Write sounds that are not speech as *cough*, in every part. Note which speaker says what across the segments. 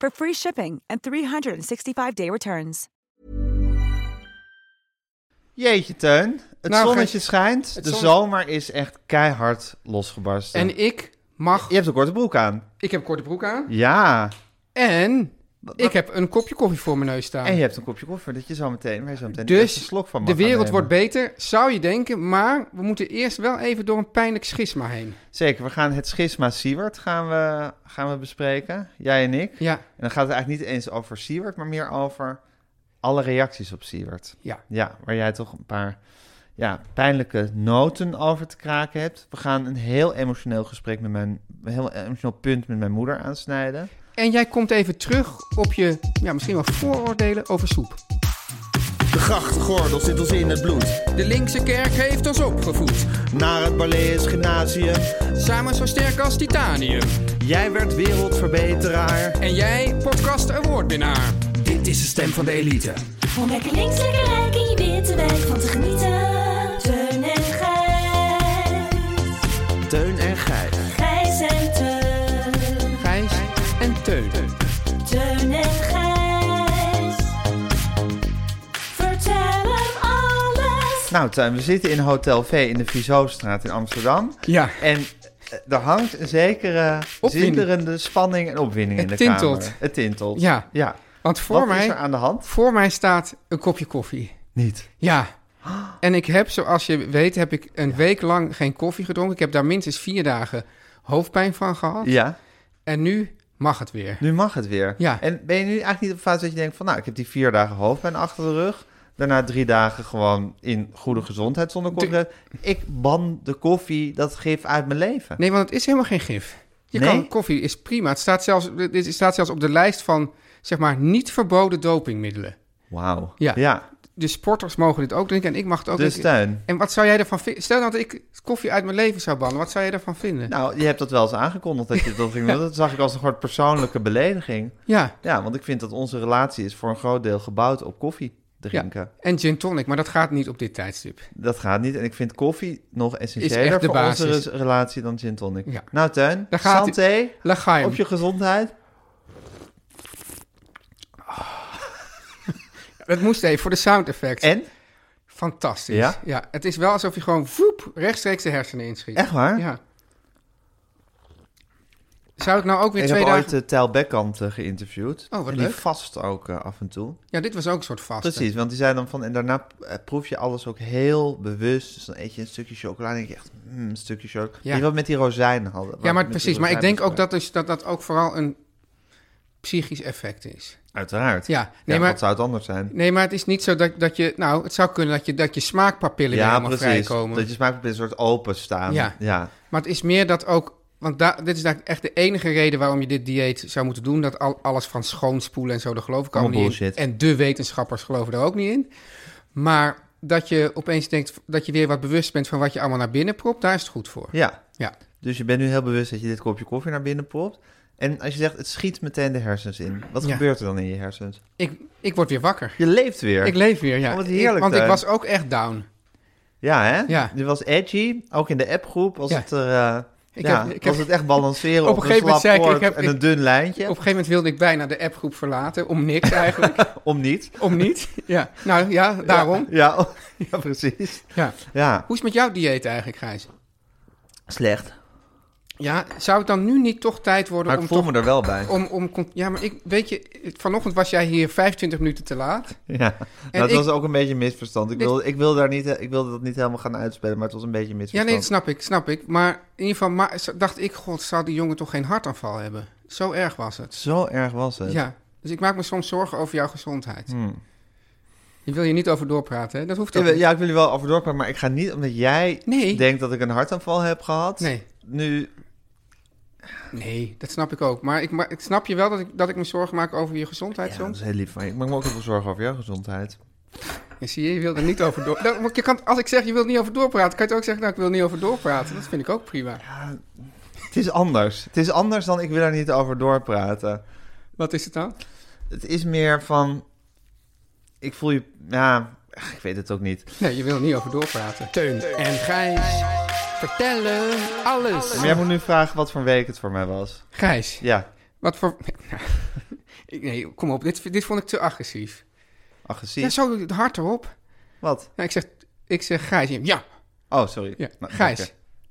Speaker 1: for free shipping and 365-day returns.
Speaker 2: Jeetje, Teun. Het
Speaker 3: Nou,
Speaker 2: zonnetje
Speaker 3: Gert,
Speaker 2: schijnt.
Speaker 3: het
Speaker 2: de
Speaker 3: zon-
Speaker 2: zomer is echt keihard losgebarsten.
Speaker 3: En ik mag...
Speaker 2: Je hebt een korte broek aan.
Speaker 3: Ik heb korte broek aan.
Speaker 2: Ja.
Speaker 3: En ik heb een kopje koffie voor mijn neus staan.
Speaker 2: En je hebt een kopje koffie dat je zo meteen, waar je zo meteen de eerste
Speaker 3: dus
Speaker 2: slok van mag
Speaker 3: de
Speaker 2: gaan
Speaker 3: wereld
Speaker 2: nemen.
Speaker 3: wordt beter, zou je denken. Maar we moeten eerst wel even door een pijnlijk schisma heen.
Speaker 2: Zeker, we gaan het schisma Siewert gaan we, gaan we bespreken. Jij en ik.
Speaker 3: Ja,
Speaker 2: En dan gaat het eigenlijk niet eens over Siewert, maar meer over alle reacties op Siewert.
Speaker 3: ja.
Speaker 2: Ja, waar jij toch een paar ja, pijnlijke noten over te kraken hebt. We gaan een heel emotioneel gesprek met mijn, een heel emotioneel punt met mijn moeder aansnijden.
Speaker 3: En jij komt even terug op je, ja, misschien wel vooroordelen over soep.
Speaker 4: De grachtgordel zit ons in het bloed.
Speaker 3: De linkse kerk heeft ons opgevoed.
Speaker 4: Naar het Balees Gymnasium.
Speaker 3: Samen zo sterk als titanium.
Speaker 4: Jij werd wereldverbeteraar.
Speaker 3: En jij podcast een woordwinnaar.
Speaker 4: Dit is de stem van de elite.
Speaker 5: Om lekker links, lekker rijk in je witte wijk van te genieten. Teun en Gijs.
Speaker 4: Teun en Gijs.
Speaker 5: Gijs en Teun.
Speaker 3: Gijs en Teun.
Speaker 5: Teun en Gijs. Vertel hem alles.
Speaker 2: Nou, Tuin, we zitten in Hotel V in de Vizostraat in Amsterdam.
Speaker 3: Ja.
Speaker 2: En eh, er hangt een zekere
Speaker 3: Opwinding.
Speaker 2: zinderende spanning en opwinding in de
Speaker 3: Het tintelt.
Speaker 2: kamer. Het tintelt.
Speaker 3: Ja.
Speaker 2: ja.
Speaker 3: Want voor
Speaker 2: Wat is er
Speaker 3: mij,
Speaker 2: aan de hand?
Speaker 3: voor mij staat een kopje koffie.
Speaker 2: Niet.
Speaker 3: Ja.
Speaker 2: *gasps*
Speaker 3: En ik heb, zoals je weet, heb ik een week lang geen koffie gedronken. Ik heb daar minstens vier dagen hoofdpijn van gehad.
Speaker 2: Ja,
Speaker 3: En nu mag het weer.
Speaker 2: nu mag het weer.
Speaker 3: Ja.
Speaker 2: En ben je nu eigenlijk niet op de fase dat je denkt van... nou, ik heb die vier dagen hoofdpijn achter de rug... daarna drie dagen gewoon in goede gezondheid zonder koffie. Ik ban de koffie, dat gif uit mijn leven.
Speaker 3: Nee, want het is helemaal geen gif. Je
Speaker 2: Nee?
Speaker 3: kan, koffie is prima. Het staat, zelfs, dit staat zelfs op de lijst van, zeg maar, niet verboden dopingmiddelen.
Speaker 2: Wauw.
Speaker 3: Ja.
Speaker 2: ja.
Speaker 3: De sporters mogen dit ook drinken en ik mag het ook
Speaker 2: Dus
Speaker 3: drinken.
Speaker 2: Tuin...
Speaker 3: En wat zou jij ervan vinden? Stel nou dat ik koffie uit mijn leven zou bannen. Wat zou jij ervan vinden?
Speaker 2: Nou, je hebt dat wel eens aangekondigd dat je dat ging doen. Dat zag ik als een soort persoonlijke belediging.
Speaker 3: ja.
Speaker 2: Ja, want ik vind dat onze relatie is voor een groot deel gebouwd op koffie drinken.
Speaker 3: ja. En gin tonic, maar dat gaat niet op dit tijdstip.
Speaker 2: Dat gaat niet. En ik vind koffie nog
Speaker 3: Is
Speaker 2: essentiëler
Speaker 3: echt de
Speaker 2: voor
Speaker 3: basis.
Speaker 2: onze re- relatie dan gin tonic.
Speaker 3: Ja.
Speaker 2: Nou, Tuin,
Speaker 3: Daar gaat-ie.
Speaker 2: santé
Speaker 3: Lachaim.
Speaker 2: op je gezondheid.
Speaker 3: Dat moest even voor de sound effects.
Speaker 2: En?
Speaker 3: Fantastisch.
Speaker 2: Ja?
Speaker 3: Ja? het is wel alsof je gewoon voep, rechtstreeks de hersenen inschiet.
Speaker 2: Echt waar?
Speaker 3: Ja. Zou ik nou ook weer
Speaker 2: Ik
Speaker 3: twee
Speaker 2: heb
Speaker 3: dagen...
Speaker 2: ooit de Tijl Bekkant eh, geïnterviewd.
Speaker 3: Oh, wat
Speaker 2: en
Speaker 3: leuk.
Speaker 2: die vast ook eh, af en toe.
Speaker 3: Ja, dit was ook een soort vaste.
Speaker 2: Precies, want die zei dan van... En daarna eh, proef je alles ook heel bewust. Dus dan eet je een stukje chocola en denk je echt... mm, een stukje chocola.
Speaker 3: Ja.
Speaker 2: Die wat met die rozijnen hadden.
Speaker 3: Ja,
Speaker 2: Wat
Speaker 3: maar
Speaker 2: met die
Speaker 3: precies. Maar ik denk ook
Speaker 2: rozijnen
Speaker 3: dat, dus, dat dat ook vooral een psychisch effect is.
Speaker 2: Uiteraard.
Speaker 3: Ja, nee, maar-
Speaker 2: Wat zou het anders zijn?
Speaker 3: Nee, maar het is niet zo dat, dat je... Nou, het zou kunnen dat je, dat je smaakpapillen weer
Speaker 2: ja,
Speaker 3: helemaal
Speaker 2: precies.
Speaker 3: vrijkomen.
Speaker 2: Dat je smaakpapillen een soort openstaan.
Speaker 3: Ja.
Speaker 2: ja.
Speaker 3: Maar het is meer dat ook... Want da- dit is eigenlijk echt de enige reden waarom je dit dieet zou moeten doen. Dat al, alles van schoonspoelen en zo, daar geloof ik allemaal
Speaker 2: Allemaal
Speaker 3: niet in.
Speaker 2: bullshit.
Speaker 3: En de wetenschappers geloven daar ook niet in. Maar dat je opeens denkt dat je weer wat bewust bent van wat je allemaal naar binnen propt, daar is het goed voor.
Speaker 2: Ja.
Speaker 3: Ja,
Speaker 2: Dus je bent nu heel bewust dat je dit kopje koffie naar binnen propt. En als je zegt, het schiet meteen de hersens in. Wat
Speaker 3: Ja.
Speaker 2: gebeurt er dan in je hersens?
Speaker 3: ik, ik word weer wakker.
Speaker 2: Je leeft weer.
Speaker 3: Ik leef weer, ja.
Speaker 2: Oh, wat heerlijk,
Speaker 3: Ik- want ik
Speaker 2: Teun.
Speaker 3: was ook echt down.
Speaker 2: Ja, hè?
Speaker 3: Ja.
Speaker 2: Die was edgy. Ook in de appgroep was
Speaker 3: Ja.
Speaker 2: het er... eh,
Speaker 3: Ik
Speaker 2: ja,
Speaker 3: heb- ik
Speaker 2: was
Speaker 3: heb-
Speaker 2: het echt balanceren op,
Speaker 3: *laughs* Op een gegeven
Speaker 2: een
Speaker 3: moment zei
Speaker 2: slap
Speaker 3: ik,
Speaker 2: koord
Speaker 3: ik heb-
Speaker 2: en
Speaker 3: ik-
Speaker 2: een dun lijntje.
Speaker 3: Op een gegeven moment wilde ik bijna de appgroep verlaten. Om niks
Speaker 2: *laughs*
Speaker 3: eigenlijk.
Speaker 2: Om niet.
Speaker 3: om niet. Ja, nou ja, *laughs* daarom.
Speaker 2: Ja, *laughs* oh, ja, precies.
Speaker 3: Ja.
Speaker 2: Ja,
Speaker 3: Hoe is het met jouw dieet eigenlijk, Gijs?
Speaker 2: slecht.
Speaker 3: Ja, zou het dan nu niet toch tijd worden
Speaker 2: Maar
Speaker 3: om
Speaker 2: ik voel
Speaker 3: toch...
Speaker 2: me er wel bij.
Speaker 3: Om, om, con- ja, maar ik, weet je, vanochtend was jij hier 25 minuten te laat.
Speaker 2: Ja, dat
Speaker 3: ik-
Speaker 2: was ook een beetje een misverstand. Ik
Speaker 3: Dit-
Speaker 2: wil, ik, wil daar niet, eh, ik wilde dat niet helemaal gaan uitspelen, maar het was een beetje een
Speaker 3: Ja,
Speaker 2: misverstand.
Speaker 3: nee, dat snap ik, snap ik. Maar in ieder geval ma- z- dacht ik, god, zou die jongen toch geen hartaanval hebben? Zo erg was het.
Speaker 2: Zo erg was het.
Speaker 3: Ja, dus ik maak me soms zorgen over jouw gezondheid. Je wil je niet over doorpraten, hè? Dat hoeft ook
Speaker 2: Hmm. Ik wil-
Speaker 3: niet.
Speaker 2: ja, ik wil je wel over doorpraten, maar ik ga niet, omdat jij
Speaker 3: Nee.
Speaker 2: denkt dat ik een hartaanval heb gehad.
Speaker 3: Nee.
Speaker 2: Nu,
Speaker 3: Nee, dat snap ik ook. Maar ik, ma- ik snap je wel dat ik, dat ik me zorgen maak over je gezondheid
Speaker 2: ja, dat
Speaker 3: soms.
Speaker 2: is heel lief van je. Ik maak me ook heel veel zorgen over jouw gezondheid.
Speaker 3: Ja, zie je, je wil er niet
Speaker 2: *laughs*
Speaker 3: over door... Nou, maar je kan, als ik zeg, je wilt er niet over doorpraten, kan je toch ook zeggen, nou, ik wil er niet over doorpraten. Dat vind ik ook prima.
Speaker 2: Het is anders. Het is anders dan ik wil er niet over doorpraten.
Speaker 3: Wat is het dan?
Speaker 2: Het is meer van, ik voel je, ja, ach, ik weet het ook niet.
Speaker 3: Nee, je wil er niet over doorpraten. Teun en Gijs vertellen alles.
Speaker 2: Maar jij moet nu vragen wat voor week het voor mij was.
Speaker 3: Gijs,
Speaker 2: Ja,
Speaker 3: wat voor... *laughs* Ik- Nee, kom op, dit, dit vond ik te agressief.
Speaker 2: agressief.
Speaker 3: Ja, zo het hart erop.
Speaker 2: Wat?
Speaker 3: Nou, ik, zeg, ik zeg Gijs, ja,
Speaker 2: Oh, sorry.
Speaker 3: ja.
Speaker 2: Nou,
Speaker 3: Gijs,
Speaker 2: oké.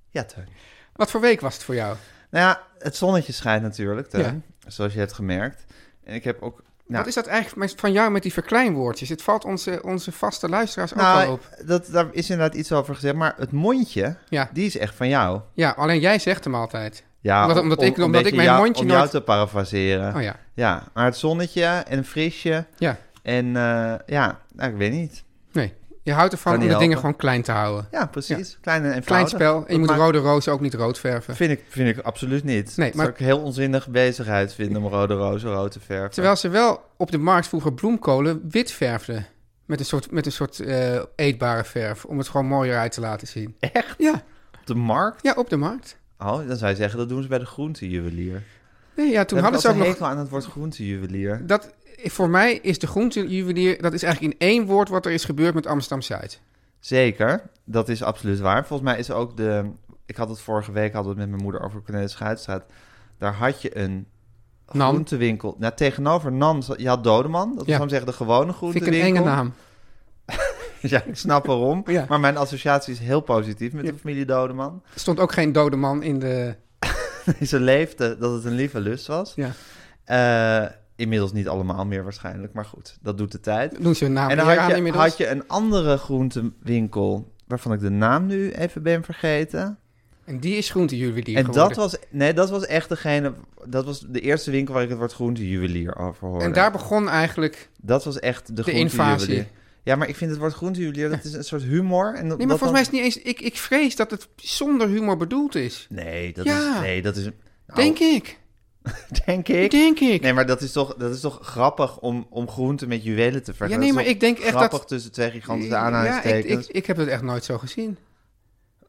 Speaker 2: Ja, Teun.
Speaker 3: wat voor week was het voor jou?
Speaker 2: Nou ja, het zonnetje schijnt natuurlijk, Teun. Zoals je hebt gemerkt. En ik heb ook... Nou,
Speaker 3: Wat is dat eigenlijk met- van jou met die verkleinwoordjes? Het valt onze, onze vaste luisteraars ook al
Speaker 2: nou,
Speaker 3: op.
Speaker 2: dat, daar is inderdaad iets over gezegd. Maar het mondje,
Speaker 3: Ja.
Speaker 2: die is echt van jou.
Speaker 3: Ja, alleen jij zegt hem altijd.
Speaker 2: Ja,
Speaker 3: omdat,
Speaker 2: om-
Speaker 3: omdat
Speaker 2: om-
Speaker 3: ik,
Speaker 2: een
Speaker 3: omdat ik
Speaker 2: beetje
Speaker 3: mijn
Speaker 2: jou-
Speaker 3: mondje
Speaker 2: om
Speaker 3: nooit...
Speaker 2: jou te parafraseren.
Speaker 3: Oh ja,
Speaker 2: Ja, maar het zonnetje en een frisje.
Speaker 3: ja.
Speaker 2: En eh, ja, nou, ik weet niet.
Speaker 3: Nee, je houdt ervan om
Speaker 2: Kan
Speaker 3: de
Speaker 2: niet helpen.
Speaker 3: dingen gewoon klein te houden.
Speaker 2: Ja, precies. Klein en
Speaker 3: Klein
Speaker 2: eenvoudig.
Speaker 3: spel. En je
Speaker 2: Dat
Speaker 3: moet
Speaker 2: maakt-
Speaker 3: rode roos ook niet rood verven.
Speaker 2: Vind ik, vind ik absoluut niet.
Speaker 3: Nee,
Speaker 2: Nee, maar...
Speaker 3: maar-
Speaker 2: Zou ik heel onzinnig bezigheid vinden om rode rozen rood te verven.
Speaker 3: Terwijl ze wel op de markt vroeger bloemkolen wit verfden. Met een soort, met een soort eh, eetbare verf. Om het gewoon mooier uit te laten zien.
Speaker 2: Echt?
Speaker 3: Ja,
Speaker 2: Op de markt?
Speaker 3: ja op de markt.
Speaker 2: Oh, dan zou je zeggen, dat doen ze bij de groentejuwelier.
Speaker 3: Nee, ja, toen
Speaker 2: Toen
Speaker 3: hadden ze ook nog...
Speaker 2: hekel aan het woord groentejuwelier.
Speaker 3: Dat, voor mij is de groentejuwelier... Dat is eigenlijk in één woord wat er is gebeurd met Amsterdam-Zuid.
Speaker 2: Zeker, dat is absoluut waar. Volgens mij is ook de... Ik had het vorige week had het met mijn moeder over Cornelis Schuitstraat. Daar had je een
Speaker 3: Nam.
Speaker 2: groentewinkel. Nou, tegenover Nan, zat- je had Dodeman. Dat
Speaker 3: Ja.
Speaker 2: was hem zeggen de gewone
Speaker 3: Vind ik
Speaker 2: groentewinkel.
Speaker 3: een enge naam.
Speaker 2: *laughs* Ja, ik snap waarom.
Speaker 3: *laughs* Ja.
Speaker 2: Maar mijn associatie is heel positief met
Speaker 3: Ja.
Speaker 2: de familie Dodeman. *laughs*
Speaker 3: Er stond ook geen dode man in de...
Speaker 2: Ze leefde dat het een lieve lust was.
Speaker 3: Ja,
Speaker 2: Eh, inmiddels niet allemaal meer waarschijnlijk, maar goed, dat doet de tijd.
Speaker 3: doen ze hun naam
Speaker 2: En dan
Speaker 3: eer
Speaker 2: had
Speaker 3: aan
Speaker 2: je,
Speaker 3: inmiddels.
Speaker 2: had je een andere groentewinkel, waarvan ik de naam nu even ben vergeten.
Speaker 3: En die is groentejuwelier
Speaker 2: en
Speaker 3: geworden.
Speaker 2: dat was, nee, dat was echt degene, dat was de eerste winkel waar ik het woord groentejuwelier over hoorde.
Speaker 3: En daar begon eigenlijk...
Speaker 2: dat was echt de, groentejuwelier.
Speaker 3: invasie.
Speaker 2: Ja, maar ik vind het woord groentejuwelier, dat is een soort humor. En
Speaker 3: Nee, maar volgens mij is het niet eens... Ik, ik vrees dat het zonder humor bedoeld is.
Speaker 2: Nee, dat
Speaker 3: Ja.
Speaker 2: is... Nee, dat is nou,
Speaker 3: Denk ik.
Speaker 2: *laughs* Denk ik.
Speaker 3: Denk ik.
Speaker 2: Nee, maar dat is toch, dat is toch grappig om, om groenten met juwelen te vergelijken?
Speaker 3: Ja, nee,
Speaker 2: Dat is
Speaker 3: maar
Speaker 2: toch
Speaker 3: ik denk echt
Speaker 2: grappig
Speaker 3: dat-
Speaker 2: tussen twee gigantische
Speaker 3: Ja, ik, ik,
Speaker 2: aanhalingstekens.
Speaker 3: ik heb het echt nooit zo gezien.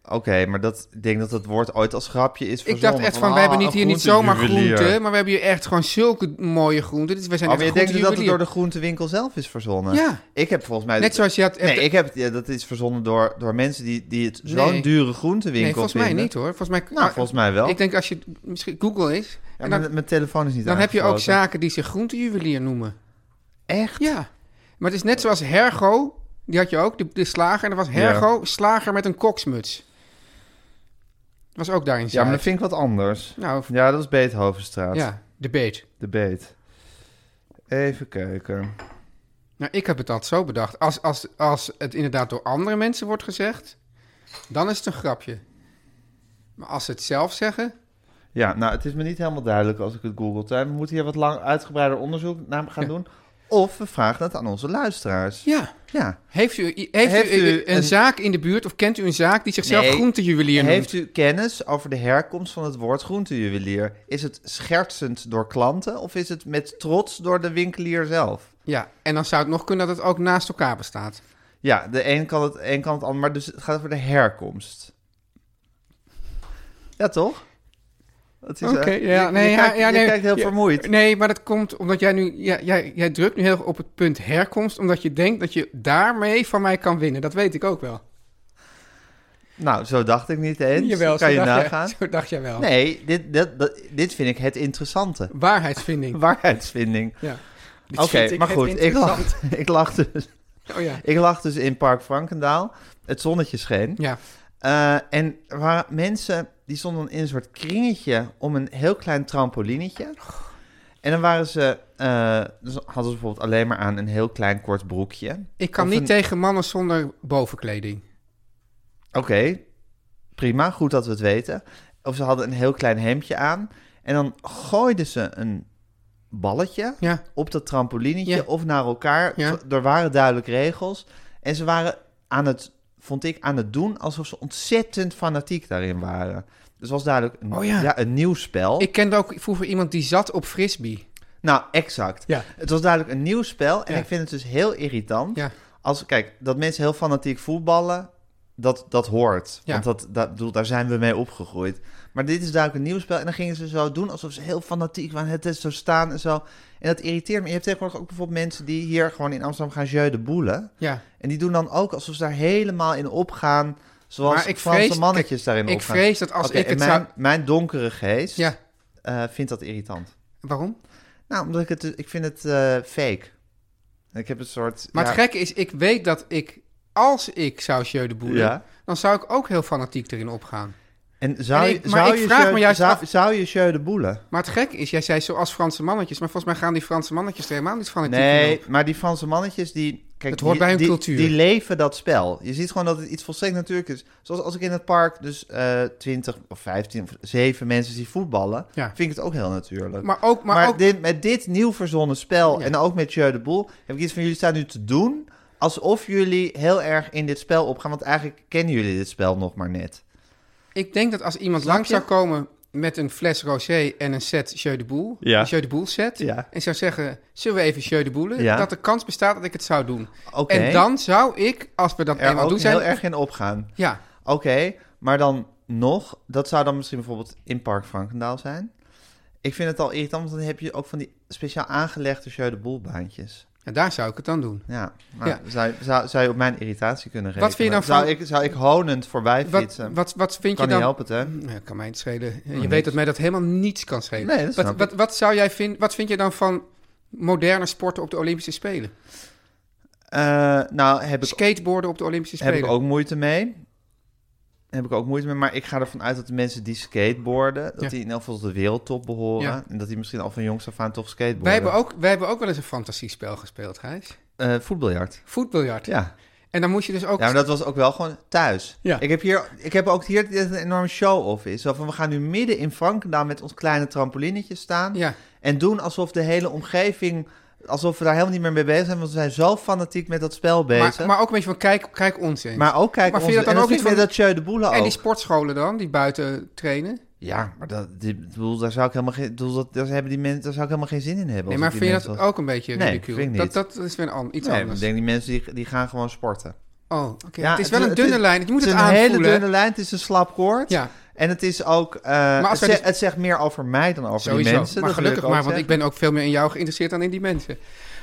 Speaker 2: Oké, maar dat, ik denk dat dat woord ooit als grapje is
Speaker 3: Ik
Speaker 2: verzonnen.
Speaker 3: dacht echt van, we
Speaker 2: ah,
Speaker 3: hebben niet hier niet zomaar groenten, maar we hebben hier echt gewoon zulke mooie groenten. Dus we zijn
Speaker 2: Oh, Maar
Speaker 3: echt
Speaker 2: je denkt dat het
Speaker 3: groentejuwelier.
Speaker 2: door de groentewinkel zelf is verzonnen?
Speaker 3: Ja.
Speaker 2: Ik heb volgens mij...
Speaker 3: Net zoals je had...
Speaker 2: Nee, ik heb, het- ja, dat is verzonnen door, door mensen die, die het zo'n
Speaker 3: Nee.
Speaker 2: dure groentewinkel
Speaker 3: nee, volgens mij
Speaker 2: vinden.
Speaker 3: niet hoor. Volgens mij, Ah,
Speaker 2: Nou, volgens mij wel.
Speaker 3: Ik denk als je misschien Google is,
Speaker 2: Ja,
Speaker 3: en
Speaker 2: maar
Speaker 3: dan,
Speaker 2: mijn telefoon is niet
Speaker 3: dan heb je ook
Speaker 2: aangesloten.
Speaker 3: zaken die zich groentejuwelier noemen.
Speaker 2: Echt?
Speaker 3: Ja. Maar het is net zoals Hergo, die had je ook, de, de slager. En er was Hergo, slager met een koksmuts. Dat was ook daarin
Speaker 2: Ja, maar dat vind ik wat anders.
Speaker 3: Nou, v-
Speaker 2: Ja, dat is Beethovenstraat.
Speaker 3: ja, de beet.
Speaker 2: De beet. Even kijken.
Speaker 3: Nou, ik heb het altijd zo bedacht. Als, als, als het inderdaad door andere mensen wordt gezegd, dan is het een grapje. Maar als ze het zelf zeggen,
Speaker 2: Ja, nou, het is me niet helemaal duidelijk als ik het google. Tuin. We moeten hier wat lang uitgebreider onderzoek naar gaan
Speaker 3: Ja.
Speaker 2: doen. Of we vragen het aan onze luisteraars.
Speaker 3: ja.
Speaker 2: Ja.
Speaker 3: Heeft u, i- heeft
Speaker 2: Heeft
Speaker 3: u i-
Speaker 2: u
Speaker 3: een,
Speaker 2: een-
Speaker 3: zaak in de buurt of kent u een zaak die zichzelf
Speaker 2: Nee.
Speaker 3: groentejuwelier noemt?
Speaker 2: Heeft u kennis over de herkomst van het woord groentejuwelier? Is het schertsend door klanten of is het met trots door de winkelier zelf?
Speaker 3: Ja, en dan zou het nog kunnen dat het ook naast elkaar bestaat.
Speaker 2: Ja, de een kan het, een kan het ander, maar dus het gaat over de herkomst. Ja, toch? Dat is, eh,
Speaker 3: Oké, ja,
Speaker 2: je,
Speaker 3: nee,
Speaker 2: je
Speaker 3: ja,
Speaker 2: kijkt,
Speaker 3: ja,
Speaker 2: je
Speaker 3: nee.
Speaker 2: kijkt heel
Speaker 3: Ja,
Speaker 2: vermoeid.
Speaker 3: Nee, maar dat komt omdat jij nu, ja, jij, jij drukt nu heel erg op het punt herkomst, omdat je denkt dat je daarmee van mij kan winnen. Dat weet ik ook wel.
Speaker 2: Nou, zo dacht ik niet eens.
Speaker 3: Jawel,
Speaker 2: kan
Speaker 3: zo
Speaker 2: je
Speaker 3: dacht jij-
Speaker 2: nagaan.
Speaker 3: *laughs* zo dacht jij wel.
Speaker 2: Nee, dit, dat, dat- dit vind ik het
Speaker 3: *laughs*
Speaker 2: interessante.
Speaker 3: Waarheidsvinding.
Speaker 2: Waarheidsvinding.
Speaker 3: Ja. Dit
Speaker 2: Oké,
Speaker 3: vind ik
Speaker 2: maar
Speaker 3: het
Speaker 2: goed, ik
Speaker 3: interessant.
Speaker 2: lag, *laughs* ik, lag dus,
Speaker 3: *laughs* Oh ja.
Speaker 2: ik lag dus in Park Frankendaal. Het zonnetje scheen.
Speaker 3: Ja.
Speaker 2: Eh, en er waren mensen die stonden in een soort kringetje om een heel klein trampolinetje. En dan waren ze, eh, dus hadden ze bijvoorbeeld alleen maar aan een heel klein kort broekje.
Speaker 3: Ik kan
Speaker 2: Of
Speaker 3: niet
Speaker 2: een-
Speaker 3: tegen mannen zonder bovenkleding.
Speaker 2: Oké, prima, goed dat we het weten. Of ze hadden een heel klein hemdje aan. En dan gooiden ze een balletje
Speaker 3: Ja.
Speaker 2: op dat trampolinetje
Speaker 3: Ja.
Speaker 2: of naar elkaar.
Speaker 3: Ja.
Speaker 2: Er waren duidelijk regels. En ze waren aan het, vond ik, aan het doen alsof ze ontzettend fanatiek daarin waren. Dus het was duidelijk een,
Speaker 3: Oh ja.
Speaker 2: ja. een nieuw spel.
Speaker 3: Ik kende ook vroeger iemand die zat op frisbee.
Speaker 2: Nou, exact.
Speaker 3: Ja.
Speaker 2: Het was duidelijk een nieuw spel. En
Speaker 3: Ja.
Speaker 2: ik vind het dus heel irritant.
Speaker 3: Ja.
Speaker 2: Als, kijk, dat mensen heel fanatiek voetballen, dat, dat hoort.
Speaker 3: Ja.
Speaker 2: Want dat, dat, bedoel, daar zijn we mee opgegroeid. Maar dit is duidelijk een nieuw spel. En dan gingen ze zo doen alsof ze heel fanatiek waren. Het is zo staan en zo. En dat irriteert me. Je hebt tegenwoordig ook bijvoorbeeld mensen die hier gewoon in Amsterdam gaan jeu de boelen.
Speaker 3: Ja.
Speaker 2: En die doen dan ook alsof ze daar helemaal in opgaan. Zoals
Speaker 3: Maar ik
Speaker 2: Franse
Speaker 3: vrees-
Speaker 2: mannetjes
Speaker 3: kijk,
Speaker 2: daarin
Speaker 3: ik
Speaker 2: opgaan.
Speaker 3: vrees dat als
Speaker 2: Oké,
Speaker 3: ik
Speaker 2: en
Speaker 3: het
Speaker 2: mijn,
Speaker 3: zou-
Speaker 2: Mijn donkere geest
Speaker 3: Ja.
Speaker 2: eh, vindt dat irritant.
Speaker 3: Waarom?
Speaker 2: Nou, omdat ik het, ik vind het eh, fake. Ik heb een soort.
Speaker 3: Maar
Speaker 2: ja,
Speaker 3: het gekke is, ik weet dat ik, als ik zou Jeu de Boer,
Speaker 2: Ja.
Speaker 3: dan zou ik ook heel fanatiek erin opgaan.
Speaker 2: En zou,
Speaker 3: En
Speaker 2: je-
Speaker 3: ik- maar
Speaker 2: zou
Speaker 3: ik
Speaker 2: je
Speaker 3: vraag
Speaker 2: jeu-
Speaker 3: me juist
Speaker 2: zou,
Speaker 3: af-
Speaker 2: zou je jeu de boelen?
Speaker 3: Maar het gekke is, jij zei zoals Franse mannetjes, maar volgens mij gaan die Franse mannetjes er helemaal niet fanatiek in
Speaker 2: Nee,
Speaker 3: op.
Speaker 2: maar die Franse mannetjes die. Kijk,
Speaker 3: Het hoort
Speaker 2: die,
Speaker 3: bij hun
Speaker 2: die-
Speaker 3: cultuur.
Speaker 2: Die leven dat spel. Je ziet gewoon dat het iets volstrekt natuurlijk is. Zoals als ik in het park dus eh 20 of 15 of 7 mensen zie voetballen,
Speaker 3: Ja.
Speaker 2: vind ik het ook heel natuurlijk.
Speaker 3: Maar ook- maar ook-
Speaker 2: dit, met dit nieuw verzonnen spel
Speaker 3: Ja.
Speaker 2: en ook met Jeu de Boel heb ik iets van jullie staan nu te doen alsof jullie heel erg in dit spel opgaan. Want eigenlijk kennen jullie dit spel nog maar net.
Speaker 3: Ik denk dat als iemand langs zou komen met een fles rosé en een set Jeu de Boel,
Speaker 2: Ja.
Speaker 3: een Jeu de Boel set,
Speaker 2: Ja.
Speaker 3: en zou zeggen, zullen we even Jeu de Boelen?
Speaker 2: Ja.
Speaker 3: Dat de kans bestaat dat ik het zou doen.
Speaker 2: Oké.
Speaker 3: En dan zou ik, als we dat
Speaker 2: er
Speaker 3: eenmaal
Speaker 2: ook
Speaker 3: doen zijn...
Speaker 2: heel erg in opgaan.
Speaker 3: Ja,
Speaker 2: Oké, maar dan nog, dat zou dan misschien bijvoorbeeld in Park Frankendaal zijn. Ik vind het al irritant, want dan heb je ook van die speciaal aangelegde Jeu de Boel baantjes.
Speaker 3: en daar zou ik het dan doen.
Speaker 2: Ja, nou,
Speaker 3: Ja.
Speaker 2: Zou, zou, zou je op mijn irritatie kunnen rekenen?
Speaker 3: Wat vind je nou
Speaker 2: zou
Speaker 3: van-
Speaker 2: ik, zou ik honend voorbij
Speaker 3: Wat,
Speaker 2: fietsen?
Speaker 3: wat, wat vind
Speaker 2: kan
Speaker 3: je dan...
Speaker 2: niet helpen, hè?
Speaker 3: Nou, kan mij het schelen. Je weet dat mij dat helemaal niets kan schelen.
Speaker 2: Nee, dat
Speaker 3: wat,
Speaker 2: snap
Speaker 3: wat, wat zou jij vinden? Wat vind je dan van moderne sporten op de Olympische Spelen?
Speaker 2: Eh, nou, heb ik,
Speaker 3: Skateboarden op de Olympische
Speaker 2: heb
Speaker 3: Spelen.
Speaker 2: ik ook moeite mee. Heb ik ook moeite mee, maar ik ga ervan uit dat de mensen die skateboarden, dat
Speaker 3: Ja.
Speaker 2: die in elk geval tot de wereldtop behoren.
Speaker 3: Ja.
Speaker 2: En dat die misschien al van jongs af aan toch skateboarden.
Speaker 3: wij, hebben ook, wij hebben ook wel eens een fantasiespel gespeeld, Gijs.
Speaker 2: Eh, voetbiljart.
Speaker 3: Voetbiljart.
Speaker 2: Ja.
Speaker 3: En dan moest je dus ook...
Speaker 2: Ja, maar dat was ook wel gewoon thuis.
Speaker 3: Ja.
Speaker 2: Ik, heb hier, ik heb ook hier een enorme show-off is. Zo van, we gaan nu midden in Frankendaal met ons kleine trampolinetje staan.
Speaker 3: Ja.
Speaker 2: En doen alsof de hele omgeving, alsof we daar helemaal niet meer mee bezig zijn. Want we zijn zo fanatiek met dat spel bezig.
Speaker 3: maar, maar ook een beetje van, kijk, kijk ons eens.
Speaker 2: Maar oh. ook kijk,
Speaker 3: Maar
Speaker 2: onze,
Speaker 3: vind je dat dan
Speaker 2: en
Speaker 3: ook
Speaker 2: vind
Speaker 3: niet
Speaker 2: ik
Speaker 3: van-
Speaker 2: met dat Jeu de Boele ook.
Speaker 3: en die sportscholen dan, die buiten trainen?
Speaker 2: Ja, maar dat, die, ik bedoel, daar zou ik helemaal geen, ik bedoel, dat, daar, hebben die mensen, daar zou ik helemaal geen zin in hebben.
Speaker 3: Nee,
Speaker 2: als
Speaker 3: maar
Speaker 2: ik
Speaker 3: vind
Speaker 2: die
Speaker 3: je
Speaker 2: mensen
Speaker 3: dat
Speaker 2: was.
Speaker 3: ook een beetje
Speaker 2: Nee,
Speaker 3: ridicule?
Speaker 2: vind ik niet.
Speaker 3: Dat, dat is weer een an- iets
Speaker 2: Nee,
Speaker 3: anders.
Speaker 2: ik denk die mensen die, die gaan gewoon sporten.
Speaker 3: Oh, oké.
Speaker 2: Ja,
Speaker 3: het is wel een dunne
Speaker 2: het-
Speaker 3: lijn. Je moet het,
Speaker 2: Het is een hele
Speaker 3: aanvoelen.
Speaker 2: dunne lijn. Het is een slap koord.
Speaker 3: Ja.
Speaker 2: En het is ook... eh,
Speaker 3: als
Speaker 2: het,
Speaker 3: wij
Speaker 2: zegt,
Speaker 3: dus-
Speaker 2: het zegt meer over mij dan over
Speaker 3: Sowieso.
Speaker 2: die mensen.
Speaker 3: maar
Speaker 2: dat wil
Speaker 3: gelukkig
Speaker 2: ook
Speaker 3: maar, want ik
Speaker 2: zeggen.
Speaker 3: ben ook veel meer in jou geïnteresseerd dan in die mensen.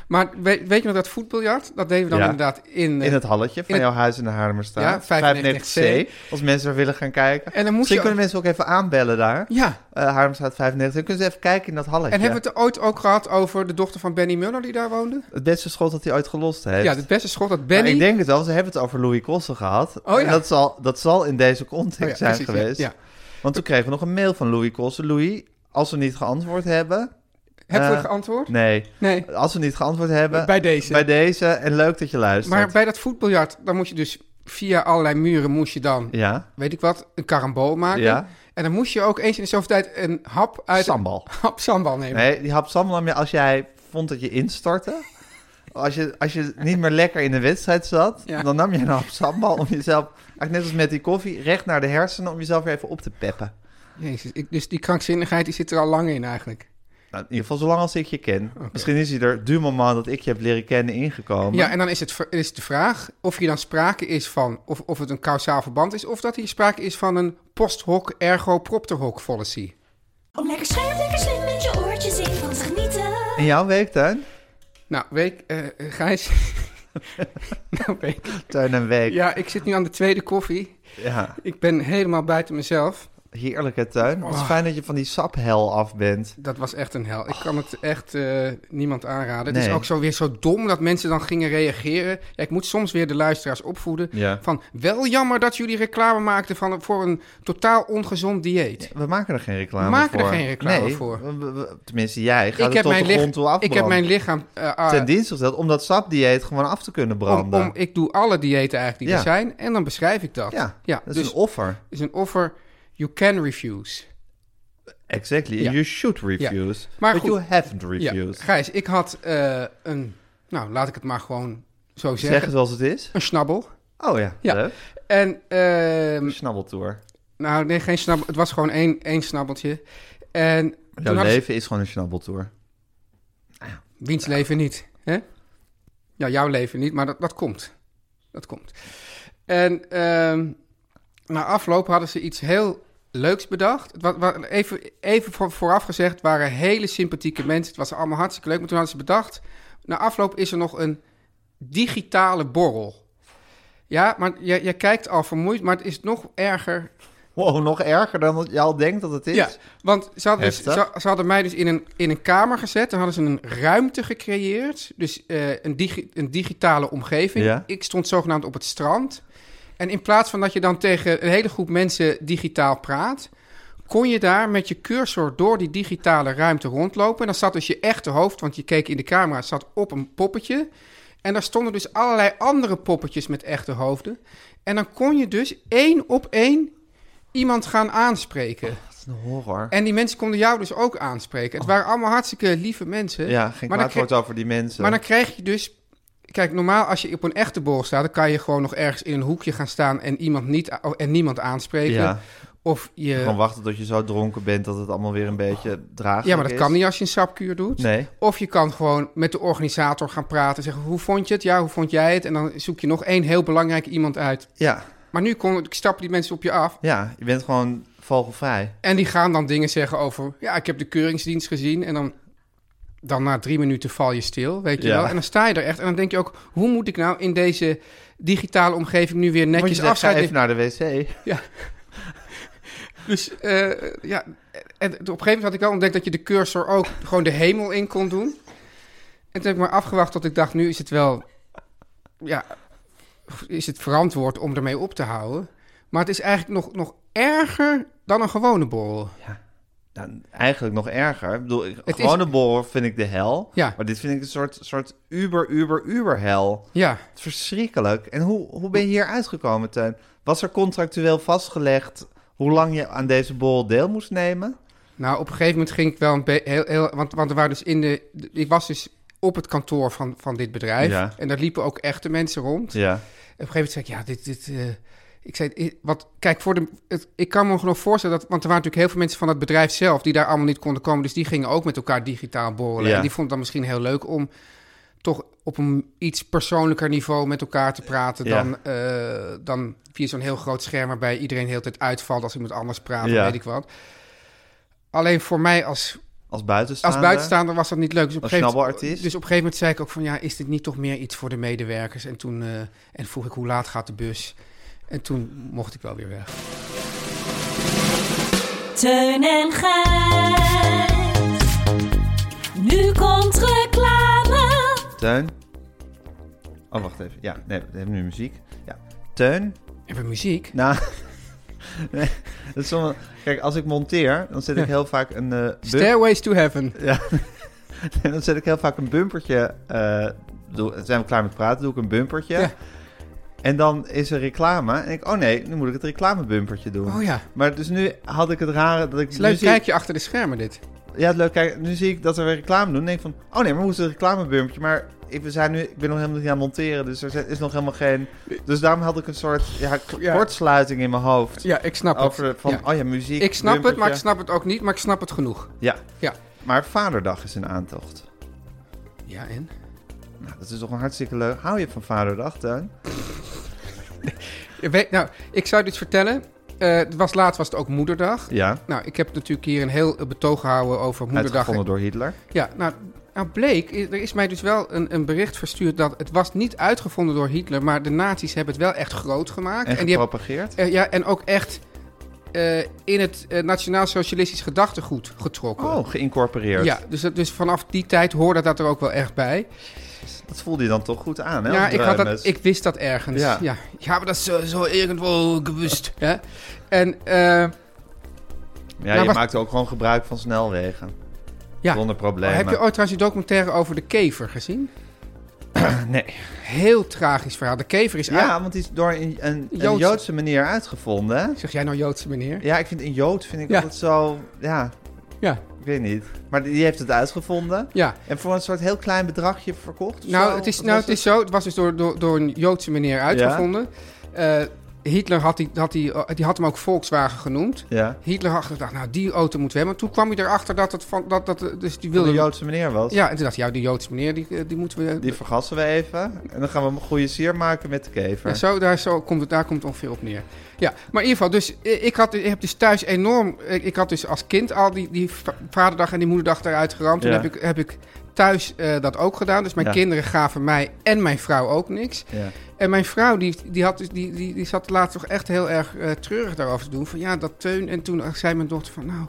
Speaker 3: Maar weet, weet je nog dat voetbiljart? Dat deden we dan
Speaker 2: Ja.
Speaker 3: inderdaad in... eh,
Speaker 2: In het halletje van
Speaker 3: in het-
Speaker 2: jouw huis in de Haarlemmerstraat.
Speaker 3: Ja,
Speaker 2: 95C.
Speaker 3: 95C.
Speaker 2: Als mensen er willen gaan kijken.
Speaker 3: En dan moest
Speaker 2: Misschien
Speaker 3: je-
Speaker 2: kunnen mensen ook even aanbellen daar.
Speaker 3: Ja.
Speaker 2: Eh, Haarlemmerstraat 95. Dan kunnen ze even kijken in dat halletje.
Speaker 3: En hebben we het ooit ook gehad over de dochter van Benny Muller die daar woonde?
Speaker 2: het... beste schot dat hij ooit gelost heeft.
Speaker 3: Ja, het beste schot dat
Speaker 2: Maar
Speaker 3: Benny...
Speaker 2: Nou, ik denk het wel. Ze hebben het over Louis Kossen gehad.
Speaker 3: Oh ja.
Speaker 2: En dat zal, dat zal in deze context
Speaker 3: Oh ja,
Speaker 2: zijn
Speaker 3: precies, ja.
Speaker 2: geweest.
Speaker 3: Ja.
Speaker 2: Want toen kregen we nog een mail van Louis Kossen. Louis, als we niet geantwoord hebben...
Speaker 3: Hebben we
Speaker 2: eh,
Speaker 3: geantwoord?
Speaker 2: Nee.
Speaker 3: Nee.
Speaker 2: Als we niet geantwoord hebben.
Speaker 3: Bij deze.
Speaker 2: Bij deze. En leuk dat je luistert.
Speaker 3: Maar bij dat voetbiljart, dan moet je dus via allerlei muren moest je dan,
Speaker 2: Ja.
Speaker 3: weet ik wat, een karambool maken.
Speaker 2: Ja.
Speaker 3: En dan moest je ook eens in de zoveel tijd een hap uit... *laughs*
Speaker 2: Sambal.
Speaker 3: Hap sambal nemen.
Speaker 2: Nee, die hap Sam nam je als jij vond dat je instortte. Als je, als je niet meer lekker in de wedstrijd zat,
Speaker 3: Ja.
Speaker 2: dan nam je een hap sambal om jezelf, eigenlijk net als met die koffie, recht naar de hersenen om jezelf weer even op te peppen.
Speaker 3: Jezus, ik- dus die krankzinnigheid die zit er al lang in eigenlijk.
Speaker 2: Nou, in ieder geval zolang als ik je ken. Misschien is hij er du moment dat ik je heb leren kennen ingekomen.
Speaker 3: Ja, en dan is het v- is de vraag of hier dan sprake is van, of, of het een kausaal verband is, of dat hier sprake is van een post hoc ergo propter hoc fallacy.
Speaker 5: Om lekker scherp, lekker slim met je oortjes in van te genieten.
Speaker 2: In jouw weektuin?
Speaker 3: Nou, week, eh, Gijs. *laughs* nou, week.
Speaker 2: Tuin en week.
Speaker 3: Ja, ik zit nu aan de tweede koffie.
Speaker 2: Ja.
Speaker 3: Ik ben helemaal buiten mezelf.
Speaker 2: Heerlijke tuin.
Speaker 3: Oh.
Speaker 2: Het is fijn dat je van die saphel af bent.
Speaker 3: Dat was echt een hel. Ik kan het echt eh, niemand aanraden. Het
Speaker 2: Nee.
Speaker 3: is ook zo weer zo dom dat mensen dan gingen reageren. Ja, ik moet soms weer de luisteraars opvoeden.
Speaker 2: Ja.
Speaker 3: Van wel jammer dat jullie reclame maakten van, voor een totaal ongezond dieet.
Speaker 2: We maken er geen reclame
Speaker 3: We
Speaker 2: voor.
Speaker 3: maken er geen reclame
Speaker 2: nee,
Speaker 3: voor.
Speaker 2: we- we- we- Tenminste, jij gaat
Speaker 3: ik,
Speaker 2: het
Speaker 3: heb
Speaker 2: tot
Speaker 3: mijn
Speaker 2: de
Speaker 3: lichaam,
Speaker 2: grond toe
Speaker 3: ik heb mijn
Speaker 2: afbranden.
Speaker 3: lichaam. eh, ah,
Speaker 2: Ten dienste gesteld om dat sapdieet gewoon af te kunnen
Speaker 3: om,
Speaker 2: branden.
Speaker 3: om, ik doe alle diëten eigenlijk die
Speaker 2: Ja.
Speaker 3: er zijn en dan beschrijf ik dat.
Speaker 2: ja, dat is
Speaker 3: dus
Speaker 2: een offer.
Speaker 3: is een offer. You can refuse.
Speaker 2: Exactly.
Speaker 3: Ja.
Speaker 2: You should refuse.
Speaker 3: Maar
Speaker 2: but
Speaker 3: goed.
Speaker 2: you haven't
Speaker 3: Ja,
Speaker 2: refused.
Speaker 3: Gijs, ik had eh, een. Nou, laat ik het maar gewoon zo
Speaker 2: zeg het
Speaker 3: zeggen.
Speaker 2: zoals het is.
Speaker 3: Een snabbel.
Speaker 2: Oh ja,
Speaker 3: Ja.
Speaker 2: leuk.
Speaker 3: En. ehm,
Speaker 2: Een snabbeltour.
Speaker 3: nou, nee, geen snabbel. Het was gewoon één, één snabbeltje. En. toen
Speaker 2: Jouw
Speaker 3: hadden ze-
Speaker 2: leven is gewoon een snabbeltour.
Speaker 3: Wiens leven niet, hè? Ja, jouw leven niet, maar dat, dat komt. Dat komt. En ehm, na afloop hadden ze iets heel leuks bedacht. Het wa- wa- even even voor, vooraf gezegd, het waren hele sympathieke mensen. Het was allemaal hartstikke leuk. Maar toen hadden ze bedacht, na afloop is er nog een digitale borrel. Ja, maar jij, jij kijkt al vermoeid, maar het is nog erger
Speaker 2: Wow, nog erger dan wat je al denkt dat het is.
Speaker 3: ja, want ze hadden, dus-
Speaker 2: Heftig.
Speaker 3: ze, ze hadden mij dus in een, in een kamer gezet. Dan hadden ze een ruimte gecreëerd. Dus eh, een, digi- een digitale omgeving.
Speaker 2: Ja.
Speaker 3: Ik stond zogenaamd op het strand. En in plaats van dat je dan tegen een hele groep mensen digitaal praat... kon je daar met je cursor door die digitale ruimte rondlopen. En dan zat dus je echte hoofd, want je keek in de camera, zat op een poppetje... En daar stonden dus allerlei andere poppetjes met echte hoofden. En dan kon je dus één op één iemand gaan aanspreken.
Speaker 2: Dat is een horror.
Speaker 3: En die mensen konden jou dus ook aanspreken. Het waren allemaal hartstikke lieve mensen.
Speaker 2: Oh. Ja, geen
Speaker 3: maar
Speaker 2: kwaad
Speaker 3: dan,
Speaker 2: woord
Speaker 3: kri-
Speaker 2: over die mensen.
Speaker 3: maar dan krijg je dus... Kijk, normaal als je op een echte borrel staat... dan kan je gewoon nog ergens in een hoekje gaan staan... en, iemand niet, a- oh, en niemand aanspreken.
Speaker 2: Ja.
Speaker 3: Of
Speaker 2: Gewoon
Speaker 3: je...
Speaker 2: wachten tot je zo dronken bent dat het allemaal weer een beetje draaglijk is.
Speaker 3: Ja, maar dat kan niet als je een sapkuur doet.
Speaker 2: Nee.
Speaker 3: Of je kan gewoon met de organisator gaan praten... en zeggen, hoe vond je het? Ja, hoe vond jij het? En dan zoek je nog één heel belangrijk iemand uit.
Speaker 2: Ja,
Speaker 3: Maar nu kon, stappen die mensen op je af...
Speaker 2: ja, je bent gewoon vogelvrij.
Speaker 3: En die gaan dan dingen zeggen over... ja, ik heb de keuringsdienst gezien. En dan, dan na drie minuten val je stil, weet je
Speaker 2: Ja.
Speaker 3: wel. En dan sta je er echt. En dan denk je ook... hoe moet ik nou in deze digitale omgeving... nu weer
Speaker 2: Moet je
Speaker 3: netjes
Speaker 2: zeggen, ga
Speaker 3: afscheid
Speaker 2: even
Speaker 3: nemen?
Speaker 2: naar de wc.
Speaker 3: Dus eh, ja, en op een gegeven moment had ik wel ontdekt... dat je de cursor ook gewoon de hemel in kon doen. En toen heb ik maar afgewacht tot ik dacht... nu is het wel... ja, is het verantwoord om ermee op te houden. Maar het is eigenlijk nog, nog erger dan een gewone borrel.
Speaker 2: Nou, eigenlijk nog erger. Ik bedoel, ik,
Speaker 3: is-
Speaker 2: gewone borrel vind ik de hel.
Speaker 3: Ja.
Speaker 2: Maar dit vind ik een soort, soort uber, uber, uber hel.
Speaker 3: Ja.
Speaker 2: Het is verschrikkelijk. En hoe, hoe ben je hier uitgekomen, Teun? Was er contractueel vastgelegd hoe lang je aan deze borrel deel moest nemen?
Speaker 3: Nou, op een gegeven moment ging ik wel een beetje heel, heel want, want er waren dus in de, ik was dus op het kantoor van, van dit bedrijf
Speaker 2: Ja.
Speaker 3: en daar liepen ook echte mensen rond.
Speaker 2: Ja.
Speaker 3: En op een gegeven moment zei ik, ja, dit, dit, eh, ik zei, eh, wat, kijk, voor de, het- ik kan me nog voorstellen dat, want er waren natuurlijk heel veel mensen van het bedrijf zelf die daar allemaal niet konden komen, dus die gingen ook met elkaar digitaal borrelen.
Speaker 2: Ja.
Speaker 3: En die vonden het dan misschien heel leuk om toch op een iets persoonlijker niveau met elkaar te praten
Speaker 2: Ja.
Speaker 3: dan, eh, dan via zo'n heel groot scherm waarbij iedereen de hele tijd uitvalt als iemand anders praat,
Speaker 2: Ja.
Speaker 3: of weet ik wat. Alleen voor mij als,
Speaker 2: Als buitenstaander?
Speaker 3: als buitenstaander was dat niet leuk. Dus op,
Speaker 2: Als
Speaker 3: een gegeven moment,
Speaker 2: snabbelartiest?
Speaker 3: dus op een gegeven moment zei ik ook van ja, is dit niet toch meer iets voor de medewerkers? En toen eh, en vroeg ik hoe laat gaat de bus? En toen mocht ik wel weer weg.
Speaker 5: Teun en Gijs. Nu komt reclame.
Speaker 2: Teun? Oh, wacht even. Ja, nee, we hebben nu muziek. Ja. Teun?
Speaker 3: Hebben we muziek?
Speaker 2: Nou, *laughs* nee, dat is sommige- kijk, als ik monteer, dan zet ik heel vaak een, eh, bum-
Speaker 3: Stairways to Heaven.
Speaker 2: *laughs* dan zet ik heel vaak een bumpertje. eh, doe, dan zijn we klaar met praten? Doe ik een bumpertje.
Speaker 3: Ja.
Speaker 2: En dan is er reclame. En ik, oh nee, nu moet ik het reclamebumpertje doen.
Speaker 3: Oh ja.
Speaker 2: Maar dus nu had ik het rare dat ik.
Speaker 3: Het is
Speaker 2: nu
Speaker 3: leuk
Speaker 2: zie
Speaker 3: kijkje achter de schermen dit.
Speaker 2: Ik, ja, het leuk kijk, Nu zie ik dat er weer reclame doen. En denk ik van, oh nee, maar hoe is het reclamebumpertje? Maar ik, we zijn nu, ik ben nog helemaal niet aan het monteren. Dus er zijn- is nog helemaal geen. Dus daarom had ik een soort ja, k-
Speaker 3: Ja.
Speaker 2: kortsluiting in mijn hoofd.
Speaker 3: Ja, ik snap
Speaker 2: Over
Speaker 3: het.
Speaker 2: de- van,
Speaker 3: Ja.
Speaker 2: oh ja, muziek.
Speaker 3: Ik snap het, maar ik
Speaker 2: bumpertje.
Speaker 3: snap het ook niet, maar ik snap het genoeg.
Speaker 2: Ja,
Speaker 3: Ja.
Speaker 2: maar Vaderdag is een aantocht.
Speaker 3: Ja, en?
Speaker 2: Nou, dat is toch een hartstikke leuk. Hou je van Vaderdag, Teun?
Speaker 3: Je Weet, nou, ik zou dit vertellen. Eh, het was laatst was het ook moederdag.
Speaker 2: Ja.
Speaker 3: Nou, ik heb natuurlijk hier een heel eh, betoog gehouden over moederdag.
Speaker 2: Uitgevonden door Hitler.
Speaker 3: Ja, nou, nou bleek, i- er is mij dus wel een, een bericht verstuurd dat het was niet uitgevonden door Hitler, maar de nazi's hebben het wel echt groot gemaakt.
Speaker 2: En
Speaker 3: die hebben,
Speaker 2: gepropageerd.
Speaker 3: eh, ja, en ook echt eh, in het eh, Nationaal Socialistisch Gedachtegoed getrokken.
Speaker 2: Oh, geïncorporeerd.
Speaker 3: Ja, dus, dat- dus vanaf die tijd hoorde dat er ook wel echt bij.
Speaker 2: Dat voelde je dan toch goed aan, hè?
Speaker 3: ja,
Speaker 2: als
Speaker 3: ik, had dat,
Speaker 2: druimes.
Speaker 3: ik wist dat ergens. Ja,
Speaker 2: Ja.
Speaker 3: ja. maar dat is zo, zo irgendwo gewust. Ja. En eh,
Speaker 2: ja,
Speaker 3: Ja,
Speaker 2: je
Speaker 3: maar-
Speaker 2: maakte ook gewoon gebruik van snelwegen.
Speaker 3: nou, ja.
Speaker 2: Zonder problemen.
Speaker 3: heb je ooit trouwens die documentaire over de kever gezien?
Speaker 2: Nee.
Speaker 3: Heel tragisch verhaal. De kever is... uit-
Speaker 2: Ja, want die is door een, een, een
Speaker 3: Joodse-
Speaker 2: Joodse manier uitgevonden. hè?
Speaker 3: Zeg jij nou Joodse meneer?
Speaker 2: Ja, ik vind een Jood vind ik
Speaker 3: Ja.
Speaker 2: altijd zo... Ja,
Speaker 3: Ja.
Speaker 2: ik weet niet. Maar die heeft het uitgevonden.
Speaker 3: Ja.
Speaker 2: En voor een soort heel klein bedragje verkocht. of
Speaker 3: Nou,
Speaker 2: zo?
Speaker 3: het is,
Speaker 2: Wat
Speaker 3: nou,
Speaker 2: was
Speaker 3: het is zo. Het was dus door, door, door een Joodse meneer uitgevonden. Eh, Hitler had, die, had, die, eh, die had hem ook Volkswagen genoemd.
Speaker 2: Ja.
Speaker 3: Hitler had gedacht, nou, die auto moeten we hebben. Maar toen kwam hij erachter dat het van... Dat, dat, dus die
Speaker 2: Van
Speaker 3: wilde...
Speaker 2: de Joodse meneer was.
Speaker 3: Ja, en toen dacht hij, ja, die Joodse meneer, die, eh, die moeten we...
Speaker 2: Die vergassen we even. En dan gaan we een goede sier maken met de kever.
Speaker 3: Ja, zo, daar, zo komt het, daar komt het ongeveer op neer. Ja, maar in ieder geval, dus eh, ik, had, ik heb dus thuis enorm... Ik, ik had dus als kind al die, die va- vaderdag en die moederdag eruit geramd. Toen
Speaker 2: Ja.
Speaker 3: heb ik, heb ik thuis eh, dat ook gedaan. Dus mijn
Speaker 2: Ja.
Speaker 3: kinderen gaven mij en mijn vrouw ook niks.
Speaker 2: Ja.
Speaker 3: En mijn vrouw, die, die, had, dus- die, die, die zat laatst toch echt heel erg eh, treurig daarover te doen. Van ja, dat teun. En toen zei mijn dochter van nou...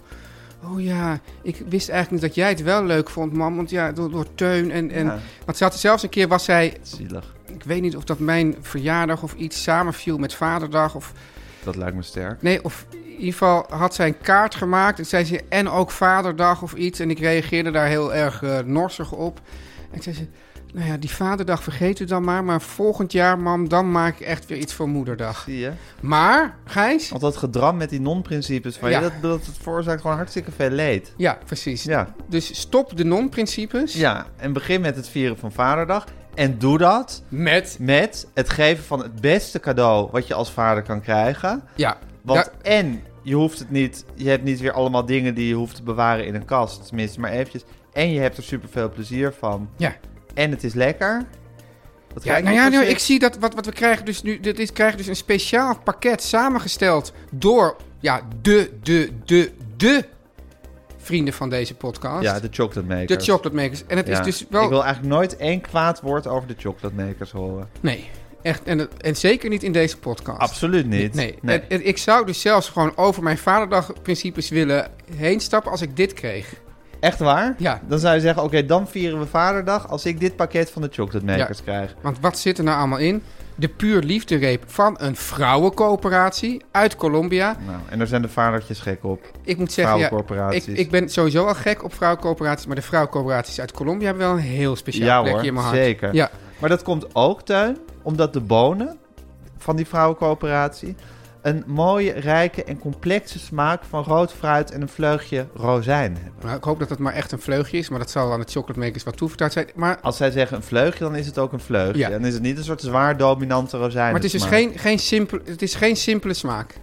Speaker 3: Oh ja, ik wist eigenlijk niet dat jij het wel leuk vond, mam. Want ja, door, door Teun en... en
Speaker 2: Ja,
Speaker 3: Want ze had zelfs een keer, was zij
Speaker 2: zielig.
Speaker 3: ik weet niet of dat mijn verjaardag of iets samenviel met Vaderdag. Of,
Speaker 2: Dat lijkt me sterk.
Speaker 3: nee, of in ieder geval had zij een kaart gemaakt. En zei ze, en ook Vaderdag of iets. En ik reageerde daar heel erg eh, norsig op. En zei ze, nou ja, die Vaderdag vergeet u dan maar. Maar volgend jaar, mam, dan maak ik echt weer iets voor Moederdag.
Speaker 2: Zie je?
Speaker 3: Maar, Gijs...
Speaker 2: Want dat gedram met die non-principes van
Speaker 3: Ja.
Speaker 2: je, dat, dat, dat veroorzaakt gewoon hartstikke veel leed.
Speaker 3: Ja, precies.
Speaker 2: Ja.
Speaker 3: Dus stop de non-principes
Speaker 2: ja, en begin met het vieren van Vaderdag. En doe dat
Speaker 3: met...
Speaker 2: met het geven van het beste cadeau wat je als vader kan krijgen.
Speaker 3: Ja,
Speaker 2: Want
Speaker 3: daar-
Speaker 2: en je hoeft het niet, je hebt niet weer allemaal dingen die je hoeft te bewaren in een kast, tenminste maar eventjes. En je hebt er super veel plezier van.
Speaker 3: ja.
Speaker 2: En het is lekker. Dat
Speaker 3: Ja, nou ja, nou, ik zie dat wat, wat we krijgen dus nu. Dit is, krijgen dus een speciaal pakket samengesteld door ja, de, de, de, de vrienden van deze podcast.
Speaker 2: Ja, de chocolate
Speaker 3: de
Speaker 2: maker.
Speaker 3: chocolate makers. En het is dus wel.
Speaker 2: Ik wil eigenlijk nooit één kwaad woord over de chocolate makers horen.
Speaker 3: Nee, echt. En, het- en zeker niet in deze podcast.
Speaker 2: Absoluut niet.
Speaker 3: Nee, En- en ik zou dus zelfs gewoon over mijn vaderdagprincipes willen heen stappen als ik dit kreeg.
Speaker 2: Echt waar?
Speaker 3: Ja.
Speaker 2: Dan zou je zeggen, oké, dan vieren we Vaderdag als ik dit pakket van de chocolate makers krijg.
Speaker 3: Want wat zit er nou allemaal in? De puur liefde reep van een vrouwencoöperatie uit Colombia.
Speaker 2: Nou, en daar zijn de vadertjes gek op.
Speaker 3: Ik moet zeggen, ja, ik,
Speaker 2: Vrouwencoöperaties.
Speaker 3: ik ben sowieso al gek op vrouwencoöperaties, maar de vrouwencoöperaties uit Colombia hebben wel een heel speciaal
Speaker 2: Ja
Speaker 3: plekje
Speaker 2: hoor,
Speaker 3: in mijn hart.
Speaker 2: zeker.
Speaker 3: Ja,
Speaker 2: Maar dat komt ook, Tuin, omdat de bonen van die vrouwencoöperatie... een mooie, rijke en complexe smaak van rood fruit en een vleugje rozijn hebben.
Speaker 3: nou, ik hoop dat dat maar echt een vleugje is, maar dat zal aan de chocolate makers wat toevertrouwd zijn. Maar, maar
Speaker 2: Als zij zeggen een vleugje, dan is het ook een vleugje.
Speaker 3: Ja.
Speaker 2: Dan is het niet een soort zwaar dominante rozijn.
Speaker 3: het is dus geen, geen simpel, het is geen simpele smaak.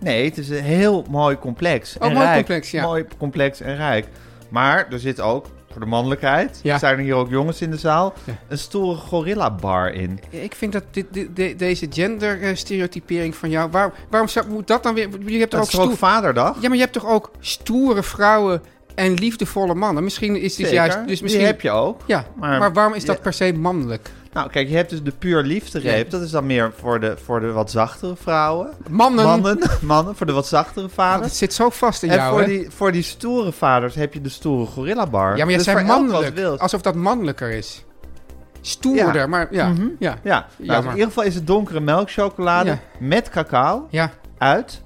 Speaker 2: Nee, het is een heel mooi complex.
Speaker 3: Oh,
Speaker 2: en
Speaker 3: mooi
Speaker 2: rijk.
Speaker 3: complex, ja.
Speaker 2: Mooi complex en rijk. Maar er zit ook, voor de mannelijkheid,
Speaker 3: Ja.
Speaker 2: zijn er hier ook jongens in de zaal,
Speaker 3: Ja.
Speaker 2: een stoere gorilla bar in.
Speaker 3: Ik vind dat dit, dit- de- deze genderstereotypering van jou, waar, waarom zou, moet dat dan weer, je hebt
Speaker 2: Dat
Speaker 3: er ook
Speaker 2: is toch ook
Speaker 3: stoer,
Speaker 2: vaderdag?
Speaker 3: ja, maar je hebt toch ook stoere vrouwen en liefdevolle mannen? Misschien is dit
Speaker 2: Zeker.
Speaker 3: juist, dus misschien,
Speaker 2: Die heb je ook.
Speaker 3: ja, maar,
Speaker 2: maar-
Speaker 3: waarom is dat
Speaker 2: ja.
Speaker 3: per se mannelijk?
Speaker 2: Nou, kijk, je hebt dus de puur liefdereep.
Speaker 3: Ja.
Speaker 2: Dat is dan meer voor de, voor de wat zachtere vrouwen.
Speaker 3: Mannen,
Speaker 2: Mannen, *laughs* mannen voor de wat zachtere
Speaker 3: want het
Speaker 2: vaders.
Speaker 3: zit zo vast in
Speaker 2: En
Speaker 3: jou,
Speaker 2: voor
Speaker 3: hè?
Speaker 2: die, voor die stoere vaders heb je de stoere gorilla bar.
Speaker 3: Ja, maar jij
Speaker 2: Dus
Speaker 3: zei
Speaker 2: voor elk wat
Speaker 3: mannelijk.
Speaker 2: wilt.
Speaker 3: Alsof dat mannelijker is. Stoerder,
Speaker 2: Ja.
Speaker 3: maar ja. ja. ja.
Speaker 2: Ja, nou, dus
Speaker 3: maar-
Speaker 2: in ieder geval is het donkere melkchocolade
Speaker 3: Ja.
Speaker 2: met cacao uit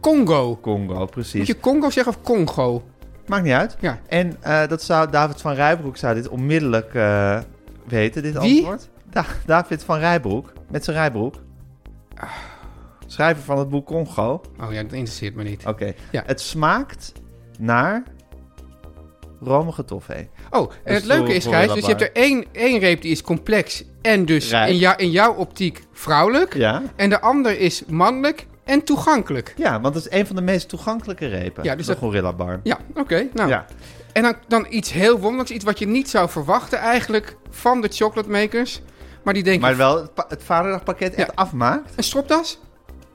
Speaker 3: Congo.
Speaker 2: Congo,
Speaker 3: Moet
Speaker 2: precies.
Speaker 3: je Congo zeggen of Congo?
Speaker 2: Maakt niet uit.
Speaker 3: Ja.
Speaker 2: En eh, dat zou David van Rijbroek zou dit onmiddellijk eh, weten, dit
Speaker 3: Wie?
Speaker 2: antwoord. Da- David van Rijbroek, met zijn Rijbroek.
Speaker 3: Ah.
Speaker 2: Schrijver van het boek Congo. Oké.
Speaker 3: Oh ja, dat interesseert me niet. Ja.
Speaker 2: Het smaakt naar romige toffee.
Speaker 3: Oh, en het
Speaker 2: Ah, stoer
Speaker 3: leuke is, Gijs, dus je hebt er één, één reep die is complex en dus
Speaker 2: Rijk.
Speaker 3: in, jou, in jouw optiek vrouwelijk.
Speaker 2: Ja.
Speaker 3: En de ander is mannelijk en toegankelijk.
Speaker 2: Ja, want dat is een van de meest toegankelijke repen.
Speaker 3: Ja, dus
Speaker 2: de
Speaker 3: dat-
Speaker 2: Gorilla Bar.
Speaker 3: Ja, oké. nou.
Speaker 2: Ja.
Speaker 3: En dan, dan iets heel wonderlijks, iets wat je niet zou verwachten eigenlijk van de chocolate makers. Maar die denken,
Speaker 2: Maar wel het, pa- het vaderdagpakket echt
Speaker 3: Ja.
Speaker 2: afmaakt.
Speaker 3: een stropdas?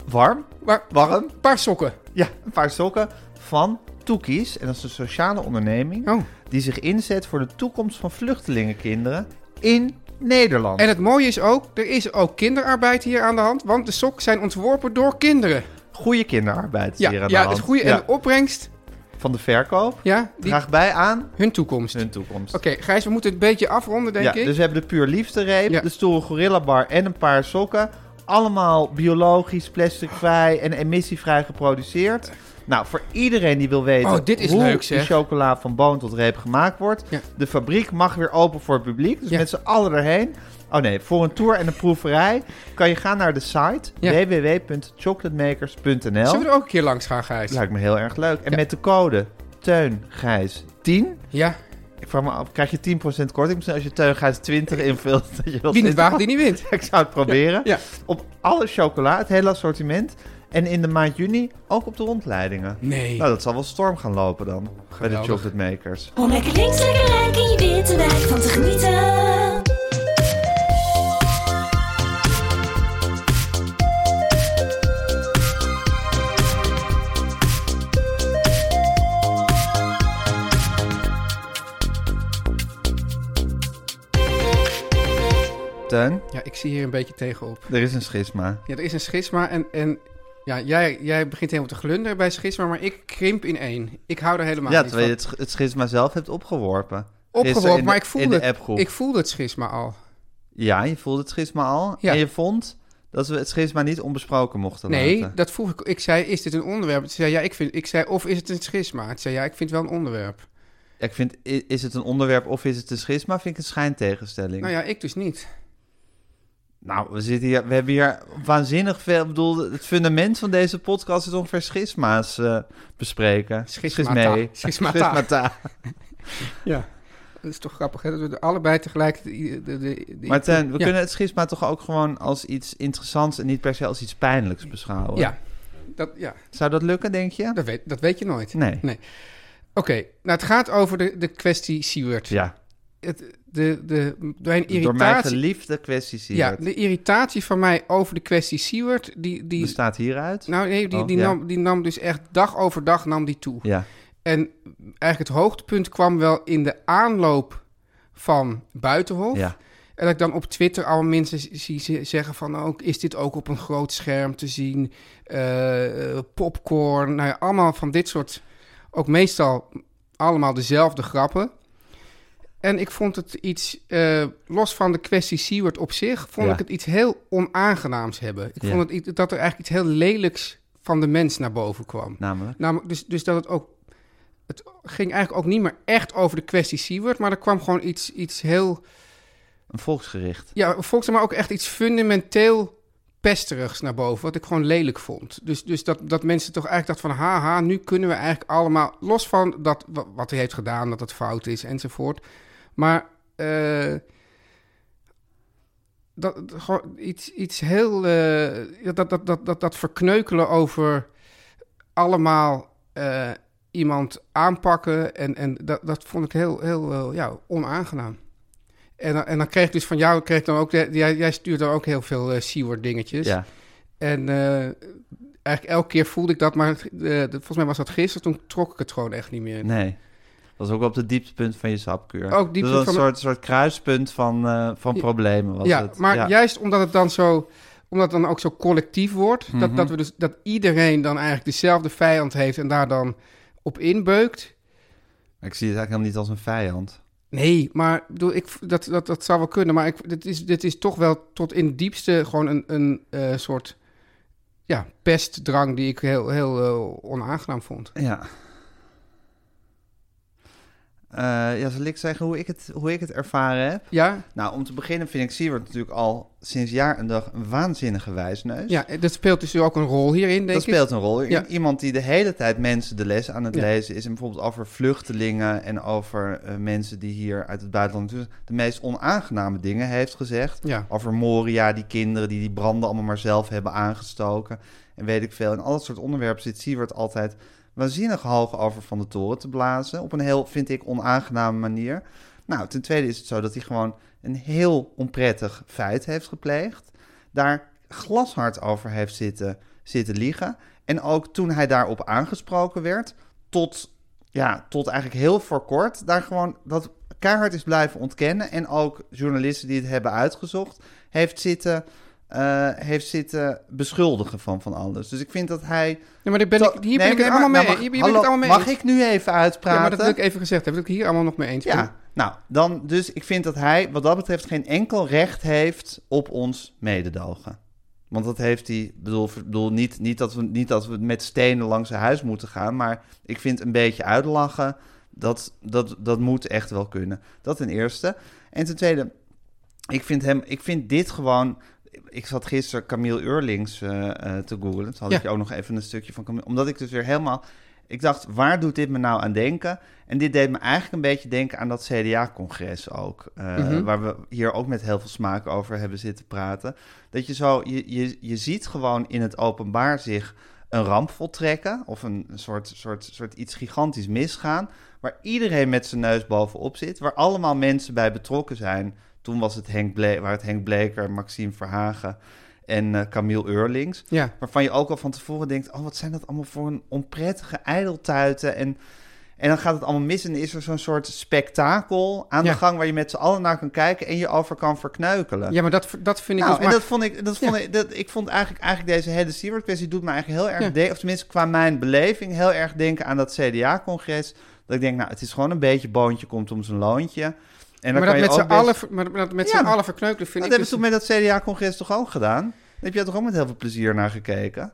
Speaker 2: Warm.
Speaker 3: Waar,
Speaker 2: Warm.
Speaker 3: Een paar sokken.
Speaker 2: Ja, een paar sokken van Toekies. En dat is een sociale onderneming
Speaker 3: Oh.
Speaker 2: die zich inzet voor de toekomst van vluchtelingenkinderen in Nederland.
Speaker 3: En het mooie is ook, er is ook kinderarbeid hier aan de hand, want de sokken zijn ontworpen door kinderen.
Speaker 2: goede kinderarbeid is
Speaker 3: Ja,
Speaker 2: hier aan
Speaker 3: ja
Speaker 2: de
Speaker 3: het
Speaker 2: hand.
Speaker 3: goede en
Speaker 2: nou Ja,
Speaker 3: de opbrengst,
Speaker 2: Van de verkoop
Speaker 3: ja, die,
Speaker 2: draagt bij aan
Speaker 3: hun toekomst.
Speaker 2: hun toekomst.
Speaker 3: Oké, Gijs, we moeten het een beetje afronden, denk
Speaker 2: ja,
Speaker 3: ik.
Speaker 2: Dus we hebben de puur liefde reep,
Speaker 3: Ja.
Speaker 2: de stoere gorilla bar en een paar sokken. Allemaal biologisch, plasticvrij en emissievrij geproduceerd. Nou, voor iedereen die wil weten
Speaker 3: Oh, dit is
Speaker 2: hoe
Speaker 3: leuk,
Speaker 2: de
Speaker 3: zeg.
Speaker 2: chocola van boon tot reep gemaakt wordt.
Speaker 3: Ja.
Speaker 2: De fabriek mag weer open voor het publiek, dus
Speaker 3: Ja.
Speaker 2: met z'n allen erheen. Oh nee, voor een tour en een proeverij kan je gaan naar de site
Speaker 3: Ja.
Speaker 2: www.chocolatemakers.nl.
Speaker 3: Zullen we er ook een keer langs gaan, Gijs?
Speaker 2: Lijkt me heel erg leuk. En met de code TEUNGRIJS10
Speaker 3: Ja,
Speaker 2: ik vraag me af, krijg je 10% korting misschien als je Teughuis 20 invult? *laughs* Dat je dat
Speaker 3: wie niet waagt, die niet wint.
Speaker 2: Ik zou het proberen.
Speaker 3: Ja.
Speaker 2: Op alle chocola, het hele assortiment. En in de maand juni ook op de rondleidingen.
Speaker 3: Nee.
Speaker 2: Nou, dat zal wel storm gaan lopen dan. Bij de
Speaker 3: Geweldig.
Speaker 2: chocolate makers.
Speaker 5: Om lekker links, lekker rijk in je witte wijk van te genieten.
Speaker 2: Teun,
Speaker 3: Ja, ik zie hier een beetje tegenop.
Speaker 2: er is een schisma.
Speaker 3: Ja, er is een schisma en, en ja, jij, jij begint helemaal te glunderen bij schisma, maar ik krimp in één. Ik hou er helemaal
Speaker 2: ja,
Speaker 3: niet
Speaker 2: terwijl
Speaker 3: van.
Speaker 2: je het, sch- het schisma zelf hebt opgeworpen. Gisteren
Speaker 3: Opgeworpen,
Speaker 2: in
Speaker 3: maar
Speaker 2: de-
Speaker 3: ik voelde,
Speaker 2: In de
Speaker 3: het-
Speaker 2: appgroep.
Speaker 3: ik voelde het schisma al.
Speaker 2: Ja, je voelde het schisma al.
Speaker 3: Ja.
Speaker 2: En je vond dat we het schisma niet onbesproken mochten
Speaker 3: nee,
Speaker 2: laten.
Speaker 3: dat vroeg ik. Ik zei, is dit een onderwerp? Toen zei, ja, ik, vind, ik zei, of is het een schisma? Het zei, ja, ik vind het wel een onderwerp.
Speaker 2: Ik vind, i- is het een onderwerp of is het een schisma? Vind ik een schijntegenstelling.
Speaker 3: Nou ja, ik dus niet.
Speaker 2: Nou, we, zitten hier, we hebben hier waanzinnig veel... Ik bedoel, het fundament van deze podcast is ongeveer schisma's eh, bespreken.
Speaker 3: Schismata.
Speaker 2: Schismee.
Speaker 3: Schismata.
Speaker 2: Schismata.
Speaker 3: Ja. Dat is toch grappig, hè? Dat we allebei tegelijk... De, de, de, de-
Speaker 2: Maar Teun, we
Speaker 3: Ja.
Speaker 2: kunnen het schisma toch ook gewoon als iets interessants... en niet per se als iets pijnlijks beschouwen?
Speaker 3: Ja, dat, ja
Speaker 2: Zou dat lukken, denk je?
Speaker 3: dat, weet, dat weet je nooit.
Speaker 2: Nee.
Speaker 3: Nee. Oké, nou het gaat over de, de kwestie Seward.
Speaker 2: Ja,
Speaker 3: Het, de, de, bij een
Speaker 2: door mijn
Speaker 3: irritatie...
Speaker 2: geliefde kwestie
Speaker 3: Ja,
Speaker 2: Siewert.
Speaker 3: de irritatie van mij over de kwestie Seward, die... die
Speaker 2: Bestaat hieruit?
Speaker 3: nou nee, die,
Speaker 2: Oh,
Speaker 3: die,
Speaker 2: ja.
Speaker 3: nam, die nam dus echt dag over dag nam die toe.
Speaker 2: Ja,
Speaker 3: En eigenlijk het hoogtepunt kwam wel in de aanloop van Buitenhof.
Speaker 2: ja.
Speaker 3: En dat ik dan op Twitter al mensen z- zie ze- zeggen van... Ook, is dit ook op een groot scherm te zien? Eh, eh, popcorn, nou ja, allemaal van dit soort... ook meestal allemaal dezelfde grappen. En ik vond het iets, eh, los van de kwestie Seward op zich... vond
Speaker 2: Ja.
Speaker 3: ik het iets heel onaangenaams hebben. Ik
Speaker 2: Ja.
Speaker 3: vond het, iets- dat er eigenlijk iets heel lelijks van de mens naar boven kwam.
Speaker 2: Namelijk?
Speaker 3: Namelijk, dus, dus dat het ook. Het ging eigenlijk ook niet meer echt over de kwestie Seward, maar er kwam gewoon iets, iets heel.
Speaker 2: Een volksgericht.
Speaker 3: Ja, volgens mij ook echt iets fundamenteel pesterigs naar boven, wat ik gewoon lelijk vond. Dus, dus dat, dat mensen toch eigenlijk dachten van, haha, nu kunnen we eigenlijk allemaal, los van dat, wa- wat hij heeft gedaan, dat het fout is enzovoort. Maar eh, dat, dat- gewoon iets, iets heel, eh, ja, dat, dat, dat, dat, dat verkneukelen over allemaal eh, iemand aanpakken. En, en dat, dat vond ik heel, heel eh, ja, onaangenaam. En, dan- en dan kreeg ik dus van jou, kreeg ik dan ook, de- jij, jij stuurt dan ook heel veel eh Seaward dingetjes.
Speaker 2: Ja.
Speaker 3: En eh, eigenlijk elke keer voelde ik dat, maar eh, de- volgens mij was dat gisteren, toen trok ik het gewoon echt niet meer.
Speaker 2: Nee. Dat was ook wel op het dieptepunt van je sapkuur.
Speaker 3: Ook dieptepunt
Speaker 2: dus dat
Speaker 3: van
Speaker 2: een
Speaker 3: mijn-
Speaker 2: soort, soort kruispunt van, eh, van
Speaker 3: Ja.
Speaker 2: problemen was
Speaker 3: ja,
Speaker 2: het.
Speaker 3: maar
Speaker 2: ja.
Speaker 3: juist omdat het dan zo omdat het dan ook zo collectief wordt,
Speaker 2: Mhm.
Speaker 3: dat, dat, we dus, dat iedereen dan eigenlijk dezelfde vijand heeft en daar dan op inbeukt.
Speaker 2: Ik zie het eigenlijk helemaal niet als een vijand.
Speaker 3: Nee, maar ik bedoel, ik, v- dat, dat, dat zou wel kunnen. Maar ik, dit, is, dit is toch wel tot in het diepste gewoon een, een eh, soort ja, pestdrang die ik heel, heel eh, onaangenaam vond.
Speaker 2: Ja. Eh, ja, zal ik zeggen hoe ik, het, hoe ik het ervaren heb?
Speaker 3: Ja,
Speaker 2: Nou, om te beginnen vind ik Siewert natuurlijk al sinds jaar en dag een waanzinnige wijsneus.
Speaker 3: ja dat speelt dus ook een rol hierin, denk
Speaker 2: dat
Speaker 3: ik.
Speaker 2: speelt een rol. I-
Speaker 3: Ja.
Speaker 2: Iemand die de hele tijd mensen de les aan het
Speaker 3: Ja.
Speaker 2: lezen is. En bijvoorbeeld over vluchtelingen en over eh, mensen die hier uit het buitenland naartoe zijn, de meest onaangename dingen heeft gezegd.
Speaker 3: Ja.
Speaker 2: Over Moria, die kinderen die die branden allemaal maar zelf hebben aangestoken. En weet ik veel. En al dat soort onderwerpen zit Siewert altijd waanzinnig hoog over van de toren te blazen. Op een heel, vind ik, onaangename manier. Nou, ten tweede is het zo dat hij gewoon een heel onprettig feit heeft gepleegd. Daar glashard over heeft zitten, zitten liegen. En ook toen hij daarop aangesproken werd, tot, ja, tot eigenlijk heel voor kort, daar gewoon dat keihard is blijven ontkennen. En ook journalisten die het hebben uitgezocht, heeft zitten eh, eh, heeft zitten beschuldigen van van alles. Dus ik vind dat hij...
Speaker 3: Nee, maar dit ben
Speaker 2: Zo-
Speaker 3: ik, hier ben
Speaker 2: Nee,
Speaker 3: ik het
Speaker 2: nee,
Speaker 3: allemaal
Speaker 2: maar-
Speaker 3: mee.
Speaker 2: nou,
Speaker 3: hier ben
Speaker 2: mag-
Speaker 3: ik het allemaal mee
Speaker 2: Mag
Speaker 3: eens.
Speaker 2: ik nu even uitpraten?
Speaker 3: Ja, maar dat wil ik even gezegd hebben. Dat ik hier allemaal nog mee eens ben.
Speaker 2: Ja, nou, dan dus ik vind dat hij wat dat betreft geen enkel recht heeft op ons mededogen. Want dat heeft hij, bedoel, ver- bedoel niet, niet, dat we, niet dat we met stenen langs zijn huis moeten gaan, maar ik vind een beetje uitlachen, dat, dat, dat moet echt wel kunnen. Dat ten eerste. En ten tweede, ik vind, hem, ik vind dit gewoon. Ik zat gisteren Camille Eurlings eh, eh, te googlen. Toen had
Speaker 3: Ja.
Speaker 2: ik je ook nog even een stukje van Camille. Omdat ik dus weer helemaal. Ik dacht, waar doet dit me nou aan denken? En dit deed me eigenlijk een beetje denken aan dat CDA-congres ook. eh, Waar we hier ook met heel veel smaak over hebben zitten praten. Dat je zo, je, je, je ziet gewoon in het openbaar zich een ramp voltrekken. Of een soort, soort, soort iets gigantisch misgaan. Waar iedereen met zijn neus bovenop zit. Waar allemaal mensen bij betrokken zijn. Toen was het Henk Ble waar het Henk Bleker, Maxime Verhagen en eh, Camille Eurlings.
Speaker 3: Ja.
Speaker 2: Waarvan je ook al van tevoren denkt... oh, wat zijn dat allemaal voor een onprettige ijdeltuiten. En, en dan gaat het allemaal mis en is er zo'n soort spektakel aan
Speaker 3: Ja.
Speaker 2: de gang... waar je met z'n allen naar kan kijken en je over kan verkneukelen.
Speaker 3: Ja, maar dat, dat vind ik
Speaker 2: Nou,
Speaker 3: dus
Speaker 2: en
Speaker 3: maar-
Speaker 2: dat vond ik, dat vond ik, dat, ik vond eigenlijk, eigenlijk deze hele Stewart kwestie doet me eigenlijk heel erg, de- of tenminste qua mijn beleving, heel erg denken aan dat CDA-congres. Dat ik denk, nou, het is gewoon een beetje boontje komt om zijn loontje. En dan
Speaker 3: maar
Speaker 2: kan
Speaker 3: dat
Speaker 2: je
Speaker 3: met z'n
Speaker 2: ook best-
Speaker 3: allen, ver- maar dat met
Speaker 2: Ja,
Speaker 3: z'n
Speaker 2: maar-
Speaker 3: allen verkneukelen
Speaker 2: Dat
Speaker 3: vind ik
Speaker 2: hebben ze
Speaker 3: dus-
Speaker 2: toen met dat CDA-congres toch ook gedaan? Daar heb jij toch ook met heel veel plezier naar gekeken?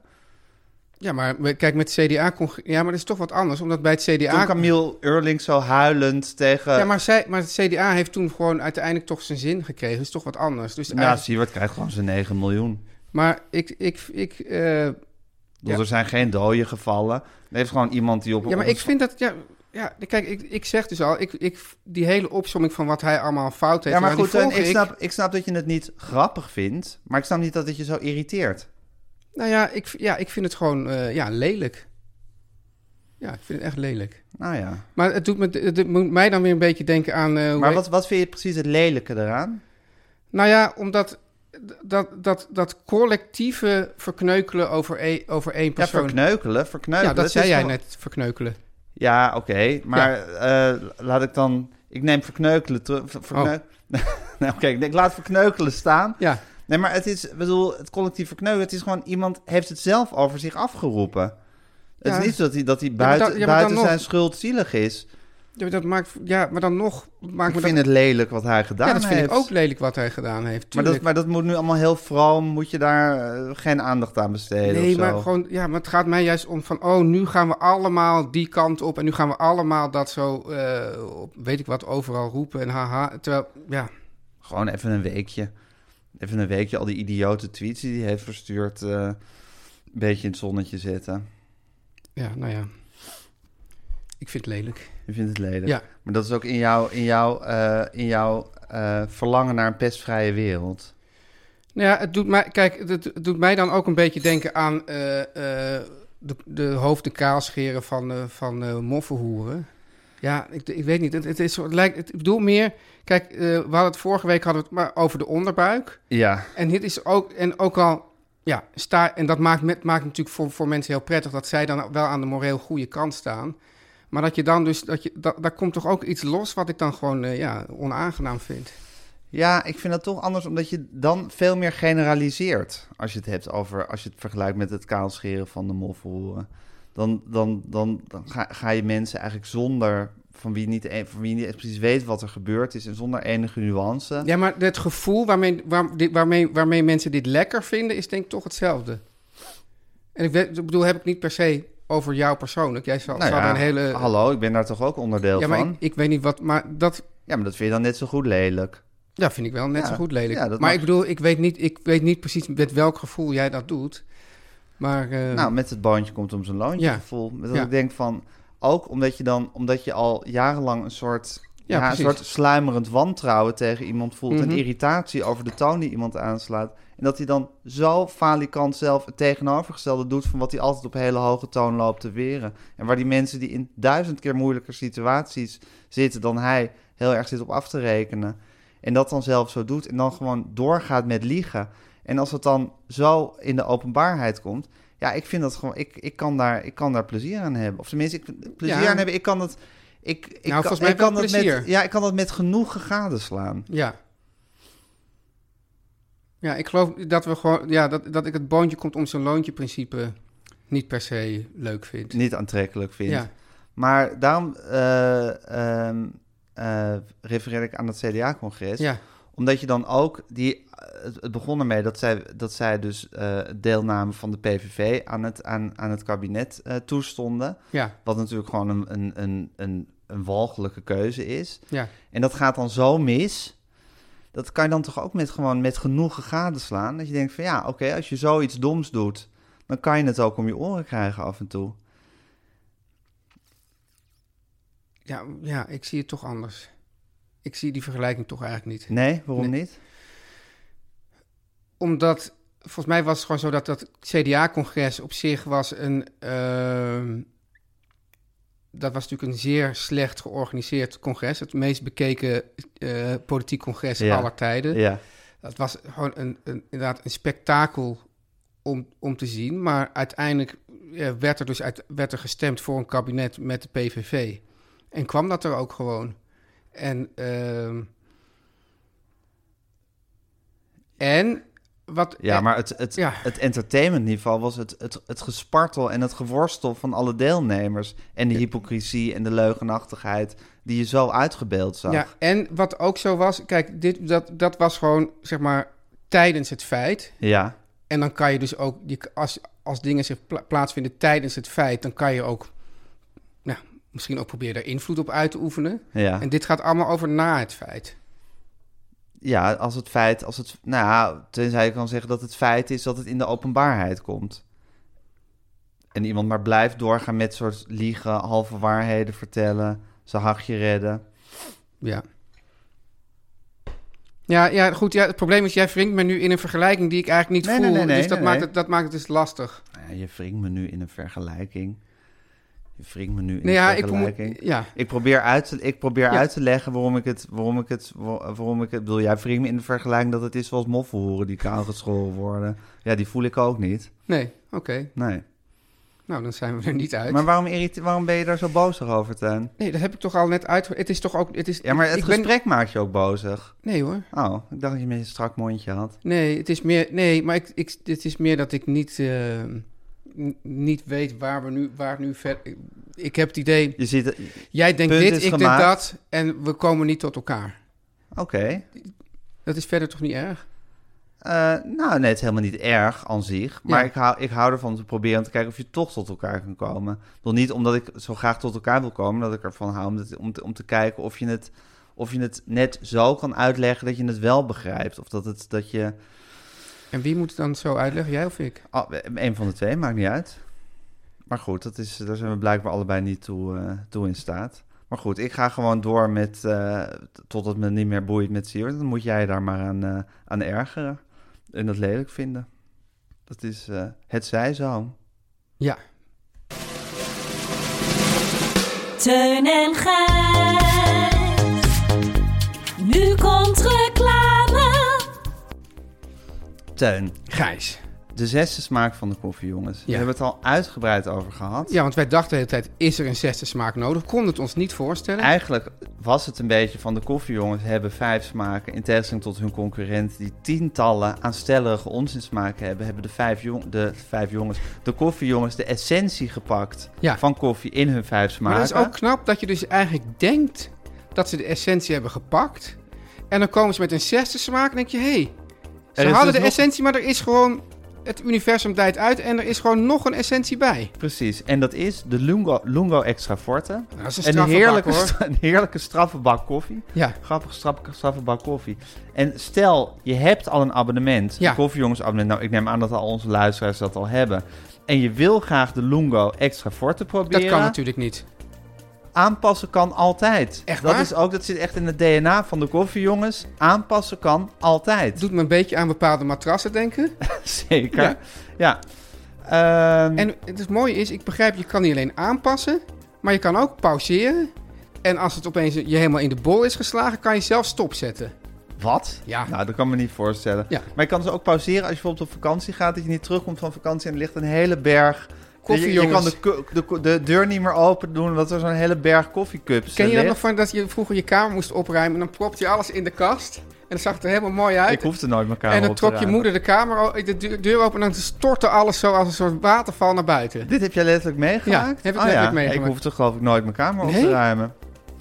Speaker 3: Ja, maar we- kijk, met CDA... congre- Ja, maar dat is toch wat anders, omdat bij het
Speaker 2: Toen
Speaker 3: CDA...
Speaker 2: Camille Eurling zo huilend tegen...
Speaker 3: Ja, maar, zij, maar het CDA heeft toen gewoon uiteindelijk toch zijn zin gekregen. Dat is toch wat anders. Dus
Speaker 2: Nou,
Speaker 3: eigenlijk-
Speaker 2: Siewert krijgt gewoon zijn 9 miljoen.
Speaker 3: Maar ik... ik, ik eh,
Speaker 2: Dus
Speaker 3: Ja.
Speaker 2: er zijn geen doden gevallen. Er heeft gewoon iemand die op...
Speaker 3: ja, maar ik vind dat... Ja, ja, kijk, ik, ik zeg dus al, ik, ik, die hele opsomming van wat hij allemaal fout heeft...
Speaker 2: Ja, maar
Speaker 3: nou, die
Speaker 2: goed, Teun,
Speaker 3: volg
Speaker 2: ik snap, ik snap dat je het niet grappig vindt, maar ik snap niet dat het je zo irriteert.
Speaker 3: Nou ja ik, ja, ik vind het gewoon eh, ja, lelijk. Ja, ik vind het echt lelijk.
Speaker 2: Nou ja.
Speaker 3: Maar het doet, me, het doet mij dan weer een beetje denken aan... eh, hoe
Speaker 2: Maar
Speaker 3: heet-
Speaker 2: wat, wat vind je precies het lelijke eraan?
Speaker 3: Nou ja, omdat dat, dat, dat collectieve verkneukelen over, e- over één
Speaker 2: Ja,
Speaker 3: persoon...
Speaker 2: verkneukelen, verkneukelen.
Speaker 3: Ja, dat
Speaker 2: is
Speaker 3: zei jij
Speaker 2: gewoon-
Speaker 3: net, verkneukelen.
Speaker 2: Ja, oké, maar eh, laat ik dan... Ik neem verkneukelen terug. ver- verkneuk-
Speaker 3: Oh.
Speaker 2: *laughs* nou, oké, ik denk, laat verkneukelen staan.
Speaker 3: Ja,
Speaker 2: Nee, maar het is, ik bedoel, het collectief verkneukelen, het is gewoon iemand heeft het zelf over zich afgeroepen. Het
Speaker 3: Ja.
Speaker 2: is niet zo dat hij, dat hij
Speaker 3: maar
Speaker 2: buiten,
Speaker 3: dan- ja, maar
Speaker 2: buiten
Speaker 3: dan nog.
Speaker 2: zijn schuld zielig is.
Speaker 3: Ja, maar dat maakt, ja, maar dan nog maakt
Speaker 2: Ik
Speaker 3: me
Speaker 2: vind
Speaker 3: dat,
Speaker 2: het lelijk wat hij gedaan
Speaker 3: ja, dat vind
Speaker 2: heeft.
Speaker 3: ik ook lelijk wat hij gedaan heeft.
Speaker 2: Maar dat,
Speaker 3: tuurlijk.
Speaker 2: maar dat moet nu allemaal heel vroom, moet je daar eh, geen aandacht aan besteden
Speaker 3: nee,
Speaker 2: of zo.
Speaker 3: maar gewoon, ja, maar het gaat mij juist om van, oh, nu gaan we allemaal die kant op en nu gaan we allemaal dat zo, eh, op, weet ik wat, overal roepen en haha. Terwijl, ja,
Speaker 2: Gewoon even een weekje. Even een weekje al die idiote tweets die hij heeft verstuurd, eh, een beetje in het zonnetje zetten.
Speaker 3: ja, nou ja. Ik vind het lelijk.
Speaker 2: Je vindt het lelijk.
Speaker 3: Ja.
Speaker 2: Maar dat is ook in jouw in jou, eh, in jou, eh, verlangen naar een pestvrije wereld.
Speaker 3: Nou ja, het doet mij, kijk, het, het doet mij dan ook een beetje denken aan eh, eh, de, de hoofden kaalscheren van, eh, van eh, moffenhoeren. Ja, ik, ik weet niet. Het, het is, zo- het lijkt, het, ik bedoel meer, kijk, eh, we hadden het vorige week hadden we het maar over de onderbuik.
Speaker 2: Ja.
Speaker 3: En dit is ook, en ook al, ja, sta, en dat maakt, met, maakt natuurlijk voor, voor mensen heel prettig dat zij dan wel aan de moreel goede kant staan. Maar dat je dan dus, dat je, dat, daar komt toch ook iets los wat ik dan gewoon, eh, ja, onaangenaam vind.
Speaker 2: Ja, ik vind dat toch anders, omdat je dan veel meer generaliseert. Als je het hebt over, als je het vergelijkt met het kaalscheren van de moffelhoeren. Dan, dan, dan, dan ga, ga je mensen eigenlijk zonder, van wie, niet, e- van wie niet precies weet wat er gebeurd is en zonder enige nuance.
Speaker 3: Ja, maar het gevoel waarmee, waar, dit- waarmee, waarmee mensen dit lekker vinden, is denk ik toch hetzelfde. En ik, weet, ik bedoel, heb ik niet per se over jou persoonlijk. Jij zou,
Speaker 2: Nou
Speaker 3: zou
Speaker 2: ja,
Speaker 3: daar een hele...
Speaker 2: hallo, ik ben daar toch ook onderdeel
Speaker 3: ja, maar
Speaker 2: van?
Speaker 3: ik, ik weet niet wat... Maar dat
Speaker 2: Ja, maar dat vind je dan net zo goed lelijk.
Speaker 3: ja, vind ik wel net
Speaker 2: Ja,
Speaker 3: zo goed lelijk.
Speaker 2: ja, dat
Speaker 3: maar
Speaker 2: mag.
Speaker 3: ik bedoel, ik weet, niet, ik weet niet precies met welk gevoel jij dat doet. Maar... eh,
Speaker 2: Nou, met het bandje komt om zijn loontje
Speaker 3: Ja.
Speaker 2: gevoel. Dat
Speaker 3: Ja.
Speaker 2: ik denk van, ook omdat je dan, omdat je al jarenlang een soort,
Speaker 3: Ja,
Speaker 2: ja, een
Speaker 3: precies.
Speaker 2: soort sluimerend wantrouwen tegen iemand voelt.
Speaker 3: Mhm.
Speaker 2: En irritatie over de toon die iemand aanslaat. En dat hij dan zo falikant zelf het tegenovergestelde doet van wat hij altijd op hele hoge toon loopt te weren. En waar die mensen die in duizend keer moeilijker situaties zitten dan hij, heel erg zit op af te rekenen. En dat dan zelf zo doet en dan gewoon doorgaat met liegen. En als het dan zo in de openbaarheid komt, ja, ik vind dat gewoon, ik, ik, kan, daar, ik kan daar plezier aan hebben. Of tenminste, ik plezier
Speaker 3: Ja.
Speaker 2: aan hebben, ik kan dat. Ik, ik kan,
Speaker 3: Nou, volgens mij
Speaker 2: ik kan
Speaker 3: wel
Speaker 2: dat
Speaker 3: plezier.
Speaker 2: met, Ja, ik kan dat met genoegen gadeslaan.
Speaker 3: Ja. Ja, ik geloof dat, we gewoon, ja, dat, dat ik het boontje komt om zijn loontje principe niet per se leuk vind.
Speaker 2: Niet aantrekkelijk vindt.
Speaker 3: Ja,
Speaker 2: Maar daarom eh, ehm, eh, refereer ik aan het CDA-congres.
Speaker 3: ja,
Speaker 2: Omdat je dan ook die. Het, het begon ermee dat zij, dat zij dus eh deelname van de PVV aan het, aan, aan het kabinet eh, toestonden.
Speaker 3: ja,
Speaker 2: Wat natuurlijk gewoon een, een, een, een, een walgelijke keuze is.
Speaker 3: ja.
Speaker 2: En dat gaat dan zo mis. Dat kan je dan toch ook met, gewoon met genoegen gadeslaan. Dat je denkt van ja, oké, als je zoiets doms doet, dan kan je het ook om je oren krijgen af en toe.
Speaker 3: Ja, ja, ik zie het toch anders. Ik zie die vergelijking toch eigenlijk niet.
Speaker 2: Nee, waarom niet?
Speaker 3: Omdat, volgens mij was het gewoon zo dat dat CDA-congres op zich was een... ehm, dat was natuurlijk een zeer slecht georganiseerd congres. Het meest bekeken eh, politiek congres
Speaker 2: Ja.
Speaker 3: aller tijden.
Speaker 2: Ja.
Speaker 3: Dat was gewoon een, een, inderdaad een spektakel om, om te zien. Maar uiteindelijk eh, werd er dus uit, werd er gestemd voor een kabinet met de PVV. En kwam dat er ook gewoon. En, ehm, en wat...
Speaker 2: Ja, maar het, het,
Speaker 3: Eh, Ja.
Speaker 2: het entertainmentniveau was het, het, het gespartel en het geworstel van alle deelnemers. En de hypocrisie en de leugenachtigheid die je zo uitgebeeld zag.
Speaker 3: Ja, en wat ook zo was... Kijk, dit, dat, dat was gewoon, zeg maar, tijdens het feit.
Speaker 2: ja.
Speaker 3: En dan kan je dus ook, je, als, als dingen zich pla- plaatsvinden tijdens het feit, dan kan je ook nou, misschien ook proberen daar invloed op uit te oefenen.
Speaker 2: ja.
Speaker 3: En dit gaat allemaal over na het feit.
Speaker 2: Ja, als het feit, als het, nou ja, tenzij je kan zeggen dat het feit is dat het in de openbaarheid komt. En iemand maar blijft doorgaan met soort liegen, halve waarheden vertellen, zijn hachje redden.
Speaker 3: Ja. Ja, ja, goed. Ja, het probleem is, jij wringt me nu in een vergelijking die ik eigenlijk niet
Speaker 2: Nee, nee,
Speaker 3: voel.
Speaker 2: nee, nee,
Speaker 3: dus dat,
Speaker 2: nee,
Speaker 3: maakt
Speaker 2: nee.
Speaker 3: Het, dat maakt het dus lastig.
Speaker 2: Nou ja, je wringt me nu in een vergelijking. Je wringt me nu in
Speaker 3: Nee,
Speaker 2: een
Speaker 3: Nou ja, ik moet,
Speaker 2: vergelijking. Ik,
Speaker 3: ja,
Speaker 2: probeer, uit te, ik probeer
Speaker 3: Ja.
Speaker 2: uit te leggen waarom ik het, waarom ik het, wa- waarom ik het, bedoel, jij wringt me in de vergelijking dat het is zoals moffenhoeren die kaal geschoren worden. Ja, die voel ik ook niet.
Speaker 3: nee, oké.
Speaker 2: Nee.
Speaker 3: Nou, dan zijn we er niet uit.
Speaker 2: Maar waarom, irrite- waarom ben je daar zo boos over, Tuin?
Speaker 3: nee, dat heb ik toch al net uit. Het is toch ook... Het is,
Speaker 2: Ja, maar
Speaker 3: ik-
Speaker 2: het
Speaker 3: ik ben-
Speaker 2: gesprek maakt je ook bozig.
Speaker 3: Nee hoor.
Speaker 2: Oh, ik dacht dat je een beetje een strak mondje had.
Speaker 3: Nee, het is meer, nee maar ik, ik, het is meer dat ik niet, eh, n- niet weet waar we nu, waar het nu verder. Ik, ik heb het idee,
Speaker 2: Je ziet het... Oké.
Speaker 3: jij denkt
Speaker 2: Punt
Speaker 3: dit, ik
Speaker 2: is
Speaker 3: denk
Speaker 2: gemaakt.
Speaker 3: dat en we komen niet tot elkaar. Dat is verder toch niet erg?
Speaker 2: Eh, nou, nee, het is helemaal niet erg aan zich. Maar
Speaker 3: Ja.
Speaker 2: ik, hou, ik hou ervan om te proberen om te kijken of je toch tot elkaar kan komen. Nog niet omdat ik zo graag tot elkaar wil komen, dat ik ervan hou om, het- om, te, om te kijken of je, het, of je het net zo kan uitleggen dat je het wel begrijpt. Of dat, het, dat je...
Speaker 3: En wie moet het dan zo uitleggen, jij of ik?
Speaker 2: Oh, een van de twee, maakt niet uit. Maar goed, dat is, daar zijn we blijkbaar allebei niet toe, eh, toe in staat. Maar goed, ik ga gewoon door met, eh, t- totdat me niet meer boeit met Siewert. Dan moet jij daar maar aan, eh, aan ergeren en dat lelijk vinden. Dat is eh, het zij zo.
Speaker 3: Ja.
Speaker 5: Teun en Gijs. Nu komt reclame.
Speaker 2: Teun,
Speaker 3: Gijs.
Speaker 2: de zesde smaak van de koffie, jongens. We hebben het al uitgebreid over gehad.
Speaker 3: Ja, want wij dachten de hele tijd, is er een zesde smaak nodig? Konden het ons niet voorstellen.
Speaker 2: Eigenlijk was het een beetje van de koffiejongens hebben vijf smaken. In tegenstelling tot hun concurrent die tientallen aanstellerige onzinsmaken hebben, hebben de vijf, jong, de vijf jongens, de koffiejongens, de essentie gepakt
Speaker 3: Ja.
Speaker 2: van koffie in hun vijf
Speaker 3: maar
Speaker 2: smaken.
Speaker 3: dat is ook knap dat je dus eigenlijk denkt dat ze de essentie hebben gepakt. En dan komen ze met een zesde smaak en denk je, hé, hey,
Speaker 2: Er
Speaker 3: Ze
Speaker 2: is
Speaker 3: hadden
Speaker 2: dus
Speaker 3: de
Speaker 2: nog-
Speaker 3: essentie, maar er is gewoon... Het universum dijt uit en er is gewoon nog een essentie bij.
Speaker 2: Precies, en dat is de Lungo, Lungo Extra Forte.
Speaker 3: Nou, Dat is
Speaker 2: Een heerlijke,
Speaker 3: hoor.
Speaker 2: stra- *laughs* een heerlijke straffe bak koffie.
Speaker 3: Ja,
Speaker 2: Grappig straffe, straffe bak koffie. En stel, je hebt al een abonnement,
Speaker 3: Ja.
Speaker 2: een koffiejongens abonnement. Nou, ik neem aan dat al onze luisteraars dat al hebben. En je wil graag de Lungo Extra Forte proberen.
Speaker 3: dat kan natuurlijk niet.
Speaker 2: Aanpassen kan altijd.
Speaker 3: Echt
Speaker 2: dat
Speaker 3: waar?
Speaker 2: is ook, dat zit echt in het DNA van de koffie, jongens. Aanpassen kan altijd.
Speaker 3: Het doet me een beetje aan bepaalde matrassen denken.
Speaker 2: *laughs* Zeker.
Speaker 3: Ja.
Speaker 2: Ja. Ehm,
Speaker 3: En het mooie is, ik begrijp, je kan niet alleen aanpassen, maar je kan ook pauzeren. En als het opeens je helemaal in de bol is geslagen, kan je zelf stopzetten.
Speaker 2: Wat?
Speaker 3: Ja.
Speaker 2: Nou, dat kan me niet voorstellen.
Speaker 3: Ja.
Speaker 2: Maar je kan ze ook pauzeren als je bijvoorbeeld op vakantie gaat. Dat je niet terugkomt van vakantie en er ligt een hele berg...
Speaker 3: Koffie,
Speaker 2: je, je kan
Speaker 3: jongens.
Speaker 2: de, ku- de, ku- de deur niet meer open doen, want er zo'n hele berg koffiecups eh,
Speaker 3: Ken je dat
Speaker 2: ligt.
Speaker 3: nog van dat je vroeger je kamer moest opruimen en dan propte je alles in de kast? het zag er helemaal mooi uit.
Speaker 2: Ik hoefde nooit mijn kamer
Speaker 3: en dan
Speaker 2: op te
Speaker 3: trok je
Speaker 2: ruimen.
Speaker 3: moeder de kamer, o- de deur- deur open en dan stortte alles zo als een soort waterval naar buiten.
Speaker 2: Dit heb jij letterlijk meegemaakt?
Speaker 3: Ja, heb ik
Speaker 2: Oh
Speaker 3: letterlijk
Speaker 2: Ik
Speaker 3: meegemaakt.
Speaker 2: hoefde geloof ik nooit mijn kamer op
Speaker 3: Nee?
Speaker 2: te ruimen.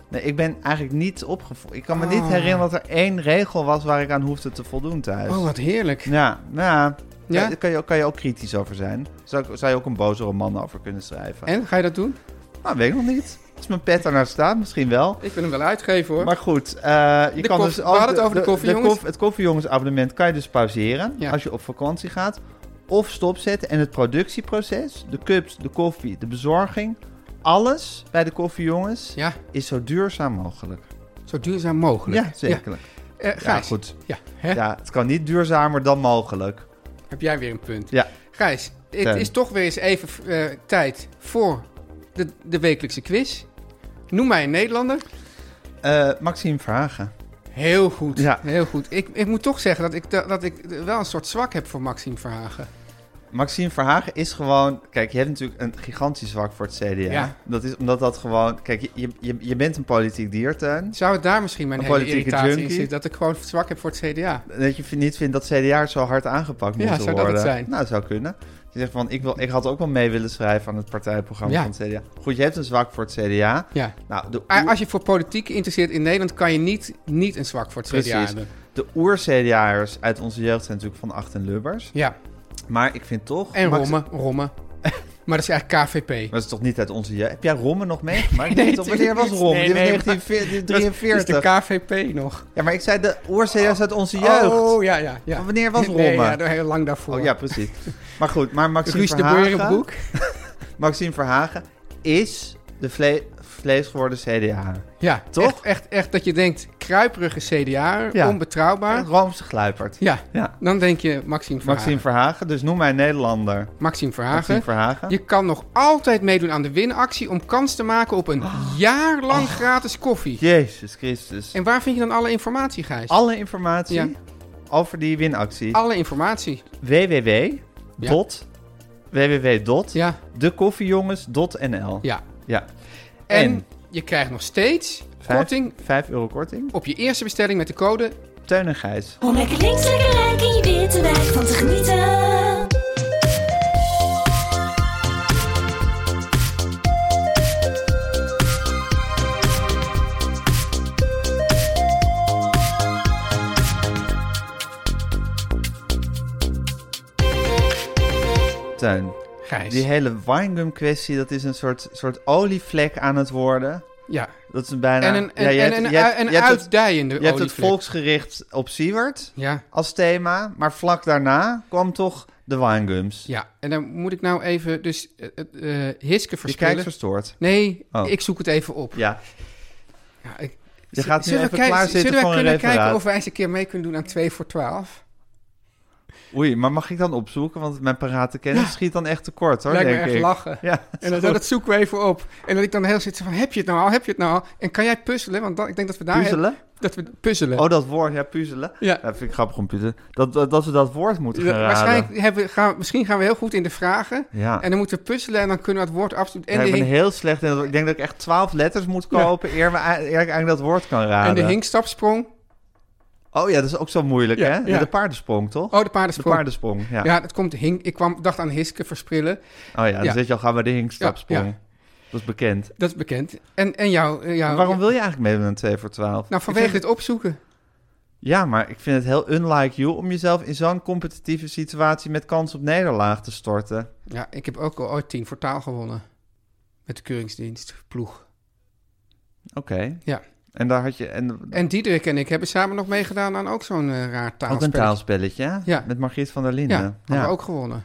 Speaker 2: Nee, ik ben eigenlijk niet opgevoed. Ik kan me niet
Speaker 3: Ah.
Speaker 2: herinneren dat er één regel was waar ik aan hoefde te voldoen thuis.
Speaker 3: Oh, wat heerlijk.
Speaker 2: Ja, nou, ja.
Speaker 3: Ja?
Speaker 2: daar kan je, ook- kan je ook kritisch over zijn. Zou, ik- zou je ook een boze roman over kunnen schrijven?
Speaker 3: En, ga je dat doen?
Speaker 2: Nou, weet ik nog niet. Als mijn pet ernaar staat, misschien wel.
Speaker 3: Ik wil hem wel uitgeven hoor.
Speaker 2: Maar goed, eh, je
Speaker 3: De
Speaker 2: kan
Speaker 3: koffie-
Speaker 2: dus
Speaker 3: we
Speaker 2: ook
Speaker 3: hadden het over de koffiejongens.
Speaker 2: koff- het koffiejongensabonnement kan je dus pauzeren
Speaker 3: Ja.
Speaker 2: als je op vakantie gaat. Of stopzetten en het productieproces, de cups, de koffie, de bezorging, alles bij de koffiejongens
Speaker 3: Ja,
Speaker 2: is zo duurzaam mogelijk.
Speaker 3: zo duurzaam mogelijk.
Speaker 2: Ja, zeker.
Speaker 3: Eh,
Speaker 2: Ja,
Speaker 3: Gijs,
Speaker 2: goed.
Speaker 3: Ja, hè?
Speaker 2: Ja, het kan niet duurzamer dan mogelijk.
Speaker 3: heb jij weer een punt.
Speaker 2: Ja,
Speaker 3: Gijs, het
Speaker 2: Teun.
Speaker 3: is toch weer eens even eh, tijd voor de, de wekelijkse quiz. Noem mij een Nederlander.
Speaker 2: Eh Maxime Vragen.
Speaker 3: Heel goed,
Speaker 2: Ja.
Speaker 3: heel goed. Ik, ik moet toch zeggen dat ik, da- dat ik wel een soort zwak heb voor Maxime Verhagen.
Speaker 2: Maxime Verhagen is gewoon... Kijk, je hebt natuurlijk een gigantisch zwak voor het CDA.
Speaker 3: Ja.
Speaker 2: Dat is omdat dat gewoon... Kijk, je- je, je, je bent een politiek diertuin.
Speaker 3: Zou het daar misschien mijn
Speaker 2: Een
Speaker 3: hele
Speaker 2: politieke
Speaker 3: irritatie in
Speaker 2: junkie?
Speaker 3: zitten? Dat ik gewoon zwak heb voor het CDA.
Speaker 2: Dat je niet vindt dat CDA'ers zo hard aangepakt
Speaker 3: Ja,
Speaker 2: moeten
Speaker 3: zou dat
Speaker 2: worden.
Speaker 3: het zijn?
Speaker 2: Nou, dat zou kunnen. Je zegt van, ik, wil, ik had ook wel mee willen schrijven aan het partijprogramma
Speaker 3: Ja.
Speaker 2: van het CDA. Goed, je hebt een zwak voor het CDA.
Speaker 3: Ja.
Speaker 2: Nou, de
Speaker 3: A- Ah, Als je voor politiek interesseert in Nederland, kan je niet, niet een zwak voor het CDA
Speaker 2: Precies.
Speaker 3: hebben.
Speaker 2: De oer-CDA'ers uit onze jeugd zijn natuurlijk van Acht en Lubbers.
Speaker 3: Ja,
Speaker 2: Maar ik vind toch...
Speaker 3: en
Speaker 2: Max-
Speaker 3: rommen, rommen. *laughs* maar dat is eigenlijk KVP.
Speaker 2: Maar dat is toch niet uit onze jeugd? Heb jij Rommen nog meegemaakt?
Speaker 3: *laughs* Nee,
Speaker 2: toch?
Speaker 3: natuurlijk
Speaker 2: Wanneer was
Speaker 3: niet.
Speaker 2: Rommen?
Speaker 3: Nee,
Speaker 2: Dit was
Speaker 3: nee, *laughs*
Speaker 2: 1943.
Speaker 3: Dat is de KVP nog.
Speaker 2: Ja, maar ik zei de oer-CDA's uit onze jeugd.
Speaker 3: Oh, ja, ja. ja.
Speaker 2: Maar wanneer was
Speaker 3: Nee,
Speaker 2: Roma?
Speaker 3: ja, daar- heel lang daarvoor.
Speaker 2: Oh, ja, precies. Maar goed, maar Maxime
Speaker 3: Guus de
Speaker 2: Verhagen...
Speaker 3: Beurenbroek.
Speaker 2: Maxime Verhagen is de vle vleesgeworden CDA.
Speaker 3: Ja,
Speaker 2: Toch?
Speaker 3: Echt, echt, echt dat je denkt, kruiperige CDA,
Speaker 2: Ja.
Speaker 3: onbetrouwbaar.
Speaker 2: Roomse gluipert.
Speaker 3: Ja,
Speaker 2: Ja.
Speaker 3: dan denk je Maxime Verhagen.
Speaker 2: Maxime Verhagen, dus noem mij Nederlander.
Speaker 3: Maxime Verhagen.
Speaker 2: Maxime Verhagen.
Speaker 3: Je kan nog altijd meedoen aan de winactie om kans te maken op een
Speaker 2: Ah.
Speaker 3: jaar lang gratis koffie.
Speaker 2: Jezus Christus.
Speaker 3: En waar vind je dan alle informatie, Gijs?
Speaker 2: Alle informatie
Speaker 3: Ja.
Speaker 2: over die winactie.
Speaker 3: Alle informatie.
Speaker 2: www.
Speaker 3: Ja.
Speaker 2: Dot, www. Dot,
Speaker 3: Ja,
Speaker 2: dekoffiejongens.nl.
Speaker 3: ja.
Speaker 2: Ja.
Speaker 3: En,
Speaker 2: En?
Speaker 3: je krijgt nog steeds
Speaker 2: Vijf-
Speaker 3: korting
Speaker 2: Vijf euro korting.
Speaker 3: op je eerste bestelling met de code.
Speaker 2: Teun en Gijs.
Speaker 5: Om lekker links, lekker rijk in je witte wijk van te genieten.
Speaker 2: Teun.
Speaker 3: Gijs.
Speaker 2: Die hele winegum kwestie, dat is een soort, soort olievlek aan het worden.
Speaker 3: Ja.
Speaker 2: Dat is een bijna...
Speaker 3: En een,
Speaker 2: Ja,
Speaker 3: en,
Speaker 2: je
Speaker 3: en
Speaker 2: hebt-
Speaker 3: een,
Speaker 2: je hebt-
Speaker 3: een
Speaker 2: je hebt het-
Speaker 3: uitdijende
Speaker 2: Je hebt het
Speaker 3: olievlek.
Speaker 2: volksgericht op Siewert
Speaker 3: Ja,
Speaker 2: als thema, maar vlak daarna kwam toch de winegums.
Speaker 3: ja. En dan moet ik nou even dus eh, eh, eh, Hiske
Speaker 2: je
Speaker 3: verspillen.
Speaker 2: kijkt Dus verstoord.
Speaker 3: Nee,
Speaker 2: Oh.
Speaker 3: ik zoek het even op.
Speaker 2: Ja,
Speaker 3: Ja, ik-
Speaker 2: je
Speaker 3: Z-
Speaker 2: gaat nu
Speaker 3: zullen we
Speaker 2: even
Speaker 3: kijken-
Speaker 2: klaarzitten
Speaker 3: Zullen
Speaker 2: voor
Speaker 3: we
Speaker 2: een
Speaker 3: kunnen
Speaker 2: referaat.
Speaker 3: kijken of wij eens een keer mee kunnen doen aan 2 voor 12?
Speaker 2: Oei, maar mag ik dan opzoeken? Want mijn parate kennis schiet dan echt tekort, hoor,
Speaker 3: Lijkt me
Speaker 2: denk
Speaker 3: echt
Speaker 2: ik.
Speaker 3: lachen.
Speaker 2: Ja,
Speaker 3: En dan, dat zoeken we even op. En dat ik dan heel zit van, heb je het nou al? Heb je het nou al? En kan jij puzzelen? Want dan, ik denk dat we daar...
Speaker 2: puzzelen?
Speaker 3: Dat we puzzelen.
Speaker 2: Oh, dat woord, ja, puzzelen.
Speaker 3: Ja.
Speaker 2: Dat vind ik grappig om puzzelen. Dat, dat, dat we dat woord moeten gaan
Speaker 3: Ja,
Speaker 2: raden.
Speaker 3: Waarschijnlijk hebben, we- gaan, misschien gaan we heel goed in de vragen.
Speaker 2: Ja.
Speaker 3: En dan moeten we puzzelen en dan kunnen we het woord absoluut... En,
Speaker 2: Ja, ik
Speaker 3: de,
Speaker 2: ben
Speaker 3: hink-
Speaker 2: heel slecht in dat. Ik denk dat ik echt twaalf letters moet kopen eer, we, eer ik eigenlijk dat woord kan raden.
Speaker 3: en de hinkstapsprong.
Speaker 2: Oh ja, dat is ook zo moeilijk,
Speaker 3: Ja,
Speaker 2: hè?
Speaker 3: ja.
Speaker 2: De paardensprong, toch?
Speaker 3: Oh, de
Speaker 2: de
Speaker 3: paardensprong.
Speaker 2: paardensprong, ja.
Speaker 3: ja, dat komt hink. Ik kwam, dacht aan Hiske versprillen.
Speaker 2: Oh ja, dan
Speaker 3: Ja.
Speaker 2: zit je al gaan bij de hinkstapsprong.
Speaker 3: Ja, ja.
Speaker 2: Dat is bekend.
Speaker 3: Dat is bekend. En, en jou... eh, jou
Speaker 2: Maar waarom wil je eigenlijk meedoen aan 2 voor 12?
Speaker 3: Nou,
Speaker 2: Ik
Speaker 3: vanwege
Speaker 2: vind-
Speaker 3: het opzoeken.
Speaker 2: Ja, maar ik vind het heel unlike you om jezelf in zo'n competitieve situatie met kans op nederlaag te storten.
Speaker 3: Ja, ik heb ook al ooit 10 voor taal gewonnen. Met de keuringsdienst, ploeg.
Speaker 2: Oké.
Speaker 3: Ja.
Speaker 2: En daar had je... En,
Speaker 3: En Diederik en ik hebben samen nog meegedaan aan ook zo'n eh, raar
Speaker 2: ook een
Speaker 3: taalspel.
Speaker 2: taalspelletje, hè?
Speaker 3: Ja.
Speaker 2: Met Margriet van der
Speaker 3: Ja,
Speaker 2: Linden.
Speaker 3: hebben we ook gewonnen.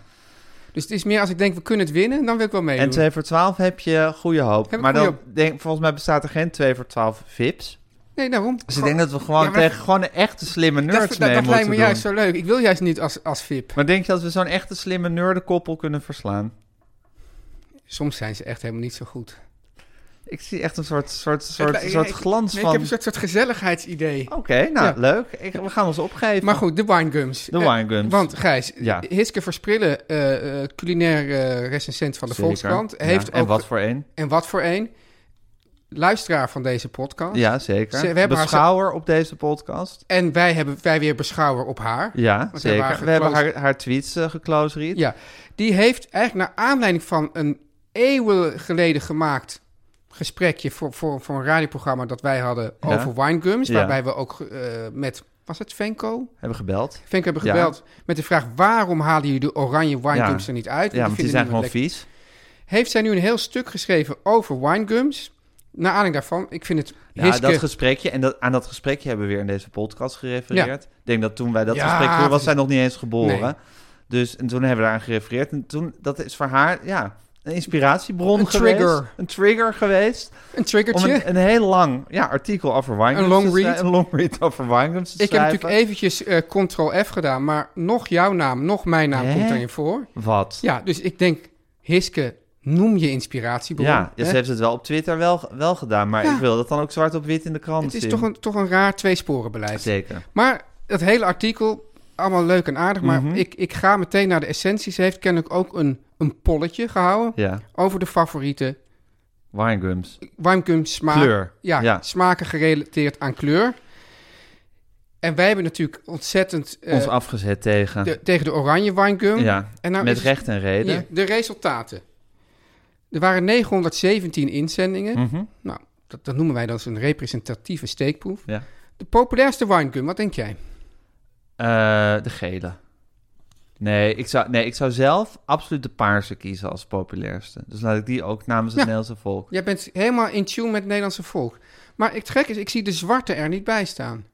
Speaker 3: Dus het is meer als ik denk, we kunnen het winnen, dan wil ik wel meedoen.
Speaker 2: En eh, 2 voor 12 heb je goede hoop.
Speaker 3: Heb ik
Speaker 2: maar
Speaker 3: goede
Speaker 2: dan denk volgens mij bestaat er geen 2 voor 12 VIPs.
Speaker 3: Nee, daarom.
Speaker 2: Dus ik denk dat we gewoon
Speaker 3: Ja, maar
Speaker 2: tegen gewoon een echte slimme nerds
Speaker 3: dat, dat,
Speaker 2: mee
Speaker 3: dat
Speaker 2: moeten
Speaker 3: lijkt me
Speaker 2: doen.
Speaker 3: juist zo leuk. Ik wil juist niet als, als VIP.
Speaker 2: Maar denk je dat we zo'n echte slimme nerdenkoppel kunnen verslaan?
Speaker 3: Soms zijn ze echt helemaal niet zo goed.
Speaker 2: Ik zie echt een soort, soort, soort,
Speaker 3: Het li-
Speaker 2: soort
Speaker 3: ik-
Speaker 2: glans
Speaker 3: nee,
Speaker 2: van...
Speaker 3: Ik heb een soort, soort gezelligheidsidee.
Speaker 2: Oké, nou
Speaker 3: Ja.
Speaker 2: leuk. Ik, we gaan ons opgeven.
Speaker 3: Maar goed, de winegums.
Speaker 2: De
Speaker 3: Eh,
Speaker 2: winegums.
Speaker 3: want Gijs,
Speaker 2: Ja.
Speaker 3: Hiske Versprillen, eh, eh, culinair eh, recensent van de
Speaker 2: Zeker.
Speaker 3: Volkskrant,
Speaker 2: Ja,
Speaker 3: heeft
Speaker 2: En
Speaker 3: ook...
Speaker 2: wat voor één?
Speaker 3: En wat voor een? luisteraar van deze podcast.
Speaker 2: Ja, zeker.
Speaker 3: Ze- we hebben haar
Speaker 2: Beschouwer op deze podcast.
Speaker 3: En wij hebben wij weer beschouwer op haar.
Speaker 2: Ja,
Speaker 3: we
Speaker 2: zeker.
Speaker 3: hebben haar
Speaker 2: we hebben
Speaker 3: geclose-
Speaker 2: haar, haar tweets uh, gecloseread.
Speaker 3: Ja, die heeft eigenlijk naar aanleiding van een eeuwen geleden gemaakt gesprekje voor, voor, voor een radioprogramma dat wij hadden
Speaker 2: Ja.
Speaker 3: over winegums.
Speaker 2: Ja.
Speaker 3: Waarbij we ook eh, met, was het Venko?
Speaker 2: Hebben gebeld.
Speaker 3: Venko hebben
Speaker 2: Ja.
Speaker 3: gebeld met de vraag waarom halen jullie de oranje winegums
Speaker 2: Ja.
Speaker 3: er niet uit?
Speaker 2: Ja,
Speaker 3: die
Speaker 2: want die
Speaker 3: vinden
Speaker 2: zijn
Speaker 3: niemand
Speaker 2: gewoon
Speaker 3: lekker.
Speaker 2: vies.
Speaker 3: Heeft zij nu een heel stuk geschreven over winegums? Naar aanleiding daarvan, ik vind het
Speaker 2: Ja,
Speaker 3: Hiske-
Speaker 2: dat gesprekje. En dat, aan dat gesprekje hebben we weer in deze podcast gerefereerd. Ik denk dat toen wij dat
Speaker 3: Ja,
Speaker 2: gesprek voerden, was
Speaker 3: precies.
Speaker 2: zij nog niet eens geboren.
Speaker 3: Nee.
Speaker 2: Dus en toen hebben we daaraan gerefereerd. En toen, dat is voor haar, ja, een inspiratiebron
Speaker 3: Een
Speaker 2: geweest.
Speaker 3: trigger.
Speaker 2: Een trigger geweest.
Speaker 3: een
Speaker 2: Om
Speaker 3: triggertje.
Speaker 2: een, een heel lang ja, artikel over winegums
Speaker 3: Een long
Speaker 2: te schrij-
Speaker 3: read.
Speaker 2: Een long read over winegums te
Speaker 3: Ik heb
Speaker 2: schrijven.
Speaker 3: natuurlijk eventjes eh, Ctrl-F gedaan, maar nog jouw naam, nog mijn naam
Speaker 2: Hè?
Speaker 3: komt erin voor.
Speaker 2: Wat?
Speaker 3: Ja, dus ik denk, Hiske, noem je inspiratiebron.
Speaker 2: Ja, ja,
Speaker 3: hè?
Speaker 2: ze heeft het wel op Twitter wel, wel gedaan, maar
Speaker 3: Ja.
Speaker 2: ik wil dat dan ook zwart op wit in de krant
Speaker 3: Het is
Speaker 2: zien.
Speaker 3: toch een, toch een raar tweesporenbeleid.
Speaker 2: Zeker.
Speaker 3: Maar dat hele artikel, allemaal leuk en aardig, maar
Speaker 2: Mhm.
Speaker 3: ik, ik ga meteen naar de essentie. Ze heeft kennelijk ook een, een polletje gehouden
Speaker 2: Ja,
Speaker 3: over de favoriete
Speaker 2: winegums.
Speaker 3: warmkum smaak.
Speaker 2: Kleur.
Speaker 3: Ja,
Speaker 2: Ja.
Speaker 3: smaken gerelateerd aan kleur. En wij hebben natuurlijk ontzettend eh,
Speaker 2: Ons afgezet tegen.
Speaker 3: de- tegen de oranje winegum.
Speaker 2: ja,
Speaker 3: en nou
Speaker 2: met
Speaker 3: is-
Speaker 2: recht en reden.
Speaker 3: Hier, de resultaten. Er waren 917 inzendingen.
Speaker 2: Mhm.
Speaker 3: Nou, dat, dat noemen wij dan zo'n representatieve steekproef.
Speaker 2: Ja.
Speaker 3: De populairste winegum, wat denk jij?
Speaker 2: Eh, de gele. Nee ik, zou, nee, ik zou zelf absoluut de paarse kiezen als populairste. Dus laat ik die ook namens het
Speaker 3: Ja.
Speaker 2: Nederlandse volk.
Speaker 3: Jij bent helemaal in tune met het Nederlandse volk. Maar het gek is, ik zie de zwarte er niet bij staan.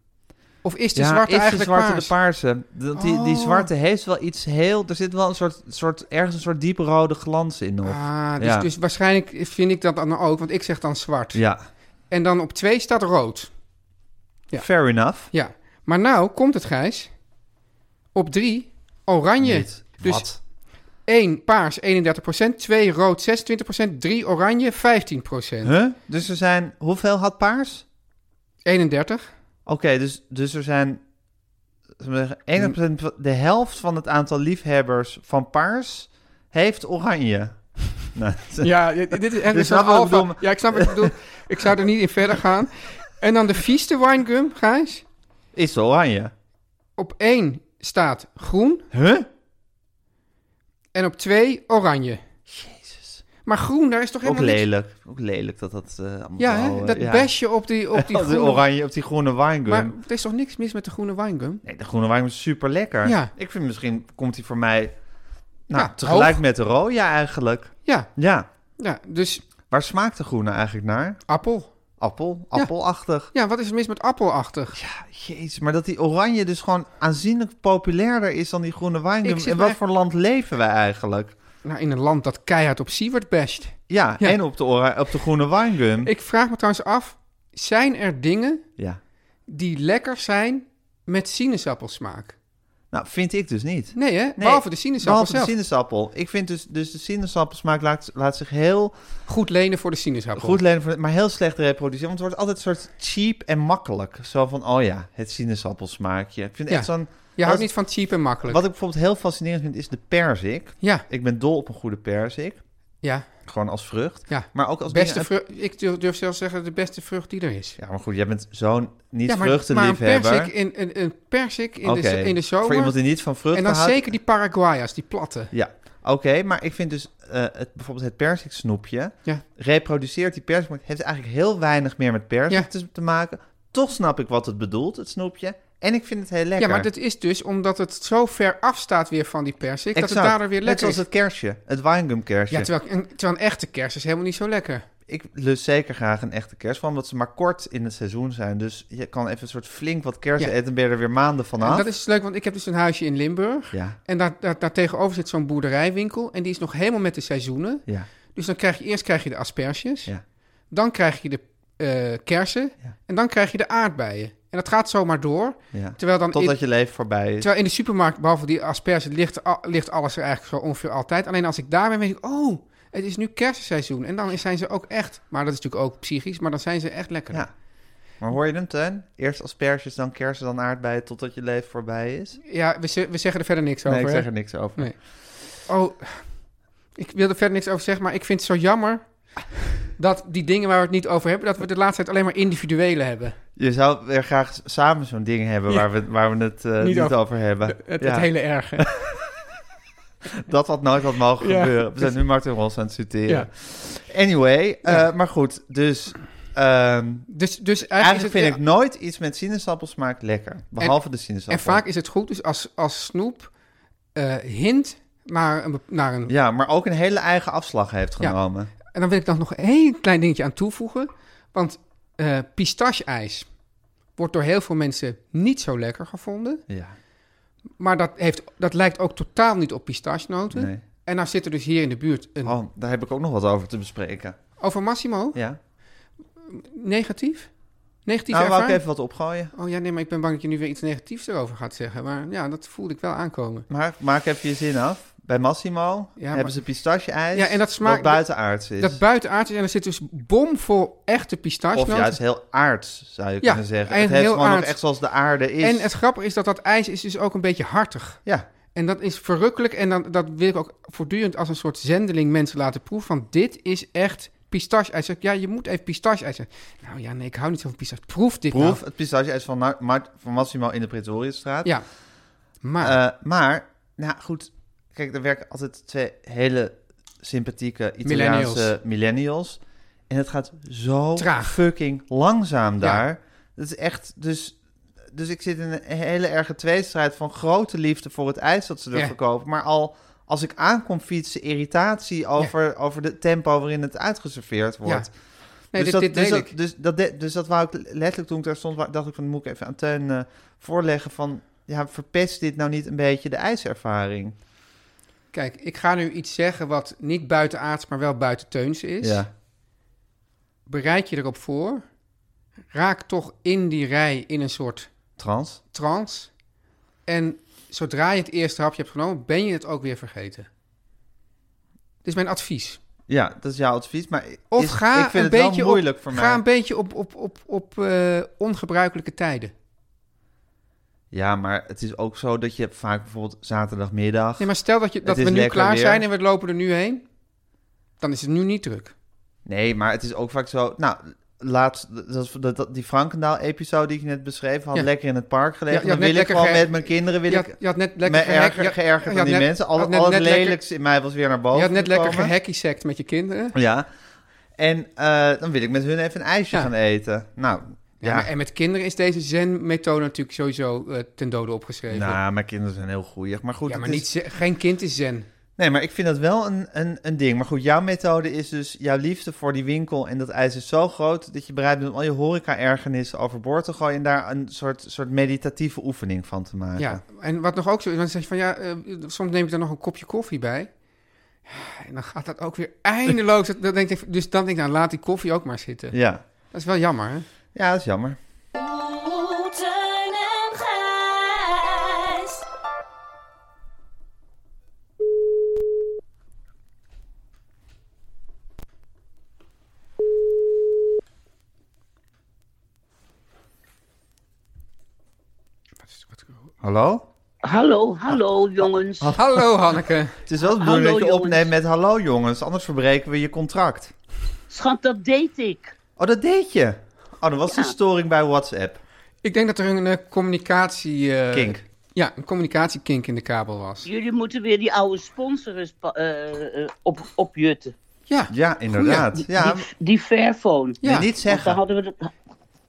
Speaker 3: Of is de zwarte
Speaker 2: is
Speaker 3: eigenlijk
Speaker 2: de zwarte
Speaker 3: paars?
Speaker 2: de paarse? Dat Die, die
Speaker 3: Oh.
Speaker 2: zwarte heeft wel iets heel... Er zit wel een soort, soort, ergens een soort diepe rode glans in nog.
Speaker 3: Ah, dus,
Speaker 2: Ja.
Speaker 3: dus waarschijnlijk vind ik dat dan ook, want ik zeg dan zwart.
Speaker 2: ja,
Speaker 3: En dan op twee staat rood. Ja.
Speaker 2: fair enough.
Speaker 3: Ja, maar nou komt het, Gijs. Op drie, oranje.
Speaker 2: Niet.
Speaker 3: Dus-
Speaker 2: Wat?
Speaker 3: 1 paars 31%, 2 rood 26%, 3 oranje 15%.
Speaker 2: Huh? Dus er zijn... Hoeveel had paars?
Speaker 3: 31.
Speaker 2: Oké, dus, dus er zijn... zullen
Speaker 3: Hm.
Speaker 2: we zeggen, 1% van- de helft van het aantal liefhebbers van paars heeft
Speaker 3: *laughs*
Speaker 2: oranje. Nou,
Speaker 3: Ja, dit is echt
Speaker 2: een soort alfa.
Speaker 3: Ja, ik snap wat je bedoelt. Ik zou er niet in verder gaan. En dan de vieste winegum, Gijs.
Speaker 2: is oranje.
Speaker 3: Op 1 staat groen
Speaker 2: Huh?
Speaker 3: en op 2 oranje. Jezus. Maar groen, daar is toch
Speaker 2: Ook
Speaker 3: helemaal niks...
Speaker 2: lelijk. Ook lelijk dat dat eh, allemaal
Speaker 3: Ja,
Speaker 2: zo,
Speaker 3: hè?
Speaker 2: eh,
Speaker 3: dat
Speaker 2: ja.
Speaker 3: besje op die,
Speaker 2: *laughs*
Speaker 3: op die
Speaker 2: Op die
Speaker 3: groene...
Speaker 2: oranje, op die groene winegum.
Speaker 3: Maar er is toch niks mis met de groene winegum?
Speaker 2: Nee, de groene winegum is super lekker.
Speaker 3: Ja.
Speaker 2: Ik vind misschien komt die voor mij nou,
Speaker 3: Ja,
Speaker 2: tegelijk
Speaker 3: hoog.
Speaker 2: met de rode eigenlijk.
Speaker 3: Ja,
Speaker 2: Ja.
Speaker 3: ja, dus
Speaker 2: Waar smaakt de groene eigenlijk naar?
Speaker 3: appel.
Speaker 2: Appel? Appelachtig.
Speaker 3: Ja, wat is er mis met appelachtig?
Speaker 2: Ja. Jezus, maar dat die oranje dus gewoon aanzienlijk populairder is dan die groene
Speaker 3: Ik
Speaker 2: winegum.
Speaker 3: zit
Speaker 2: In wat
Speaker 3: me-
Speaker 2: voor land leven wij eigenlijk?
Speaker 3: Nou, in een land dat keihard op Siewert basht.
Speaker 2: Ja,
Speaker 3: Ja.
Speaker 2: en op de, ora- op de groene winegum.
Speaker 3: Ik vraag me trouwens af, zijn er dingen
Speaker 2: Ja.
Speaker 3: die lekker zijn met sinaasappelsmaak?
Speaker 2: Nou, vind ik dus niet.
Speaker 3: Nee hè,
Speaker 2: Nee,
Speaker 3: behalve de sinaasappel
Speaker 2: behalve de
Speaker 3: zelf.
Speaker 2: sinaasappel. Ik vind dus, dus de sinaasappelsmaak laat, laat zich heel
Speaker 3: Goed lenen voor de sinaasappel.
Speaker 2: goed lenen, voor- maar heel slecht reproduceren. Want het wordt altijd een soort cheap en makkelijk. Zo van, oh ja, het sinaasappelsmaakje. Ik vind
Speaker 3: Ja.
Speaker 2: echt zo'n...
Speaker 3: Je houdt
Speaker 2: dat-
Speaker 3: niet van cheap en makkelijk.
Speaker 2: Wat ik bijvoorbeeld heel fascinerend vind, is de perzik.
Speaker 3: Ja,
Speaker 2: Ik ben dol op een goede perzik.
Speaker 3: ja,
Speaker 2: Gewoon als vrucht.
Speaker 3: ja.
Speaker 2: Maar ook als
Speaker 3: beste
Speaker 2: dingen-
Speaker 3: vrucht, ik durf durf zelfs zeggen de beste vrucht die er is.
Speaker 2: Ja, maar goed, jij bent zo'n niet
Speaker 3: ja, maar, maar een
Speaker 2: vruchtenliefhebber.
Speaker 3: persik in, een, een persik in,
Speaker 2: Oké,
Speaker 3: de, zo- in de zomer.
Speaker 2: Voor iemand die niet van
Speaker 3: en
Speaker 2: vruchten
Speaker 3: dan
Speaker 2: houdt.
Speaker 3: zeker die Paraguayas, die platte.
Speaker 2: Ja, oké, maar ik vind dus eh, het, bijvoorbeeld het persiksnoepje
Speaker 3: Ja.
Speaker 2: reproduceert die persik, maar het heeft eigenlijk heel weinig meer met persik
Speaker 3: Ja.
Speaker 2: te, te maken. Toch snap ik wat het bedoelt, het snoepje, en ik vind het heel lekker.
Speaker 3: Ja, maar dat is dus omdat het zo ver afstaat weer van die persik, dat
Speaker 2: Exact.
Speaker 3: het daardoor weer
Speaker 2: Net
Speaker 3: lekker
Speaker 2: zoals
Speaker 3: is.
Speaker 2: het kersje, het winegum kersje.
Speaker 3: Ja, terwijl, een, terwijl een echte kerst is helemaal niet zo lekker.
Speaker 2: Ik lust zeker graag een echte kers, vooral omdat ze maar kort in het seizoen zijn. Dus je kan even een soort flink wat kersen
Speaker 3: Ja.
Speaker 2: eten en ben je er weer maanden
Speaker 3: En
Speaker 2: vanaf.
Speaker 3: dat is leuk, want ik heb dus een huisje in Limburg.
Speaker 2: Ja,
Speaker 3: En daar, daar, daar tegenover zit zo'n boerderijwinkel. En die is nog helemaal met de seizoenen.
Speaker 2: ja,
Speaker 3: Dus dan krijg je eerst krijg je de asperges.
Speaker 2: ja.
Speaker 3: Dan krijg je de eh, kersen.
Speaker 2: Ja.
Speaker 3: En dan krijg je de aardbeien. En dat gaat zomaar door.
Speaker 2: ja.
Speaker 3: Terwijl dan in,
Speaker 2: Totdat je leven voorbij is.
Speaker 3: terwijl in de supermarkt, behalve die asperges, ligt, al- ligt alles er eigenlijk zo ongeveer altijd. Alleen als ik daar ben, weet ik, oh, het is nu kerstseizoen. En dan zijn ze ook echt, maar dat is natuurlijk ook psychisch, maar dan zijn ze echt lekker.
Speaker 2: Ja. Maar hoor je hem, Teun? Eerst asperges, dan kersen, dan aardbeien, totdat je leven voorbij is?
Speaker 3: Ja, we, ze- we zeggen er verder niks over.
Speaker 2: Nee, ik
Speaker 3: hè?
Speaker 2: zeg er niks over.
Speaker 3: Nee. Oh, ik wil er verder niks over zeggen, maar ik vind het zo jammer dat die dingen waar we het niet over hebben, dat we de laatste tijd alleen maar individuele hebben.
Speaker 2: Je zou weer graag s- samen zo'n ding hebben
Speaker 3: Ja.
Speaker 2: waar, we, waar we het eh,
Speaker 3: Niet
Speaker 2: niet
Speaker 3: over-
Speaker 2: over, hebben.
Speaker 3: Het,
Speaker 2: Ja,
Speaker 3: het hele erge.
Speaker 2: Dat had nooit had mogen
Speaker 3: Ja.
Speaker 2: gebeuren. We zijn nu Martin Ros aan het citeren.
Speaker 3: Ja.
Speaker 2: Anyway, eh,
Speaker 3: Ja.
Speaker 2: maar goed. Dus ehm,
Speaker 3: Dus, dus eigenlijk, is
Speaker 2: eigenlijk
Speaker 3: het-
Speaker 2: vind ik nooit iets met sinaasappelsmaak lekker. Behalve de
Speaker 3: En
Speaker 2: sinaasappel.
Speaker 3: vaak is het goed, dus als, als Snoep eh, hint naar een, bep- naar een
Speaker 2: Ja, maar ook een hele eigen afslag heeft
Speaker 3: Ja.
Speaker 2: genomen.
Speaker 3: En dan wil ik dan nog een heel klein dingetje aan toevoegen. Want eh pistache-ijs wordt door heel veel mensen niet zo lekker gevonden.
Speaker 2: Ja.
Speaker 3: Maar dat, heeft, dat lijkt ook totaal niet op pistachenoten.
Speaker 2: Nee.
Speaker 3: En nou zit er dus hier in de buurt een...
Speaker 2: Oh, daar heb ik ook nog wat over te bespreken.
Speaker 3: Over Massimo?
Speaker 2: Ja.
Speaker 3: Negatief? Negatief
Speaker 2: Nou, wou ik
Speaker 3: ervaring?
Speaker 2: even wat opgooien.
Speaker 3: Oh ja, nee, maar ik ben bang dat je nu weer iets negatiefs erover gaat zeggen. Maar ja, dat voelde ik wel aankomen.
Speaker 2: Maar maak even je zin af. Bij Massimo
Speaker 3: Ja,
Speaker 2: hebben
Speaker 3: maar-
Speaker 2: ze pistache-ijs.
Speaker 3: Ja, en dat smaakt-
Speaker 2: Wat buitenaards is.
Speaker 3: Dat buitenaards is en er zit dus bomvol echte
Speaker 2: of
Speaker 3: pistachenoten.
Speaker 2: juist heel aards, zou je
Speaker 3: Ja,
Speaker 2: kunnen zeggen.
Speaker 3: en
Speaker 2: Het heeft
Speaker 3: heel
Speaker 2: gewoon
Speaker 3: aards.
Speaker 2: nog echt zoals de aarde is.
Speaker 3: En het grappige is dat dat ijs is dus ook een beetje hartig.
Speaker 2: Ja,
Speaker 3: En dat is verrukkelijk. En dan, dat wil ik ook voortdurend als een soort zendeling mensen laten proeven. Van dit is echt pistache-ijs. Zeg ik, Ja, je moet even pistache-ijs. zeggen. Nou ja, nee, ik hou niet zo van pistache. Proef dit
Speaker 2: proef
Speaker 3: nou.
Speaker 2: het pistache-ijs van, Ma- Ma- van Massimo in de Pretoriusstraat.
Speaker 3: Ja. Maar,
Speaker 2: Eh, maar, nou goed, kijk, er werken altijd twee hele sympathieke Italiaanse millennials. En het gaat zo
Speaker 3: Traag.
Speaker 2: fucking langzaam daar. Dat is echt, dus, dus ik zit in een hele erge tweestrijd van grote liefde voor het ijs dat ze er
Speaker 3: Ja.
Speaker 2: verkopen. Maar al als ik aankom fietsen, irritatie over, over de tempo waarin het uitgeserveerd wordt.
Speaker 3: nee,
Speaker 2: dus,
Speaker 3: dit,
Speaker 2: dat,
Speaker 3: dit
Speaker 2: dus,
Speaker 3: deel
Speaker 2: dat,
Speaker 3: ik.
Speaker 2: dus, dat de- dus dat wou ik letterlijk toen ik daar stond, wa- dacht ik van, moet ik even aan Teun eh, voorleggen van, ja, verpest dit nou niet een beetje de ijservaring?
Speaker 3: Kijk, ik ga nu iets zeggen wat niet buitenaards, maar wel buitenteunse is. Bereid je erop voor. Raak toch in die rij in een soort
Speaker 2: Trans?
Speaker 3: trance. En zodra je het eerste hapje hebt genomen, ben je het ook weer vergeten. Dit is mijn advies.
Speaker 2: Ja, dat is jouw advies, maar i-
Speaker 3: Of
Speaker 2: is-
Speaker 3: ga
Speaker 2: ik vind
Speaker 3: een
Speaker 2: het
Speaker 3: beetje
Speaker 2: wel moeilijk
Speaker 3: op,
Speaker 2: voor
Speaker 3: ga
Speaker 2: mij.
Speaker 3: een beetje op, op, op, op eh, ongebruikelijke tijden.
Speaker 2: Ja, maar het is ook zo dat je vaak bijvoorbeeld zaterdagmiddag...
Speaker 3: Nee, maar stel dat, je, dat
Speaker 2: is
Speaker 3: we nu
Speaker 2: lekker
Speaker 3: klaar
Speaker 2: weer.
Speaker 3: zijn en we lopen er nu heen. Dan is het nu niet druk.
Speaker 2: Nee, maar het is ook vaak zo... Nou, laatst, dat, is- dat, dat- die Frankendaal-episode die ik net beschreef, had
Speaker 3: Ja.
Speaker 2: lekker in het park gelegen.
Speaker 3: Ja, je had
Speaker 2: dan
Speaker 3: net
Speaker 2: wil ik
Speaker 3: lekker
Speaker 2: gewoon
Speaker 3: ge-
Speaker 2: met mijn kinderen... Wil
Speaker 3: Je
Speaker 2: ik,
Speaker 3: had, je had net
Speaker 2: me
Speaker 3: lekker gehek-
Speaker 2: erger,
Speaker 3: je-
Speaker 2: geërgerd
Speaker 3: je
Speaker 2: aan
Speaker 3: had
Speaker 2: die
Speaker 3: net-
Speaker 2: mensen.
Speaker 3: je
Speaker 2: Al,
Speaker 3: had net-
Speaker 2: al
Speaker 3: net
Speaker 2: het
Speaker 3: lekker-
Speaker 2: lelijks in mij was weer naar boven
Speaker 3: Je had net lekker
Speaker 2: gekomen.
Speaker 3: gehackysect met je kinderen.
Speaker 2: Ja. En eh, dan wil ik met hun even een ijsje
Speaker 3: Ja.
Speaker 2: gaan eten. Nou,
Speaker 3: Ja.
Speaker 2: ja.
Speaker 3: maar- en met kinderen is deze zen-methode natuurlijk sowieso eh, ten dode opgeschreven.
Speaker 2: nou, mijn kinderen zijn heel goeieig. Maar goed,
Speaker 3: ja, maar
Speaker 2: het is-
Speaker 3: niet, zen- geen kind is zen.
Speaker 2: Nee, maar ik vind dat wel een, een, een ding. Maar goed, jouw methode is dus... jouw liefde voor die winkel en dat ijs is zo groot... dat je bereid bent om al je horeca-ergernissen overboord te gooien... en daar een soort, soort meditatieve oefening van te maken.
Speaker 3: Ja, en wat nog ook zo is, dan zeg je van ja, eh, soms neem ik daar nog een kopje koffie bij. Ja, En dan gaat dat ook weer eindeloos. Dat- Dan denk ik, dus dan denk ik, nou laat die koffie ook maar zitten.
Speaker 2: ja.
Speaker 3: Dat is wel jammer, hè?
Speaker 2: Ja, dat is jammer.
Speaker 5: Oeh, Teun en Gijs.
Speaker 2: Hallo?
Speaker 6: Hallo,
Speaker 2: Ah,
Speaker 6: hallo jongens.
Speaker 3: Hallo Hanneke.
Speaker 2: Het is wel de
Speaker 3: Ah,
Speaker 2: bedoeling
Speaker 6: Hallo,
Speaker 2: dat je opneemt
Speaker 6: jongens.
Speaker 2: met hallo jongens... anders verbreken we je contract.
Speaker 6: Schat, dat deed ik.
Speaker 2: Oh, dat deed je? Oh, dat was de storing bij WhatsApp.
Speaker 3: Ik denk dat er een eh, communicatie... eh,
Speaker 2: Kink.
Speaker 3: Ja, een communicatiekink in de kabel was.
Speaker 6: Jullie moeten weer die oude sponsors pa- eh, eh, op, opjutten.
Speaker 3: Ja,
Speaker 2: Ja, inderdaad. Ja,
Speaker 6: Die, die Fairphone.
Speaker 3: Ja.
Speaker 2: Nee, niet
Speaker 6: Want daar
Speaker 2: zeggen.
Speaker 6: hadden we dat...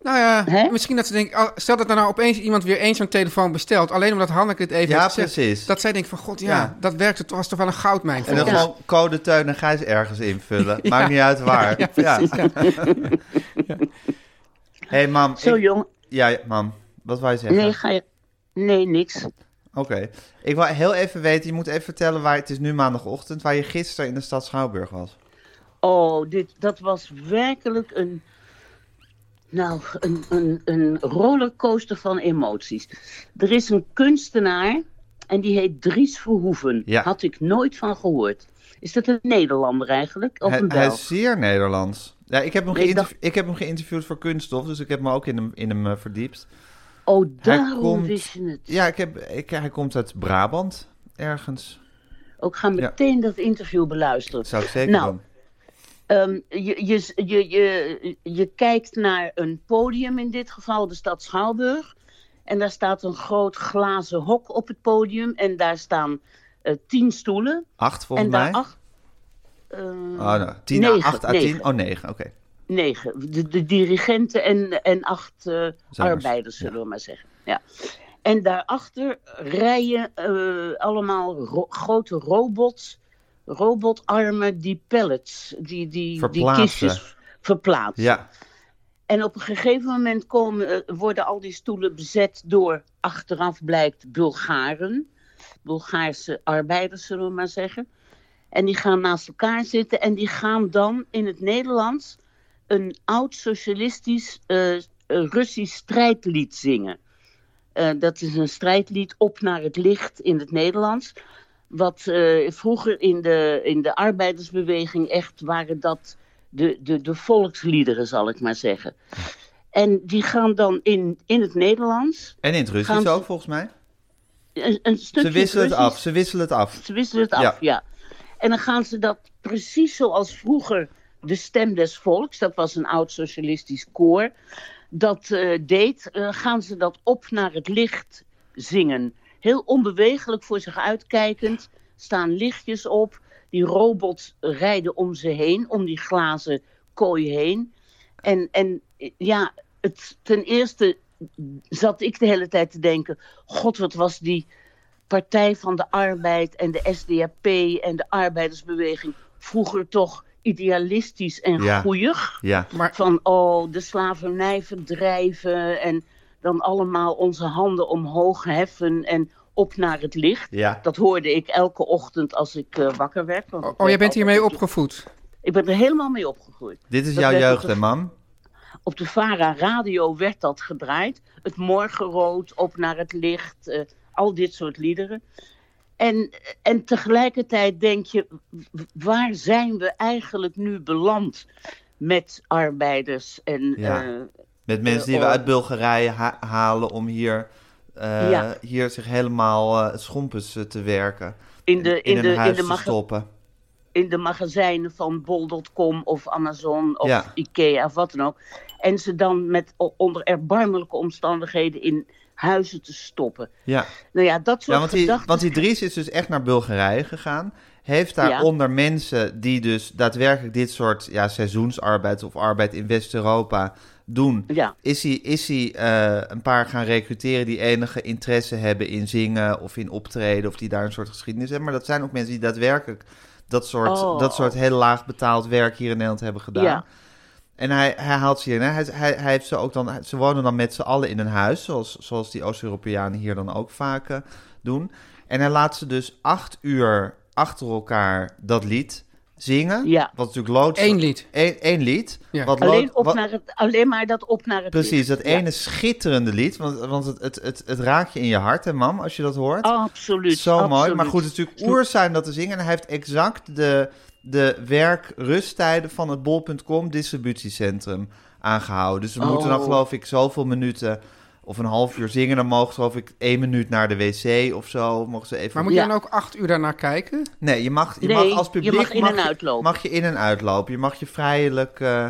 Speaker 3: nou ja,
Speaker 6: Hè?
Speaker 3: misschien dat ze denken... oh, stel dat er nou opeens iemand weer eens zo'n telefoon bestelt... alleen omdat Hanneke dit even
Speaker 2: Ja,
Speaker 3: heeft gezegd,
Speaker 2: precies.
Speaker 3: Dat zij denkt van, god ja,
Speaker 2: Ja.
Speaker 3: dat werkte, het was toch wel een goudmijn voor
Speaker 2: En dan
Speaker 3: ons.
Speaker 2: gewoon code Teun en Gijs ergens
Speaker 6: *laughs*
Speaker 2: invullen. Maakt niet uit waar. Ja, *laughs* hey, mam.
Speaker 6: Zo
Speaker 2: ik-
Speaker 6: jong.
Speaker 2: Ja, ja, mam. Wat wou je zeggen?
Speaker 6: Nee, ga je... Nee, niks.
Speaker 2: Oké. Ik wil heel even weten, je moet even vertellen waar... Het is nu maandagochtend, waar je gisteren in de stad Schouwburg was.
Speaker 6: Oh, dit, dat was werkelijk een... Nou, een, een, een rollercoaster van emoties. Er is een kunstenaar en die heet Dries Verhoeven.
Speaker 2: Ja.
Speaker 6: Had ik nooit van gehoord. Is dat een Nederlander eigenlijk? Of
Speaker 2: Hij,
Speaker 6: een
Speaker 2: hij
Speaker 6: Belg?
Speaker 2: is zeer Nederlands. Ja, ik heb hem,
Speaker 6: Nee, ik
Speaker 2: geïnterv- ik heb hem geïnterviewd voor Kunststof, dus ik heb me ook in hem, in hem eh, verdiept.
Speaker 6: Oh,
Speaker 2: Hij
Speaker 6: daarom
Speaker 2: komt-
Speaker 6: wist je het.
Speaker 2: Ja, ik heb, ik, hij komt uit Brabant, ergens.
Speaker 6: Ook ga meteen dat interview beluisteren.
Speaker 2: Zou ik zeker
Speaker 6: Nou,
Speaker 2: doen.
Speaker 6: Ehm, je, je, je, je, je kijkt naar een podium, in dit geval de stad Schouwburg. En daar staat een groot glazen hok op het podium. En daar staan eh, tien stoelen.
Speaker 2: Acht volgens
Speaker 6: en
Speaker 2: mij?
Speaker 6: daar acht. eh,
Speaker 2: Oh, nou, tien
Speaker 6: negen,
Speaker 2: à acht à
Speaker 6: negen.
Speaker 2: tien. Oh, negen, oké.
Speaker 6: negen. De, de dirigenten en, en acht eh, arbeiders, zullen we maar zeggen. Ja. En daarachter rijden eh, allemaal ro- grote robots, robotarmen die pallets, die, die, die
Speaker 2: Verplaatsen.
Speaker 6: kistjes verplaatsen.
Speaker 2: Ja,
Speaker 6: En op een gegeven moment komen, eh, worden al die stoelen bezet door, achteraf blijkt, Bulgaren. Bulgaarse arbeiders, zullen we maar zeggen. En die gaan naast elkaar zitten en die gaan dan in het Nederlands een oud-socialistisch eh, eh, Russisch strijdlied zingen. Eh, dat is een strijdlied op naar het licht in het Nederlands. Wat eh, vroeger in de, in de arbeidersbeweging echt waren dat de, de, de volksliederen, zal ik maar zeggen. En die gaan dan in, in het Nederlands
Speaker 2: en in het Russisch
Speaker 6: Gaan ze-
Speaker 2: ook volgens mij.
Speaker 6: een, een stukje.
Speaker 2: Ze wisselen het
Speaker 6: Russisch-
Speaker 2: af, ze wisselen het af.
Speaker 6: Ze wisselen het af,
Speaker 2: Ja.
Speaker 6: ja. En dan gaan ze dat precies zoals vroeger de Stem des Volks, dat was een oud-socialistisch koor, dat eh, deed, eh, gaan ze dat op naar het licht zingen. Heel onbewegelijk voor zich uitkijkend, staan lichtjes op, die robots rijden om ze heen, om die glazen kooi heen. En, en eh, ja, het, ten eerste zat ik de hele tijd te denken, god wat was die Partij van de Arbeid en de SDAP en de arbeidersbeweging vroeger toch idealistisch en
Speaker 2: Ja.
Speaker 6: goeig.
Speaker 2: Ja,
Speaker 3: Maar
Speaker 6: Van oh, de slavernij verdrijven en dan allemaal onze handen omhoog heffen en op naar het licht.
Speaker 2: ja.
Speaker 6: Dat hoorde ik elke ochtend als ik eh, wakker werd. want ik
Speaker 3: oh, jij
Speaker 6: werd
Speaker 3: bent hiermee
Speaker 6: altijd-
Speaker 3: opgevoed.
Speaker 6: Ik ben er helemaal mee opgegroeid.
Speaker 2: Dit is
Speaker 6: Dat
Speaker 2: jouw
Speaker 6: werd
Speaker 2: jeugd, hè,
Speaker 6: opge-
Speaker 2: mam?
Speaker 6: Op de Vara Radio werd dat gedraaid. Het morgenrood, op naar het licht, eh, al dit soort liederen. En, en tegelijkertijd denk je, w- waar zijn we eigenlijk nu beland met arbeiders en
Speaker 2: Ja.
Speaker 6: eh,
Speaker 2: Met mensen die we
Speaker 6: oh.
Speaker 2: uit Bulgarije ha- halen om hier, eh,
Speaker 6: Ja.
Speaker 2: hier zich helemaal eh, het schompens eh, te werken.
Speaker 6: in de, in
Speaker 2: een
Speaker 6: de, in
Speaker 2: huis
Speaker 6: de,
Speaker 2: te
Speaker 6: maga-
Speaker 2: stoppen.
Speaker 6: in de magazijnen van bol.com of Amazon of
Speaker 2: Ja.
Speaker 6: Ikea of wat dan ook. En ze dan met, o- onder erbarmelijke omstandigheden in huizen te stoppen.
Speaker 2: Ja,
Speaker 6: Nou ja, dat soort
Speaker 2: ja want, die,
Speaker 6: gedachten.
Speaker 2: want die Dries is dus echt naar Bulgarije gegaan. Heeft daar
Speaker 6: Ja.
Speaker 2: onder mensen die dus daadwerkelijk dit soort ja, seizoensarbeid of arbeid in West-Europa doen,
Speaker 6: Ja.
Speaker 2: is hij, is hij eh, een paar gaan recruteren die enige interesse hebben in zingen of in optreden of die daar een soort geschiedenis hebben. Maar dat zijn ook mensen die daadwerkelijk dat soort,
Speaker 6: Oh.
Speaker 2: dat soort heel laag betaald werk hier in Nederland hebben gedaan.
Speaker 6: Ja.
Speaker 2: En hij, hij haalt ze hierheen. Hij, hij, hij heeft ze ook dan. Ze wonen dan met z'n allen in een huis. Zoals, zoals die Oost-Europeanen hier dan ook vaak eh, doen. En hij laat ze dus acht uur achter elkaar dat lied zingen.
Speaker 6: Ja.
Speaker 2: Wat natuurlijk loods.
Speaker 3: Eén lied.
Speaker 2: Eén, één lied.
Speaker 3: Ja.
Speaker 2: Wat
Speaker 6: Alleen,
Speaker 2: lood-
Speaker 6: op
Speaker 2: wat-
Speaker 6: naar het, alleen maar dat op naar het
Speaker 2: Precies,
Speaker 6: licht.
Speaker 2: dat
Speaker 6: Ja,
Speaker 2: ene schitterende lied. Want, want het, het, het, het raakt je in je hart, hè, mam, als je dat hoort.
Speaker 6: Oh, Absoluut.
Speaker 2: Zo mooi.
Speaker 6: absoluut.
Speaker 2: Maar goed, het is natuurlijk oer zijn dat te zingen. En hij heeft exact de, de werk-rusttijden van het bol.com distributiecentrum aangehouden. Dus we moeten dan
Speaker 6: Oh.
Speaker 2: geloof ik zoveel minuten of een half uur zingen. Dan mogen ze geloof ik één minuut naar de wc of zo. Mogen ze even...
Speaker 3: Maar moet je
Speaker 6: Ja.
Speaker 3: dan ook acht uur daarnaar kijken?
Speaker 2: Nee, je mag, je
Speaker 6: Nee,
Speaker 2: mag als
Speaker 6: je
Speaker 2: publiek...
Speaker 6: mag in en
Speaker 2: je-
Speaker 6: uitlopen.
Speaker 2: Mag je in en uitlopen. Je mag je vrijelijk eh,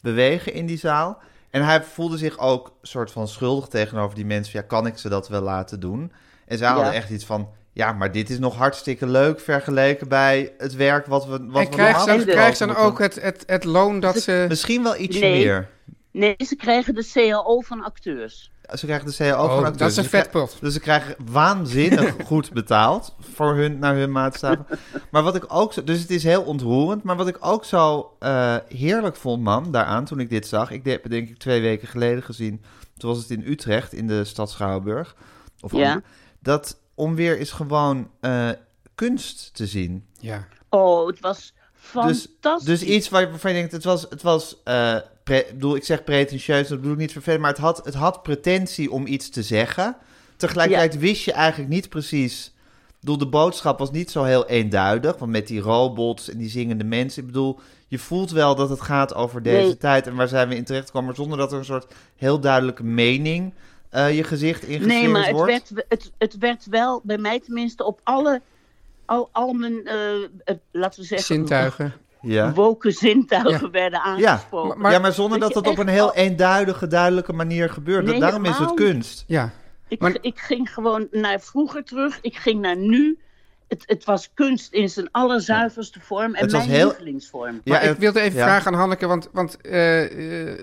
Speaker 2: bewegen in die zaal. En hij voelde zich ook soort van schuldig tegenover die mensen. van, Ja, kan ik ze dat wel laten doen? En zij hadden
Speaker 6: Ja.
Speaker 2: echt iets van... Ja, maar dit is nog hartstikke leuk vergeleken bij het werk wat we, wat
Speaker 3: En
Speaker 2: we
Speaker 3: krijgt
Speaker 2: normaal
Speaker 3: ze, dan-
Speaker 6: En de-
Speaker 2: gesproken
Speaker 3: krijgt ze dan
Speaker 2: moeten
Speaker 3: ook eh, het, het, het loon dat
Speaker 2: doen."
Speaker 3: ze...
Speaker 2: Misschien wel ietsje
Speaker 6: Nee.
Speaker 2: meer.
Speaker 6: Nee, ze krijgen de CAO van acteurs.
Speaker 2: Ze krijgen de CAO
Speaker 3: Oh,
Speaker 2: van
Speaker 3: dat
Speaker 2: acteurs.
Speaker 3: is een
Speaker 2: Dus ze krij-
Speaker 3: vetpot.
Speaker 2: Dus ze krijgen waanzinnig goed betaald voor hun, naar hun maatstaven. Maar wat ik ook zo... Dus het is heel ontroerend. Maar wat ik ook zo eh, heerlijk vond, mam, daaraan, toen ik dit zag. Ik de- heb het denk ik twee weken geleden gezien. Toen was het in Utrecht, in de stad Schouwburg. Of
Speaker 6: Ja.
Speaker 2: Amber. Dat onweer is gewoon eh, kunst te zien.
Speaker 3: Ja.
Speaker 6: Oh, het was
Speaker 2: Dus,
Speaker 6: fantastisch.
Speaker 2: dus iets waar, waarvan je denkt, het was, het was eh, pre- ik bedoel, ik zeg pretentieus, dat bedoel ik niet vervelend, maar het had, het had pretentie om iets te zeggen. Tegelijkertijd wist je eigenlijk niet precies, ik bedoel, de boodschap was niet zo heel eenduidig, want met die robots en die zingende mensen, ik bedoel, je voelt wel dat het gaat over deze
Speaker 6: Nee.
Speaker 2: tijd en waar zijn we in terecht maar zonder dat er een soort heel duidelijke mening eh, je gezicht ingeslingerd
Speaker 6: Nee, maar het
Speaker 2: wordt.
Speaker 6: werd, het, het werd wel, bij mij tenminste, op alle, al, al mijn, eh, eh, laten we zeggen,
Speaker 3: Zintuigen.
Speaker 2: Ja.
Speaker 6: woke zintuigen
Speaker 3: Ja.
Speaker 6: werden
Speaker 2: Ja.
Speaker 6: aangesproken.
Speaker 3: Maar-
Speaker 2: ja, maar zonder dat
Speaker 6: dat je
Speaker 2: het op
Speaker 6: echt
Speaker 2: een heel
Speaker 6: wel-
Speaker 2: eenduidige, duidelijke manier gebeurt.
Speaker 6: Nee,
Speaker 2: Daarom is het
Speaker 6: helemaal niet.
Speaker 2: kunst.
Speaker 3: Ja.
Speaker 6: Ik,
Speaker 3: Maar-
Speaker 6: ik ging gewoon naar vroeger terug. Ik ging naar nu. Het, het was kunst in zijn allerzuiverste vorm. En
Speaker 2: Het was
Speaker 6: mijn
Speaker 2: heel-
Speaker 6: lievelingsvorm.
Speaker 2: Ja,
Speaker 3: Maar ik
Speaker 2: het-
Speaker 3: wilde even
Speaker 2: ja.
Speaker 3: vragen aan Hanneke, want, want eh, eh,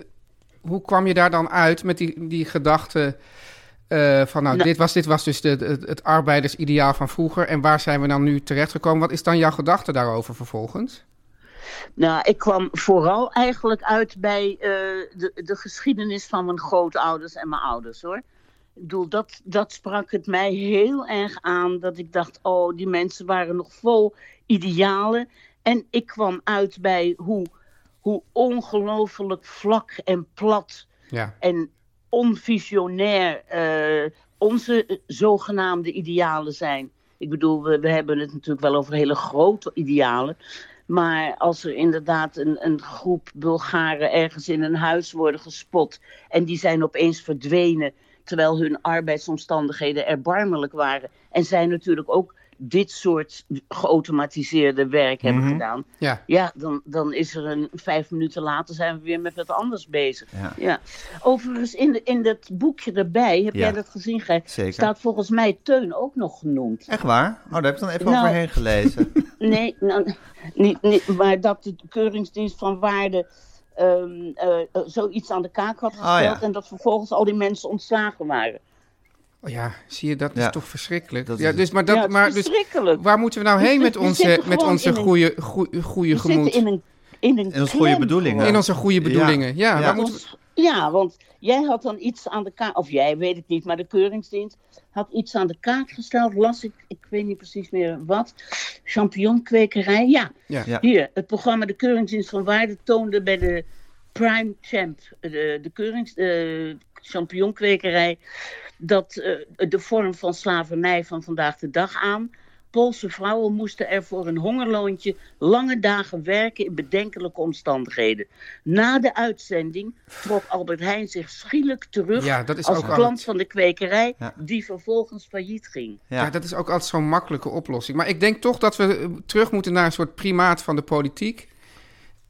Speaker 3: hoe kwam je daar dan uit met die, die gedachte eh, van, nou,
Speaker 6: Nou.
Speaker 3: Dit, was, dit was dus de, de- het, arbeidersideaal van vroeger en waar zijn we dan nu terechtgekomen? Wat is dan jouw gedachte daarover vervolgens?
Speaker 6: Nou, ik kwam vooral eigenlijk uit bij eh, de, de geschiedenis van mijn grootouders en mijn ouders hoor. Ik bedoel, dat, dat sprak het mij heel erg aan. Dat ik dacht, oh, die mensen waren nog vol idealen. En ik kwam uit bij hoe, hoe ongelooflijk vlak en plat
Speaker 3: Ja,
Speaker 6: en onvisionair eh, onze eh, zogenaamde idealen zijn. Ik bedoel, we, we hebben het natuurlijk wel over hele grote idealen. Maar als er inderdaad een, een groep Bulgaren ergens in een huis worden gespot. en die zijn opeens verdwenen. terwijl hun arbeidsomstandigheden erbarmelijk waren. en zij natuurlijk ook dit soort geautomatiseerde werk hebben gedaan.
Speaker 3: ja.
Speaker 6: Ja, dan, dan is er een vijf minuten later zijn we weer met wat anders bezig.
Speaker 2: Ja.
Speaker 6: Ja. Overigens, in, de, in dat boekje erbij, heb
Speaker 2: Ja.
Speaker 6: jij dat gezien, Gij?
Speaker 2: Zeker.
Speaker 6: Staat volgens mij Teun ook nog genoemd.
Speaker 2: Echt waar? Oh, daar heb ik dan even
Speaker 6: Nou.
Speaker 2: overheen
Speaker 6: *laughs*
Speaker 2: gelezen.
Speaker 6: Nee, nou, niet, niet, maar dat de keuringsdienst van waarde ehm, eh, eh, zoiets aan de kaak had gesteld.
Speaker 2: ja.
Speaker 6: En dat vervolgens al die mensen ontslagen waren.
Speaker 3: Oh ja, zie je, dat
Speaker 2: Ja.
Speaker 3: is toch verschrikkelijk.
Speaker 2: Dat is
Speaker 3: ja,
Speaker 2: het.
Speaker 3: dus, maar
Speaker 6: Ja,
Speaker 3: dat,
Speaker 6: het is
Speaker 3: maar, dus,
Speaker 6: verschrikkelijk.
Speaker 3: waar moeten we nou
Speaker 6: We
Speaker 3: heen met
Speaker 6: zitten- we
Speaker 3: onze,
Speaker 6: zitten
Speaker 3: met
Speaker 6: gewoon
Speaker 3: onze
Speaker 6: in een-
Speaker 3: goede, goede, goede
Speaker 6: We
Speaker 3: gemoed?
Speaker 6: zitten in een, in een,
Speaker 2: In ons goede
Speaker 6: klem
Speaker 2: bedoelingen.
Speaker 6: gewoon.
Speaker 3: In onze goede bedoelingen. Ja,
Speaker 2: Ja.
Speaker 3: waar
Speaker 2: Ja.
Speaker 3: moeten we-
Speaker 6: Ons- Ja, want jij had dan iets aan de kaak, of jij weet het niet, maar de keuringsdienst had iets aan de kaak gesteld. Las ik, ik weet niet precies meer wat. Champignonkwekerij, ja.
Speaker 3: Ja.
Speaker 2: Ja.
Speaker 6: Hier, het programma De Keuringsdienst van Waarde toonde bij de Prime Champ, eh, de, de keurings, de champignonkwekerij, dat eh, de vorm van slavernij van vandaag de dag aan. Poolse vrouwen moesten er voor een hongerloontje lange dagen werken in bedenkelijke omstandigheden. Na de uitzending trok Albert Heijn zich schielijk terug
Speaker 3: Ja, dat is
Speaker 6: als
Speaker 3: ook
Speaker 6: klant
Speaker 3: altijd-
Speaker 6: van de kwekerij,
Speaker 2: Ja.
Speaker 6: die vervolgens failliet ging.
Speaker 3: Ja.
Speaker 2: Ja.
Speaker 3: dat is ook altijd zo'n makkelijke oplossing. Maar ik denk toch dat we eh, terug moeten naar een soort primaat van de politiek.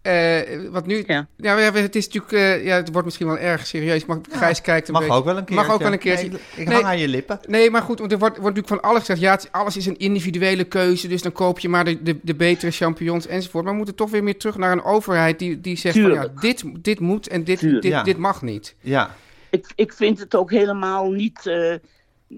Speaker 3: Eh, wat nu... Ja.
Speaker 6: Ja.
Speaker 3: we- we- het is natuurlijk... eh, ja, het wordt misschien wel erg serieus. Maar Gijs kijkt een
Speaker 2: Mag
Speaker 3: beetje...
Speaker 2: ook wel een keer.
Speaker 3: Mag ook wel een keertje.
Speaker 2: ik ik
Speaker 3: Nee.
Speaker 2: hang aan je lippen.
Speaker 3: Nee, maar goed, want er wordt, wordt natuurlijk van alles gezegd. Ja, het is- alles is een individuele keuze, dus dan koop je maar de, de, de betere champignons enzovoort. Maar we moeten toch weer meer terug naar een overheid die, die zegt van ja,
Speaker 6: Tuurlijk.
Speaker 3: dit, dit moet en dit,
Speaker 6: Tuurlijk.
Speaker 3: dit,
Speaker 2: Ja.
Speaker 3: dit mag niet.
Speaker 2: Ja.
Speaker 6: Ik, ik vind het ook helemaal niet, eh,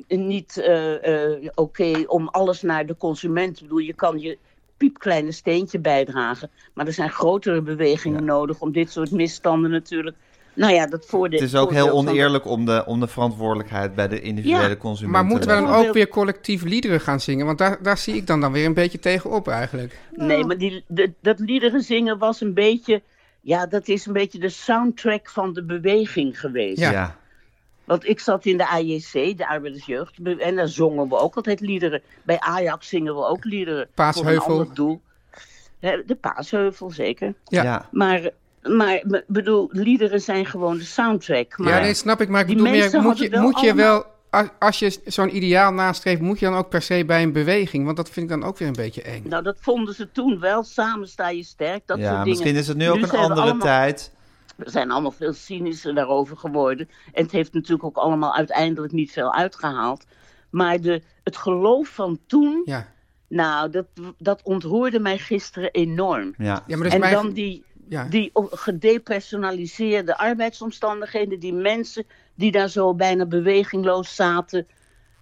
Speaker 6: niet eh, eh, oké om alles naar de consument. Ik bedoel, je kan je piepkleine steentje bijdragen. Maar er zijn grotere bewegingen
Speaker 2: Ja.
Speaker 6: nodig om dit soort misstanden natuurlijk. Nou ja, dat voordeel.
Speaker 2: Het is ook heel
Speaker 6: voordeel van-
Speaker 2: oneerlijk om de, om de verantwoordelijkheid bij de individuele
Speaker 6: Ja.
Speaker 2: consument
Speaker 3: Maar moeten we dan
Speaker 2: leggen.
Speaker 3: ook weer collectief liederen gaan zingen? Want daar, daar zie ik dan, dan weer een beetje tegenop eigenlijk.
Speaker 6: Nee, maar die, de- dat liederen zingen was een beetje. Ja, dat is een beetje de soundtrack van de beweging geweest.
Speaker 3: Ja.
Speaker 2: Ja.
Speaker 6: Want ik zat in de AJC, de Arbeidersjeugd, en daar zongen we ook altijd liederen. Bij Ajax zingen we ook liederen. Voor
Speaker 3: Paasheuvel.
Speaker 6: een ander doel. Hè, De Paasheuvel, zeker.
Speaker 3: Ja.
Speaker 2: Ja.
Speaker 6: Maar, maar b- bedoel, liederen zijn gewoon de soundtrack. Maar
Speaker 3: Ja, nee, snap ik. Maar ik
Speaker 6: Die
Speaker 3: bedoel meer,
Speaker 6: mensen
Speaker 3: moet
Speaker 6: hadden
Speaker 3: je,
Speaker 6: wel
Speaker 3: moet je
Speaker 6: allemaal-
Speaker 3: wel, a- als je zo'n ideaal nastreeft, moet je dan ook per se bij een beweging? Want dat vind ik dan ook weer een beetje eng.
Speaker 6: nou, dat vonden ze toen wel. Samen sta je sterk. Dat soort
Speaker 2: ja,
Speaker 6: dingen.
Speaker 2: misschien is het nu ook een
Speaker 6: zijn we
Speaker 2: andere
Speaker 6: allemaal-
Speaker 2: tijd.
Speaker 6: We zijn allemaal veel cynischer daarover geworden. En het heeft natuurlijk ook allemaal uiteindelijk niet veel uitgehaald. Maar de, het geloof van toen,
Speaker 3: Ja,
Speaker 6: nou, dat, dat ontroerde mij gisteren enorm.
Speaker 2: Ja.
Speaker 3: ja maar dat is
Speaker 6: en
Speaker 3: Dus mijn...
Speaker 6: dan die,
Speaker 3: ja.
Speaker 6: die o- gedepersonaliseerde arbeidsomstandigheden, die mensen die daar zo bijna bewegingloos zaten.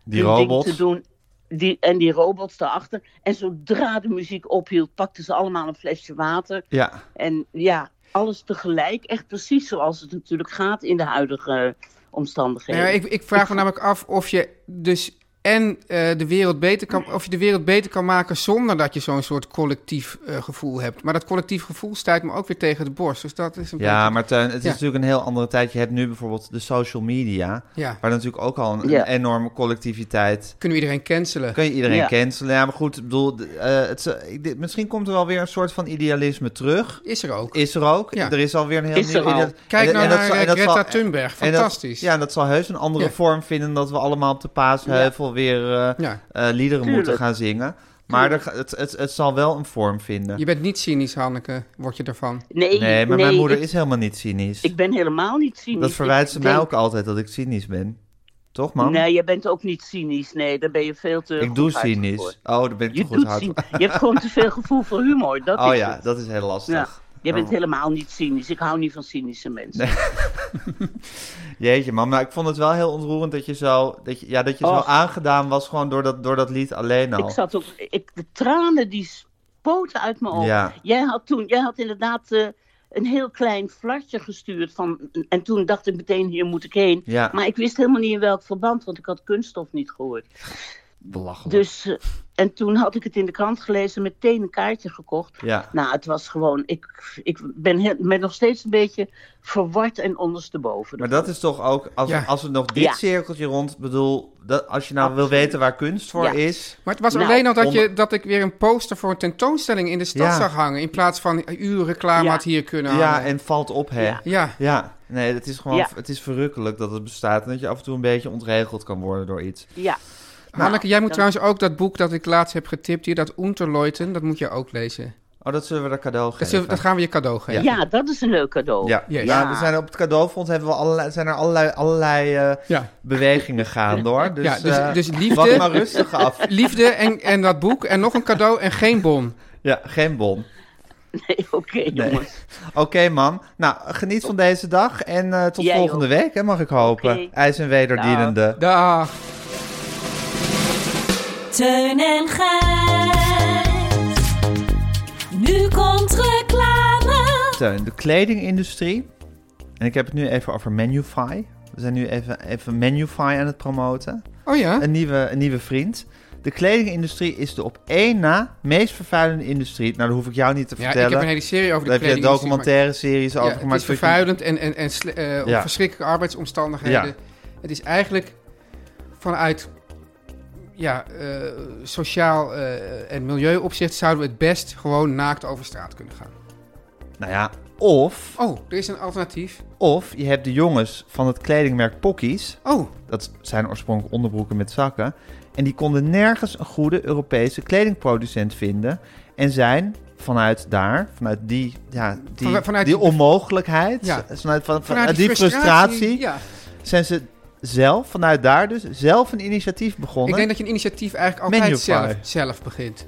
Speaker 2: die
Speaker 6: hun ding
Speaker 2: robots.
Speaker 6: te doen. Die, en die robots daarachter. En zodra de muziek ophield, pakten ze allemaal een flesje water.
Speaker 2: Ja.
Speaker 6: En ja, alles tegelijk. Echt precies zoals het natuurlijk gaat in de huidige eh, omstandigheden.
Speaker 3: Nou ja, ik, ik vraag me namelijk af of je dus en eh, de wereld beter kan, of je de wereld beter kan maken zonder dat je zo'n soort collectief eh, gevoel hebt. Maar dat collectief gevoel stuit me ook weer tegen de borst. Dus dat is een
Speaker 2: Ja,
Speaker 3: beetje-
Speaker 2: maar Teun, het is
Speaker 3: Ja.
Speaker 2: natuurlijk een heel andere tijd. Je hebt nu bijvoorbeeld de social media,
Speaker 3: Ja.
Speaker 2: waar natuurlijk ook al een, een
Speaker 6: Ja.
Speaker 2: enorme collectiviteit.
Speaker 3: Kunnen we iedereen cancelen?
Speaker 2: Kun je iedereen
Speaker 6: Ja.
Speaker 2: cancelen? Ja, maar goed, ik bedoel, d- eh, het, is- ik- dit- misschien komt er wel weer een soort van idealisme terug.
Speaker 3: Is er ook.
Speaker 2: Is er ook.
Speaker 3: Ja.
Speaker 2: Er is alweer een heel
Speaker 6: Is er
Speaker 2: nieuw
Speaker 6: al.
Speaker 2: ideal-
Speaker 3: Kijk
Speaker 2: en-
Speaker 3: nou
Speaker 2: en dat
Speaker 3: naar,
Speaker 2: zal- en
Speaker 3: eh,
Speaker 2: dat zal-
Speaker 3: Greta Thunberg.
Speaker 2: en dat-
Speaker 3: Fantastisch.
Speaker 2: ja, en dat zal heus een andere
Speaker 3: Ja.
Speaker 2: vorm vinden dat we allemaal op de Paasheuvel weer eh,
Speaker 3: Ja.
Speaker 2: eh, liederen moeten
Speaker 6: Tuurlijk.
Speaker 2: gaan zingen. Maar er, ga- het, het, het zal wel een vorm vinden.
Speaker 3: Je bent niet cynisch, Hanneke, word je ervan.
Speaker 6: Nee,
Speaker 2: Nee, maar mijn moeder
Speaker 6: ik,
Speaker 2: is helemaal niet cynisch.
Speaker 6: Ik ben helemaal niet cynisch.
Speaker 2: dat verwijt
Speaker 6: Ik
Speaker 2: ze mij
Speaker 6: denk-
Speaker 2: ook altijd dat ik cynisch ben. Toch, man?
Speaker 6: Nee, je bent ook niet cynisch. Nee, daar ben je veel te.
Speaker 2: ik doe
Speaker 6: goedhartig
Speaker 2: cynisch.
Speaker 6: voor.
Speaker 2: Oh, daar ben ik
Speaker 6: Je,
Speaker 2: te goed
Speaker 6: doet
Speaker 2: hard.
Speaker 6: cyn- je hebt gewoon te veel gevoel voor humor.
Speaker 2: *laughs*
Speaker 6: Dat
Speaker 2: Oh
Speaker 6: is
Speaker 2: ja,
Speaker 6: het.
Speaker 2: dat is heel
Speaker 6: Ja.
Speaker 2: lastig.
Speaker 6: Je bent
Speaker 2: Oh.
Speaker 6: helemaal niet cynisch. Ik hou niet van cynische mensen.
Speaker 2: Jeetje, man. Maar ik vond het wel heel ontroerend dat je zo, dat je, ja, dat je zo
Speaker 6: Och.
Speaker 2: aangedaan was gewoon door dat, door dat lied alleen al.
Speaker 6: Ik zat ook, ik, de tranen die spoten uit mijn ogen.
Speaker 2: Ja.
Speaker 6: Jij had toen, jij had inderdaad eh, een heel klein flatje gestuurd van, en toen dacht ik meteen hier moet ik heen.
Speaker 2: Ja.
Speaker 6: Maar ik wist helemaal niet in welk verband, want ik had kunststof niet gehoord.
Speaker 2: Belachelijk.
Speaker 6: Dus, eh, en toen had ik het in de krant gelezen, meteen een kaartje gekocht.
Speaker 2: Ja.
Speaker 6: Nou, het was gewoon, ik, ik ben he- ben nog steeds een beetje verward en ondersteboven.
Speaker 2: Maar dat is toch ook, als,
Speaker 3: Ja.
Speaker 2: als we nog dit
Speaker 6: Ja.
Speaker 2: cirkeltje rond, bedoel, dat, als je nou wil
Speaker 6: Absoluut.
Speaker 2: weten waar kunst voor
Speaker 6: Ja.
Speaker 2: is.
Speaker 3: Maar het was
Speaker 6: Nou,
Speaker 3: alleen al dat,
Speaker 2: onder-
Speaker 3: je, dat ik weer een poster voor een tentoonstelling in de stad
Speaker 2: Ja.
Speaker 3: zag hangen. In plaats van uw reclame
Speaker 6: Ja.
Speaker 3: had hier kunnen
Speaker 2: Ja,
Speaker 3: hangen.
Speaker 2: en valt op, hè?
Speaker 6: Ja.
Speaker 3: Ja,
Speaker 2: Ja, nee, het is gewoon,
Speaker 6: Ja.
Speaker 2: het is verrukkelijk dat het bestaat en dat je af en toe een beetje ontregeld kan worden door iets.
Speaker 6: Ja,
Speaker 2: Nou,
Speaker 3: Hanneke, jij moet
Speaker 6: dan-
Speaker 3: trouwens ook dat boek dat ik laatst heb getipt hier, dat Unterleuten, dat moet je ook lezen.
Speaker 2: Oh, dat zullen we dat cadeau
Speaker 3: Dat,
Speaker 2: geven.
Speaker 3: zullen we- dat gaan we je cadeau geven.
Speaker 6: ja, dat is een leuk cadeau.
Speaker 2: Ja,
Speaker 3: Yes.
Speaker 2: ja er zijn op het cadeaufonds hebben we allerlei, zijn er allerlei, allerlei eh,
Speaker 3: Ja.
Speaker 2: bewegingen gaande hoor. Dus,
Speaker 3: Ja, dus-
Speaker 2: eh,
Speaker 3: dus liefde-
Speaker 2: Wacht maar rustig af.
Speaker 3: *laughs* Liefde en, en dat boek en nog een cadeau en geen bon.
Speaker 2: Ja, geen bon.
Speaker 6: Nee, *laughs* oké jongens.
Speaker 2: *laughs* Oké, man. Nou, geniet van deze dag en eh, tot
Speaker 6: Jij
Speaker 2: volgende
Speaker 6: ook.
Speaker 2: week, hè, mag ik hopen.
Speaker 6: Oké.
Speaker 2: IJs en wederdienende.
Speaker 3: Dag.
Speaker 5: Teun en Gijs. Nu komt reclame.
Speaker 2: Teun, de kledingindustrie. En ik heb het nu even over Manufy. We zijn nu even, even Manufy aan het promoten.
Speaker 3: Oh ja?
Speaker 2: Een nieuwe, een nieuwe vriend. De kledingindustrie is de op één na meest vervuilende industrie. Nou, dat hoef ik jou niet te
Speaker 3: Ja,
Speaker 2: vertellen.
Speaker 3: ik heb een hele serie over de
Speaker 2: Daar heb je
Speaker 3: kleding.
Speaker 2: documentaire series
Speaker 3: Ja,
Speaker 2: over
Speaker 3: het
Speaker 2: gemaakt.
Speaker 3: is
Speaker 2: zodat je-
Speaker 3: vervuilend en, en, en sle- eh,
Speaker 2: Ja.
Speaker 3: verschrikkelijke arbeidsomstandigheden.
Speaker 2: Ja.
Speaker 3: Het is eigenlijk vanuit ja, eh, sociaal eh, en milieuopzicht zouden we het best gewoon naakt over straat kunnen gaan.
Speaker 2: Nou ja, of,
Speaker 3: Oh, er is een alternatief.
Speaker 2: of je hebt de jongens van het kledingmerk Pockies.
Speaker 3: Oh,
Speaker 2: Dat zijn oorspronkelijk onderbroeken met zakken. En die konden nergens een goede Europese kledingproducent vinden. En zijn vanuit daar, vanuit die, ja, die,
Speaker 3: Van- vanuit
Speaker 2: die
Speaker 3: die-
Speaker 2: onmogelijkheid,
Speaker 3: Ja.
Speaker 2: vanuit, van- van-
Speaker 3: vanuit
Speaker 2: Eh, die, frustratie,
Speaker 3: Ja.
Speaker 2: zijn ze zelf, vanuit daar dus, zelf een initiatief
Speaker 3: Ik
Speaker 2: begonnen.
Speaker 3: denk dat je een initiatief eigenlijk altijd
Speaker 2: Manufy.
Speaker 3: zelf, zelf begint.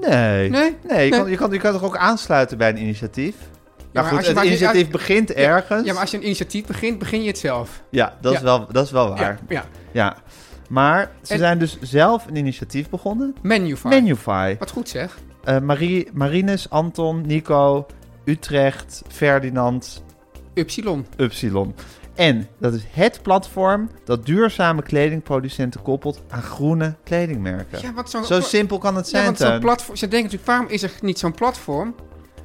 Speaker 2: Nee.
Speaker 3: Nee?
Speaker 2: Nee, je,
Speaker 3: Nee.
Speaker 2: Kan, je, kan, je kan toch ook aansluiten bij een initiatief?
Speaker 3: maar
Speaker 2: Nou
Speaker 3: als
Speaker 2: goed,
Speaker 3: je-
Speaker 2: het
Speaker 3: maar als je-
Speaker 2: initiatief begint ergens.
Speaker 3: Ja, maar als je een initiatief begint, begin je het zelf.
Speaker 2: Ja, dat, Is
Speaker 3: Ja.
Speaker 2: wel, dat is wel waar.
Speaker 3: Ja,
Speaker 2: Ja.
Speaker 3: ja.
Speaker 2: Maar ze
Speaker 3: En-
Speaker 2: zijn dus zelf een initiatief begonnen.
Speaker 3: Manufy.
Speaker 2: Manufy.
Speaker 3: Wat goed zeg.
Speaker 2: Eh, Marie, Marines, Anton, Nico, Utrecht, Ferdinand,
Speaker 3: Upsilon.
Speaker 2: Upsilon. En dat is het platform dat duurzame kledingproducenten koppelt aan groene kledingmerken.
Speaker 3: Ja, wat zo'n-
Speaker 2: Zo simpel kan het
Speaker 3: Ja,
Speaker 2: zijn,
Speaker 3: want zo'n
Speaker 2: Teun.
Speaker 3: platform... Ze denken natuurlijk, waarom is er niet zo'n platform?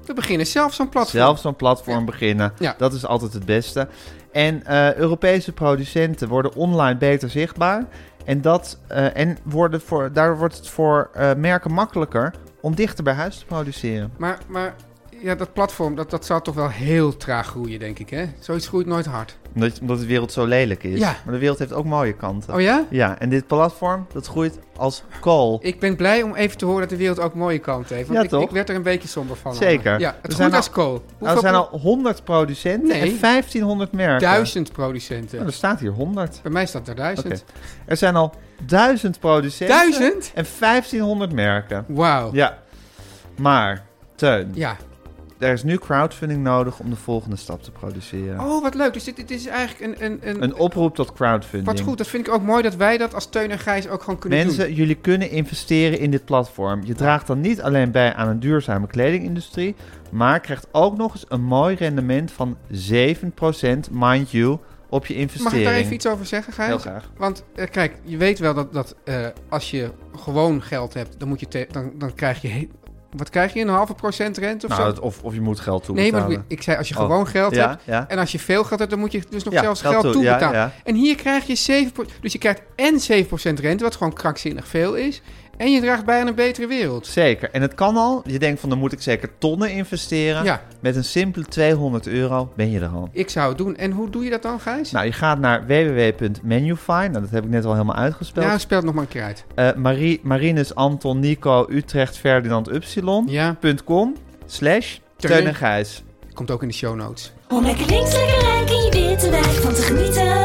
Speaker 3: We beginnen zelf zo'n platform.
Speaker 2: Zelf zo'n platform beginnen,
Speaker 3: Ja.
Speaker 2: dat is altijd het beste. En eh, Europese producenten worden online beter zichtbaar. En, dat, eh, en worden voor, daardoor wordt het voor eh, merken makkelijker om dichter bij huis te produceren.
Speaker 3: Maar, maar ja, dat platform, dat, dat zou toch wel heel traag groeien, denk ik, hè? Zoiets groeit nooit hard.
Speaker 2: Omdat, omdat de wereld zo lelijk is.
Speaker 3: Ja.
Speaker 2: Maar de wereld heeft ook mooie kanten.
Speaker 3: Oh ja?
Speaker 2: Ja, en dit platform, dat groeit als kool.
Speaker 3: Ik ben blij om even te horen dat de wereld ook mooie kanten heeft. Want
Speaker 2: Ja,
Speaker 3: ik,
Speaker 2: toch?
Speaker 3: ik werd er een beetje somber van.
Speaker 2: Zeker.
Speaker 3: Ja,
Speaker 2: We zijn
Speaker 3: het groeit
Speaker 2: al-
Speaker 3: als kool.
Speaker 2: Nou,
Speaker 3: Hoeveel
Speaker 2: er zijn al 100 producenten
Speaker 3: Nee.
Speaker 2: en 1500 merken.
Speaker 3: Duizend
Speaker 2: Nou,
Speaker 3: producenten.
Speaker 2: er staat hier 100.
Speaker 3: Bij mij staat er duizend.
Speaker 2: Oké. Er zijn al 1000 producenten
Speaker 3: Duizend?
Speaker 2: en 1500 merken.
Speaker 3: Wauw. Ja.
Speaker 2: Ja. Maar, Teun,
Speaker 3: ja.
Speaker 2: er is nu crowdfunding nodig om de volgende stap te produceren.
Speaker 3: Oh, wat leuk. Dus dit, dit is eigenlijk een... een, een,
Speaker 2: Een oproep tot crowdfunding.
Speaker 3: Wat goed. Dat vind ik ook mooi dat wij dat als Teun en Gijs ook gewoon kunnen
Speaker 2: Mensen,
Speaker 3: doen.
Speaker 2: jullie kunnen investeren in dit platform. Je draagt dan niet alleen bij aan een duurzame kledingindustrie, maar krijgt ook nog eens een mooi rendement van 7%, mind you, op je investering.
Speaker 3: Mag ik daar even iets over zeggen, Gijs?
Speaker 2: Heel graag.
Speaker 3: Want eh, kijk, je weet wel dat, dat eh, als je gewoon geld hebt, dan, moet je te- dan, dan krijg je... he- Wat krijg je? Een halve procent rente of
Speaker 2: Nou,
Speaker 3: zo?
Speaker 2: dat- of, of je moet geld
Speaker 3: nee,
Speaker 2: toebetalen.
Speaker 3: maar ik- ik zei als je
Speaker 2: Oh,
Speaker 3: gewoon geld
Speaker 2: ja,
Speaker 3: hebt...
Speaker 2: ja.
Speaker 3: en als je veel geld hebt, dan moet je dus nog
Speaker 2: Ja,
Speaker 3: zelfs
Speaker 2: geld
Speaker 3: geld,
Speaker 2: toe- ja,
Speaker 3: toebetalen.
Speaker 2: ja.
Speaker 3: En hier krijg je 7%. Dus je krijgt en 7% rente, wat gewoon krankzinnig veel is... En je draagt bij aan een betere wereld.
Speaker 2: Zeker. En het kan al. Je denkt van, dan moet ik zeker tonnen investeren.
Speaker 3: Ja.
Speaker 2: Met een simpele 200 euro ben je er al.
Speaker 3: Ik zou het doen. En hoe doe je dat dan, Gijs?
Speaker 2: Nou, je gaat naar www.menufind. Nou, dat heb ik net al helemaal uitgespeeld.
Speaker 3: ja, speel het nog maar een keer uit.
Speaker 2: Eh, Marie, Marinus Anton Nico Utrecht Ferdinand Upsilon.
Speaker 3: Ja,
Speaker 2: .com slash
Speaker 3: Teun en
Speaker 2: Teun en Gijs.
Speaker 3: komt ook in de show notes.
Speaker 5: Om lekker links, lekker rijk in je witte wijk van te genieten.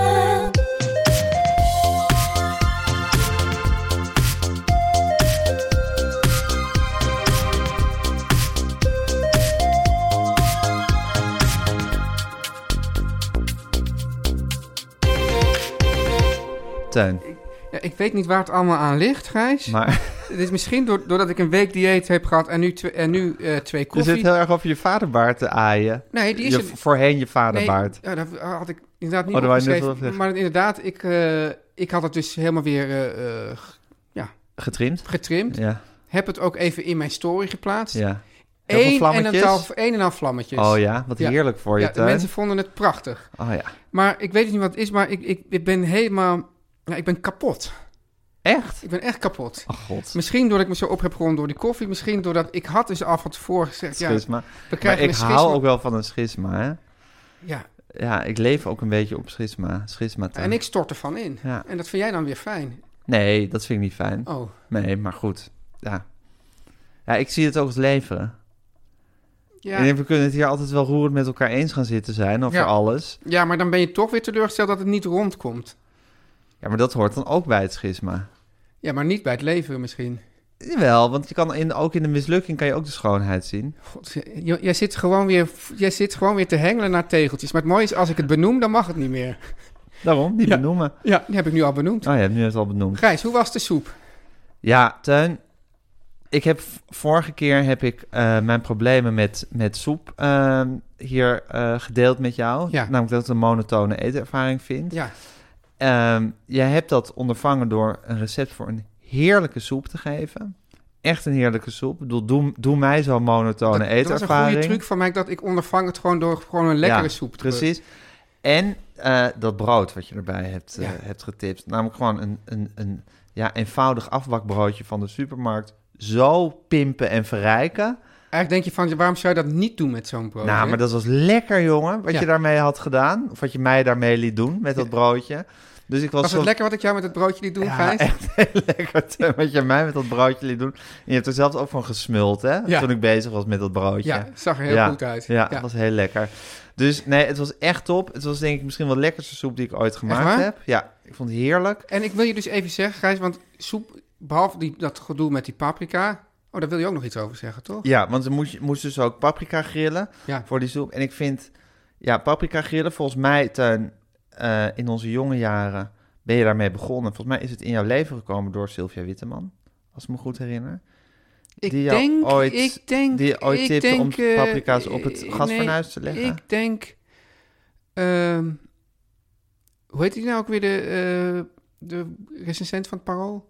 Speaker 2: Teun.
Speaker 3: Ja, ik weet niet waar het allemaal aan ligt, Gijs.
Speaker 2: *laughs* Maar
Speaker 3: Het is misschien door- doordat ik een week dieet heb gehad en nu, twe- en nu eh, twee
Speaker 2: je
Speaker 3: koffie.
Speaker 2: zit heel erg over je vaderbaard te aaien.
Speaker 3: Nee, die is
Speaker 2: je,
Speaker 3: er-
Speaker 2: Voorheen je
Speaker 3: nee,
Speaker 2: vaderbaard.
Speaker 3: ja, dat had ik inderdaad niet
Speaker 2: Oh, daar wou je net
Speaker 3: opgeschreven.
Speaker 2: wel zeggen.
Speaker 3: maar inderdaad, ik, eh, ik had het dus helemaal weer eh, eh, g-
Speaker 2: Getrimd?
Speaker 3: getrimd.
Speaker 2: Ja,
Speaker 3: Heb het ook even in mijn story geplaatst.
Speaker 2: ja. Heel veel
Speaker 3: Eén en een
Speaker 2: vlammetjes?
Speaker 3: half, één en een half vlammetjes.
Speaker 2: Oh ja, wat
Speaker 3: Ja.
Speaker 2: heerlijk voor je,
Speaker 3: Ja, de
Speaker 2: Teun.
Speaker 3: mensen vonden het prachtig.
Speaker 2: Oh ja.
Speaker 3: Maar ik weet dus niet wat het is, maar ik, ik, ik ben helemaal... Ja, ik ben kapot.
Speaker 2: Echt?
Speaker 3: Ik ben echt kapot.
Speaker 2: Oh god.
Speaker 3: Misschien doordat ik me zo op heb gewonnen door die koffie. Misschien doordat ik had dus al van tevoren gezegd... Ja,
Speaker 2: Schisma.
Speaker 3: we
Speaker 2: maar
Speaker 3: krijgen
Speaker 2: ik
Speaker 3: een
Speaker 2: hou
Speaker 3: schisma.
Speaker 2: ook wel van een schisma, hè.
Speaker 3: Ja,
Speaker 2: Ja, ik leef ook een beetje op schisma. Schisma, Teun.
Speaker 3: en ik stort ervan in.
Speaker 2: Ja.
Speaker 3: En dat vind jij dan weer fijn.
Speaker 2: Nee, dat vind ik niet fijn.
Speaker 3: Oh,
Speaker 2: Nee, maar goed. Ja. Ja, ik zie het ook als leveren.
Speaker 3: ja.
Speaker 2: En ik- we kunnen het hier altijd wel roerend met elkaar eens gaan zitten zijn over
Speaker 3: Ja.
Speaker 2: alles.
Speaker 3: ja, maar dan ben je toch weer teleurgesteld dat het niet rondkomt.
Speaker 2: Ja, maar dat hoort dan ook bij het schisma.
Speaker 3: Ja, maar niet bij het leven misschien.
Speaker 2: Jawel, want je kan in, ook in de mislukking kan je ook de schoonheid zien.
Speaker 3: God, j- jij, zit gewoon weer, jij zit gewoon weer te hengelen naar tegeltjes. Maar het mooie is, als ik het benoem, dan mag het niet meer.
Speaker 2: Daarom, die
Speaker 3: Ja.
Speaker 2: benoemen. Oh,
Speaker 3: Ja, die heb ik nu al benoemd.
Speaker 2: je hebt nu het al benoemd.
Speaker 3: Gijs, hoe was de soep?
Speaker 2: Ja, Tuin. Ik heb v- vorige keer heb ik eh, mijn problemen met, met soep eh, hier eh, gedeeld met jou.
Speaker 3: Ja.
Speaker 2: Namelijk dat ik het een monotone eetervaring vind.
Speaker 3: Ja,
Speaker 2: Ehm, jij hebt dat ondervangen door een recept voor een heerlijke soep te geven. Echt een heerlijke soep. Ik bedoel, doe, doe mij zo'n monotone
Speaker 3: dat, dat was een goede
Speaker 2: Oh, eetervaring.
Speaker 3: truc van mij. Dat ik ondervang het gewoon door gewoon een lekkere
Speaker 2: Ja,
Speaker 3: soep te
Speaker 2: Precies. En eh, dat brood wat je erbij hebt, eh,
Speaker 3: Ja.
Speaker 2: hebt getipt. Namelijk gewoon een, een, een ja, eenvoudig afbakbroodje van de supermarkt. Zo pimpen en verrijken.
Speaker 3: Eigenlijk denk je van, waarom zou je dat niet doen met zo'n brood?
Speaker 2: nou,
Speaker 3: hè?
Speaker 2: maar dat was lekker, jongen. Wat
Speaker 3: Ja.
Speaker 2: je daarmee had gedaan. Of wat je mij daarmee liet doen met dat broodje. Dus ik was,
Speaker 3: was
Speaker 2: zo
Speaker 3: het lekker wat ik jou met het broodje liet doen,
Speaker 2: Ja,
Speaker 3: Gijs?
Speaker 2: echt *laughs* heel lekker. Tim, Wat je mij met dat broodje liet doen. En je hebt er zelfs ook van gesmuld, hè?
Speaker 3: Ja.
Speaker 2: Toen ik bezig was met dat broodje.
Speaker 3: Ja, zag er heel
Speaker 2: Ja,
Speaker 3: goed uit.
Speaker 2: Ja, dat was heel lekker. Dus nee, het was echt top. Het was denk ik misschien wel de lekkerste soep die ik ooit
Speaker 3: Echt
Speaker 2: gemaakt
Speaker 3: waar?
Speaker 2: heb. Ja, ik vond het heerlijk.
Speaker 3: En ik wil je dus even zeggen, Gijs, want soep, behalve die, dat gedoe met die paprika... Oh, daar wil je ook nog iets over zeggen, toch?
Speaker 2: Ja, want ze moest, je- moest dus ook paprika grillen
Speaker 3: Ja.
Speaker 2: voor die soep. En ik vind, ja, paprika grillen, volgens mij, Teun, eh, in onze jonge jaren ben je daarmee begonnen. Volgens mij is het in jouw leven gekomen door Sylvia Witteman, als ik me goed herinner.
Speaker 3: Ik
Speaker 2: die jou
Speaker 3: denk,
Speaker 2: ooit-
Speaker 3: ik denk,
Speaker 2: die je ooit
Speaker 3: ik
Speaker 2: tipte om
Speaker 3: denk, eh,
Speaker 2: paprika's op het
Speaker 3: eh,
Speaker 2: gasfornuis te leggen.
Speaker 3: Ik denk, ehm, hoe heet die nou ook weer de, eh, de recensent van het Parool?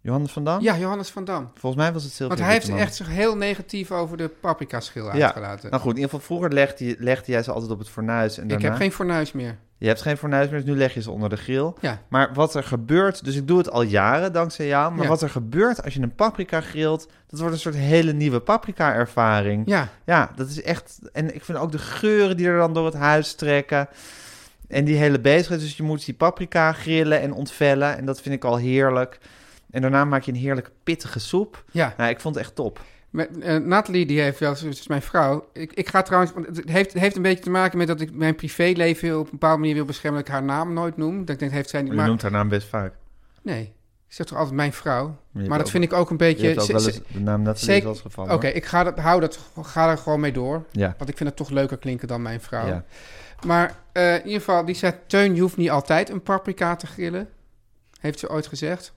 Speaker 2: Johannes van Dam?
Speaker 3: Ja, Johannes van Dam.
Speaker 2: Volgens mij was het Sylvia
Speaker 3: Want hij heeft
Speaker 2: Witteman.
Speaker 3: echt zich heel negatief over de paprika-schil
Speaker 2: Ja.
Speaker 3: uitgelaten.
Speaker 2: Nou goed, in ieder geval vroeger legde, je- legde jij ze altijd op het fornuis. En
Speaker 3: ik
Speaker 2: daarna...
Speaker 3: heb geen fornuis meer.
Speaker 2: Je hebt geen fornuis meer, dus nu leg je ze onder de grill.
Speaker 3: Ja.
Speaker 2: Maar wat er gebeurt, dus ik doe het al jaren dankzij jou, maar
Speaker 3: Ja.
Speaker 2: wat er gebeurt als je een paprika grilt, dat wordt een soort hele nieuwe paprika ervaring.
Speaker 3: Ja,
Speaker 2: dat is echt, en ik vind ook de geuren die er dan door het huis trekken en die hele bezigheid. Dus je moet die paprika grillen en ontvellen en dat vind ik al heerlijk. En daarna maak je een heerlijke pittige soep.
Speaker 3: ja.
Speaker 2: Nou, ik vond het echt top.
Speaker 3: Met, eh, Nathalie, die heeft wel, dus mijn vrouw. Ik, ik ga trouwens, want het heeft, het heeft een beetje te maken met dat ik mijn privéleven op een bepaalde manier wil beschermen. Dat ik haar naam nooit noem. Dat ik denk, heeft zij niet.
Speaker 2: Oh, Je
Speaker 3: Maar,
Speaker 2: noemt haar naam best vaak.
Speaker 3: Nee, ik zeg toch altijd mijn vrouw.
Speaker 2: hebt
Speaker 3: Maar dat
Speaker 2: ook-
Speaker 3: vind ik ook een beetje.
Speaker 2: Je hebt ook
Speaker 3: ze-
Speaker 2: wel eens oh,
Speaker 3: ze-
Speaker 2: de naam Nathalie
Speaker 3: zeker-
Speaker 2: is wel eens gevallen.
Speaker 3: Oké, ik ga, dat, hou dat, ga er gewoon mee door.
Speaker 2: Ja.
Speaker 3: Want ik vind het toch leuker klinken dan mijn vrouw.
Speaker 2: Ja.
Speaker 3: Maar eh, in ieder geval, die zei: Teun, je hoeft niet altijd een paprika te grillen. Heeft ze ooit gezegd?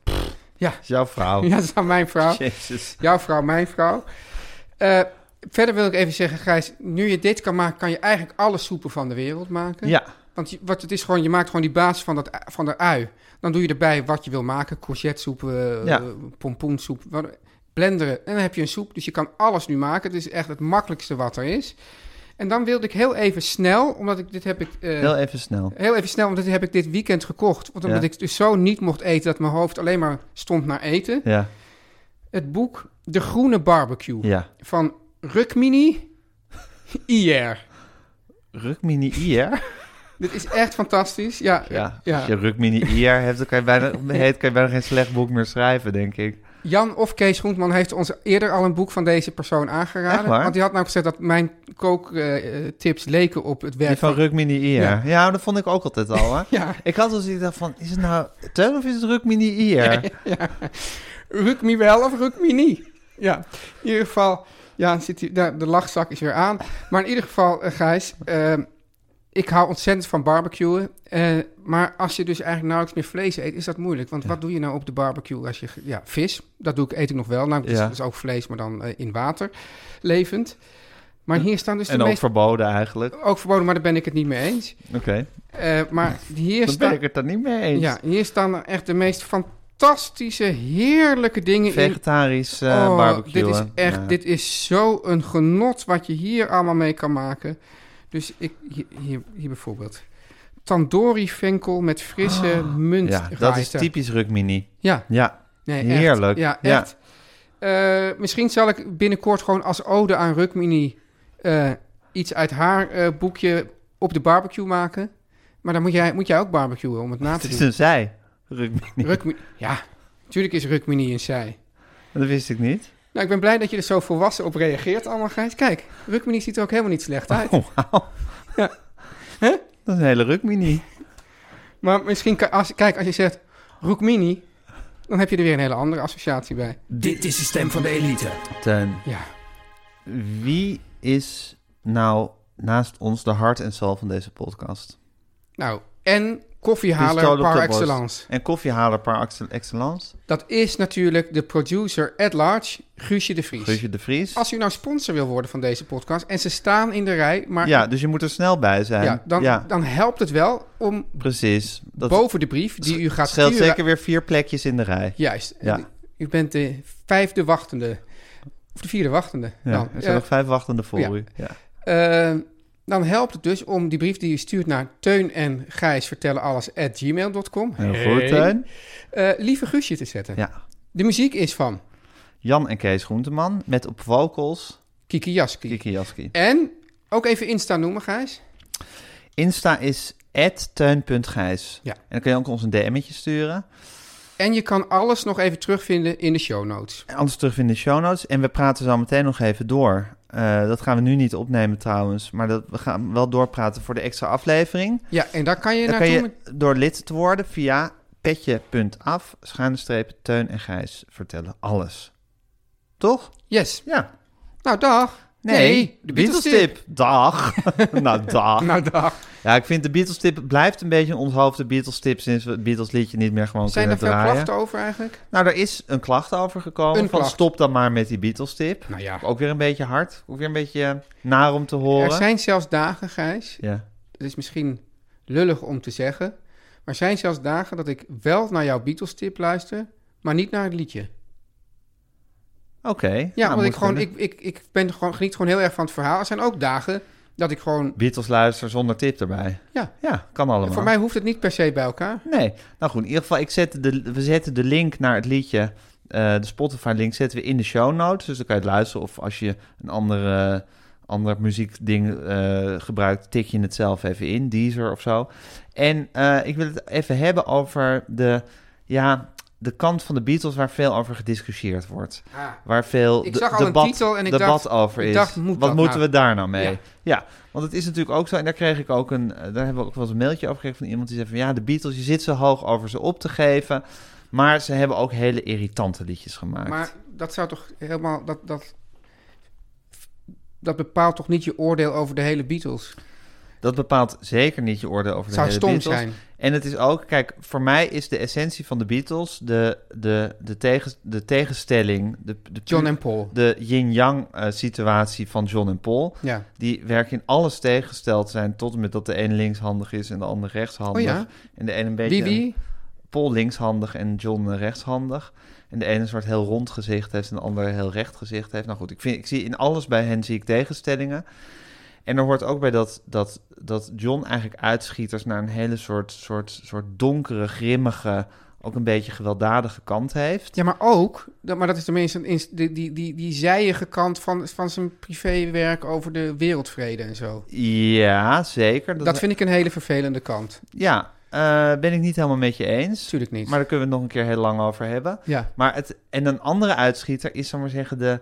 Speaker 2: Is jouw vrouw.
Speaker 3: *laughs* Ja, dat is aan mijn vrouw.
Speaker 2: Jezus.
Speaker 3: Jouw vrouw, mijn vrouw. Eh, verder wil ik even zeggen, Gijs, nu je dit kan maken, kan je eigenlijk alle soepen van de wereld maken.
Speaker 2: Ja,
Speaker 3: Want je, wat het is gewoon, je maakt gewoon die basis van, dat, van de ui. Dan doe je erbij wat je wil maken. Courgette-soep, eh,
Speaker 2: Ja.
Speaker 3: pompoensoep, wat- blenderen. En dan heb je een soep. Dus je kan alles nu maken. Het is echt het makkelijkste wat er is. En dan wilde ik heel even snel, omdat ik dit heb ik... eh,
Speaker 2: Heel even snel.
Speaker 3: Heel even snel, want dit heb ik dit weekend gekocht. Want omdat
Speaker 2: Ja.
Speaker 3: ik dus zo niet mocht eten dat mijn hoofd alleen maar stond naar eten.
Speaker 2: Ja,
Speaker 3: Het boek De Groene Barbecue
Speaker 2: ja.
Speaker 3: van Rukmini IR.
Speaker 2: Rukmini IR?
Speaker 3: Dit is echt fantastisch. Ja,
Speaker 2: Ja, als
Speaker 3: ja.
Speaker 2: je Rukmini IR hebt, dan kan je, bijna,
Speaker 3: *laughs*
Speaker 2: heet, kan je bijna geen slecht boek meer schrijven, denk ik.
Speaker 3: Jan of Kees Groentman heeft ons eerder al een boek van deze persoon aangeraden.
Speaker 2: Echt waar?
Speaker 3: Want die had nou gezegd dat mijn kooktips leken op het werk
Speaker 2: Die van Rukmini IR.
Speaker 3: Ja.
Speaker 2: Ja. nou, dat vond ik ook altijd al, hè.
Speaker 3: Ja.
Speaker 2: Ik had dus ik dacht van, is het nou Teun of is het Rukmini IR?
Speaker 3: Rukmi wel of Rukmi niet. Ja, in ieder geval, ja, zit hier, nou, de lachzak is weer aan. Maar in ieder geval, eh, Gijs, ehm, ik hou ontzettend van barbecuen. eh, maar als je dus eigenlijk nauwelijks meer vlees eet, is dat moeilijk. Want wat doe je nou op de barbecue als je... ge- Ja, vis, dat doe ik, eet ik nog wel. Nou, dat is,
Speaker 2: Ja.
Speaker 3: dat is ook vlees, maar dan eh, in water, levend. Maar hier staan dus
Speaker 2: En
Speaker 3: de
Speaker 2: ook
Speaker 3: meest...
Speaker 2: verboden eigenlijk.
Speaker 3: Ook verboden, maar daar ben ik het niet mee eens.
Speaker 2: Oké,
Speaker 3: Eh, maar hier
Speaker 2: dan ben
Speaker 3: staan...
Speaker 2: ik het dan niet mee eens.
Speaker 3: Ja, hier staan er echt de meest fantastische, heerlijke dingen in.
Speaker 2: Vegetarisch eh
Speaker 3: Oh,
Speaker 2: barbecue.
Speaker 3: Dit is
Speaker 2: hè?
Speaker 3: echt,
Speaker 2: Ja.
Speaker 3: dit is zo een genot wat je hier allemaal mee kan maken. Dus ik, hier, hier, hier bijvoorbeeld. Tandoori venkel met frisse munt.
Speaker 2: Ah, Ja, dat is
Speaker 3: raita.
Speaker 2: typisch Rukmini.
Speaker 3: Ja,
Speaker 2: Ja,
Speaker 3: nee, echt.
Speaker 2: heerlijk.
Speaker 3: Ja,
Speaker 2: Ja.
Speaker 3: echt. Eh, misschien zal ik binnenkort gewoon als ode aan Rukmini eh, iets uit haar eh, boekje op de barbecue maken. Maar dan moet jij, moet jij ook barbecuen om het na
Speaker 2: het
Speaker 3: te
Speaker 2: is
Speaker 3: doen.
Speaker 2: een zij, Rukmini.
Speaker 3: Rukmini, ja, natuurlijk is Rukmini een zij.
Speaker 2: Dat wist ik niet.
Speaker 3: Nou, ik ben blij dat je er zo volwassen op reageert allemaal, Gijs. Kijk, Rukmini ziet er ook helemaal niet slecht uit.
Speaker 2: Oh, wauw.
Speaker 3: Ja. Hè?
Speaker 2: Dat is een hele Rukmini.
Speaker 3: Maar misschien, kan- als, kijk, als je zegt Rukmini, dan heb je er weer een hele andere associatie bij.
Speaker 4: Dit is de stem van de elite.
Speaker 2: Teun,
Speaker 3: Ja,
Speaker 2: wie is nou naast ons de hart en ziel van deze podcast?
Speaker 3: nou, en
Speaker 2: Pistool
Speaker 3: koffiehaler
Speaker 2: op
Speaker 3: par
Speaker 2: de borst.
Speaker 3: excellence.
Speaker 2: En koffiehaler par excel- excellence,
Speaker 3: Dat is natuurlijk de producer at large, Guusje de Vries.
Speaker 2: Guusje de Vries.
Speaker 3: Als u nou sponsor wil worden van deze podcast en ze staan in de rij, maar
Speaker 2: Ja, dus je moet er snel bij zijn.
Speaker 3: ja, dan, dan helpt het wel om
Speaker 2: precies. Dat
Speaker 3: boven de brief die u gaat
Speaker 2: scheelt
Speaker 3: sturen
Speaker 2: zeker weer vier plekjes in de rij.
Speaker 3: Juist.
Speaker 2: Ja.
Speaker 3: U bent de vijfde wachtende. Of de vierde wachtende.
Speaker 2: Ja,
Speaker 3: dan,
Speaker 2: er zijn nog vijf wachtende voor
Speaker 3: ja.
Speaker 2: u. Ja.
Speaker 3: Eh, eh, dan helpt het dus om die brief die u stuurt naar teun en gijs vertellen alles at gmail.com.
Speaker 2: Heel goed, Teun.
Speaker 3: Eh, lieve Guusje te zetten.
Speaker 2: Ja.
Speaker 3: De muziek is van
Speaker 2: Jan en Kees Groenteman met op vocals
Speaker 3: Kiki Jaski.
Speaker 2: Kiki Jaski.
Speaker 3: En ook even Insta noemen, Gijs.
Speaker 2: Insta is @teun.gijs.
Speaker 3: Ja.
Speaker 2: En dan kun je ook ons een DM'tje sturen.
Speaker 3: En je kan alles nog even terugvinden in de show notes.
Speaker 2: En Anders terug in de show notes. En we praten zo meteen nog even door. Eh, dat gaan we nu niet opnemen trouwens. Maar dat, we gaan wel doorpraten voor de extra aflevering.
Speaker 3: Ja, en daar kan je
Speaker 2: Dan kan
Speaker 3: naartoe.
Speaker 2: je
Speaker 3: met-
Speaker 2: door lid te worden via petje.af, schuine streep, Teun en Gijs vertellen alles. Toch?
Speaker 3: Yes.
Speaker 2: Ja.
Speaker 3: Nou, dag. de Beatles tip.
Speaker 2: Dag.
Speaker 3: *laughs*
Speaker 2: nou, dag.
Speaker 3: Nou, dag.
Speaker 2: Ja, ik vind de Beatles tip blijft een beetje een onthoofde Beatles tip sinds we het Beatles liedje niet meer gewoon
Speaker 3: Zijn er
Speaker 2: kunnen
Speaker 3: veel
Speaker 2: draaien.
Speaker 3: klachten over eigenlijk?
Speaker 2: Nou, er is een klacht over gekomen.
Speaker 3: Een
Speaker 2: van
Speaker 3: klacht.
Speaker 2: stop dan maar met die Beatles tip.
Speaker 3: Nou ja.
Speaker 2: Ook weer een beetje hard. Ook weer een beetje eh, naar om te horen.
Speaker 3: Er zijn zelfs dagen, Gijs.
Speaker 2: Ja.
Speaker 3: Het is misschien lullig om te zeggen. Maar er zijn zelfs dagen dat ik wel naar jouw Beatles-tip luister, maar niet naar het liedje.
Speaker 2: Oké.
Speaker 3: Ja,
Speaker 2: Nou,
Speaker 3: want
Speaker 2: moet
Speaker 3: ik, gewoon,
Speaker 2: kunnen.
Speaker 3: ik, ik, ik ben gewoon, geniet gewoon heel erg van het verhaal. Er zijn ook dagen dat ik gewoon...
Speaker 2: Beatles luister zonder tip erbij.
Speaker 3: Ja,
Speaker 2: Ja, kan allemaal.
Speaker 3: voor mij hoeft het niet per se bij elkaar.
Speaker 2: Nee. Nou goed, in ieder geval, ik zet de, we zetten de link naar het liedje. eh, de Spotify-link zetten we in de show notes. Dus dan kan je het luisteren. Of als je een andere, ander muziekding eh, gebruikt, tik je het zelf even in. Deezer of zo. En eh, ik wil het even hebben over de, ja, de kant van de Beatles waar veel over gediscussieerd wordt.
Speaker 3: Ah,
Speaker 2: Waar veel
Speaker 3: Ik
Speaker 2: de-
Speaker 3: zag al een
Speaker 2: debat,
Speaker 3: titel en ik
Speaker 2: debat
Speaker 3: dacht-
Speaker 2: over
Speaker 3: ik
Speaker 2: is.
Speaker 3: dacht, moet
Speaker 2: Wat
Speaker 3: dat
Speaker 2: moeten
Speaker 3: nou?
Speaker 2: we daar nou mee?
Speaker 3: Ja.
Speaker 2: Ja. want het is natuurlijk ook zo. En daar kreeg ik ook een. eh, Daar hebben we ook wel eens een mailtje over gekregen van iemand die zei van ja, de Beatles, je zit zo hoog over ze op te geven. Maar ze hebben ook hele irritante liedjes gemaakt.
Speaker 3: maar dat zou toch helemaal... Dat, dat, dat bepaalt toch niet je oordeel over de hele Beatles?
Speaker 2: Dat bepaalt zeker niet je oordeel over de
Speaker 3: Het zou
Speaker 2: hele
Speaker 3: stom
Speaker 2: Beatles.
Speaker 3: zijn.
Speaker 2: En het is ook, kijk, voor mij is de essentie van de Beatles de, de, de, tegen, de tegenstelling, de, de,
Speaker 3: John en Paul.
Speaker 2: de yin-yang eh, situatie van John en Paul.
Speaker 3: Ja.
Speaker 2: die werken in alles tegengesteld zijn. Tot en met dat de een linkshandig is en de ander rechtshandig.
Speaker 3: Oh ja?
Speaker 2: En de een een beetje
Speaker 3: Wie, wie?
Speaker 2: Paul linkshandig en John eh, rechtshandig. En de ene een soort heel rond gezicht heeft en de ander een heel recht gezicht heeft. Nou goed, ik, vind, ik zie in alles bij hen zie ik tegenstellingen. En er hoort ook bij dat, dat, dat John eigenlijk uitschieters naar een hele soort, soort, soort donkere, grimmige, ook een beetje gewelddadige kant heeft.
Speaker 3: Ja, maar ook, dat, maar dat is tenminste een ins- die, die, die, die zijige kant van, van zijn privéwerk over de wereldvrede en zo.
Speaker 2: Ja, zeker.
Speaker 3: Dat vind ik een hele vervelende kant.
Speaker 2: Ja, eh, ben ik niet helemaal met je eens.
Speaker 3: Natuurlijk niet.
Speaker 2: Maar daar kunnen we het nog een keer heel lang over hebben.
Speaker 3: ja.
Speaker 2: Maar het, en een andere uitschieter is, zal ik maar zeggen, de,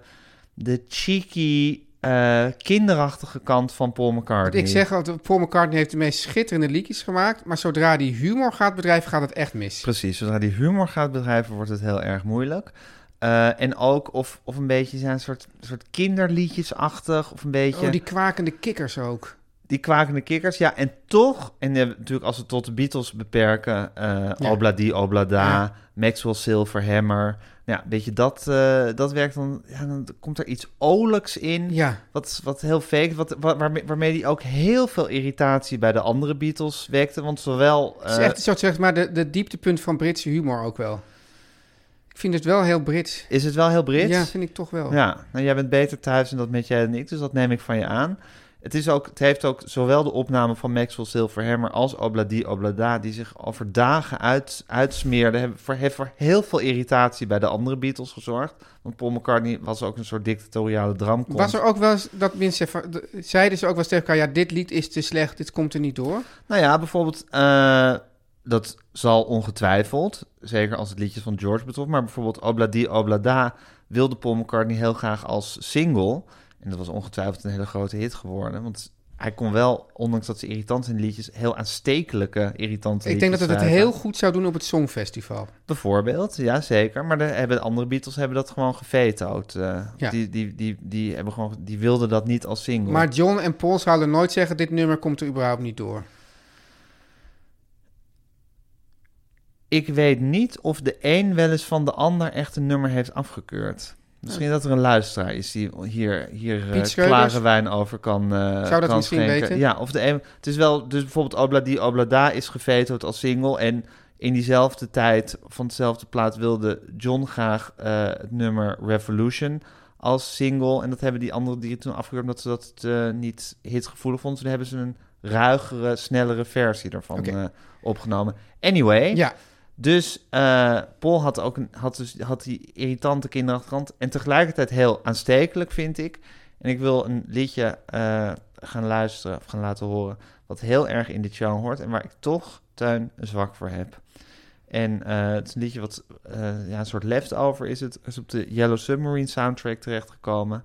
Speaker 2: de cheeky, eh, kinderachtige kant van Paul McCartney.
Speaker 3: Ik zeg altijd, Paul McCartney heeft de meest schitterende liedjes gemaakt, maar zodra die humor gaat bedrijven, gaat het echt mis.
Speaker 2: Precies, zodra die humor gaat bedrijven, wordt het heel erg moeilijk. Eh, en ook of, of een beetje zijn soort, soort kinderliedjesachtig, of een beetje
Speaker 3: Oh, die
Speaker 2: die...
Speaker 3: kwakende kikkers ook.
Speaker 2: kwakende kikkers. Ja, en toch, en eh, natuurlijk als we het tot de Beatles beperken, eh
Speaker 3: Ja.
Speaker 2: Obladi, Oblada,
Speaker 3: Ja.
Speaker 2: Maxwell Silverhammer. Nou Ja, weet je, dat, eh, dat werkt dan, ja, dan komt er iets olijks in.
Speaker 3: Ja,
Speaker 2: Wat, wat heel fake, wat, wa- waarmee, waarmee die ook heel veel irritatie bij de andere Beatles wekte. Want zowel...
Speaker 3: het is
Speaker 2: eh,
Speaker 3: echt zo gezegd, maar de, de dieptepunt van Britse humor ook wel. Ik vind het wel heel Brits.
Speaker 2: eh, is het wel heel Brits?
Speaker 3: Ja, vind ik toch wel.
Speaker 2: Ja, nou, jij bent beter thuis en dat met jij en ik, dus dat neem ik van je aan. Het, is ook, het heeft ook zowel de opname van Maxwell Silverhammer als Obladi Oblada, die zich over dagen uit, uitsmeerden, hebben voor, heeft voor heel veel irritatie bij de andere Beatles gezorgd. Want Paul McCartney was ook een soort dictatoriale dramkont.
Speaker 3: Was er ook wel eens, dat mensen van- de- zeiden ze ook wel eens tegen elkaar, ja, dit lied is te slecht, dit komt er niet door.
Speaker 2: Nou ja, bijvoorbeeld, eh, dat zal ongetwijfeld, zeker als het liedjes van George betrof, maar bijvoorbeeld Obladi Oblada wilde Paul McCartney heel graag als single. En dat was ongetwijfeld een hele grote hit geworden, want hij kon wel, ondanks dat ze irritant zijn liedjes, heel aanstekelijke irritante
Speaker 3: ik denk
Speaker 2: liedjes
Speaker 3: dat het het
Speaker 2: schrijven.
Speaker 3: heel goed zou doen op het Songfestival.
Speaker 2: Bijvoorbeeld, ja zeker. Maar de, hebben, de andere Beatles hebben dat gewoon gevetood. eh.
Speaker 3: Ja.
Speaker 2: die, die, die, die, hebben gewoon, die wilden dat niet als single.
Speaker 3: Maar John en Paul zouden nooit zeggen, dit nummer komt er überhaupt niet door.
Speaker 2: Ik weet niet of de een wel eens van de ander echt een nummer heeft afgekeurd. Misschien dat er een luisteraar is die hier, hier eh,
Speaker 3: Oh. Piet Schreuders?
Speaker 2: klare wijn over kan eh
Speaker 3: Zou dat
Speaker 2: kan
Speaker 3: misschien
Speaker 2: schenken.
Speaker 3: weten?
Speaker 2: Ja, of de een... Het is wel... Dus bijvoorbeeld Obladi Oblada is gevetoed als single. En in diezelfde tijd van dezelfde plaat wilde John graag eh, het nummer Revolution als single. En dat hebben die anderen die toen afgekeurd omdat ze dat eh, niet hitgevoelig vonden. Toen hebben ze een ruigere, snellere versie daarvan
Speaker 3: Oké.
Speaker 2: eh, opgenomen. Anyway...
Speaker 3: Ja,
Speaker 2: Dus eh, Paul had ook een, had dus, had die irritante kinderachterkant. En tegelijkertijd heel aanstekelijk, vind ik. En ik wil een liedje eh, gaan luisteren of gaan laten horen. Wat heel erg in dit genre hoort. En waar ik toch, Tuin, een zwak voor heb. En eh, het is een liedje wat eh, ja, een soort leftover is. Het is op de Yellow Submarine soundtrack terechtgekomen.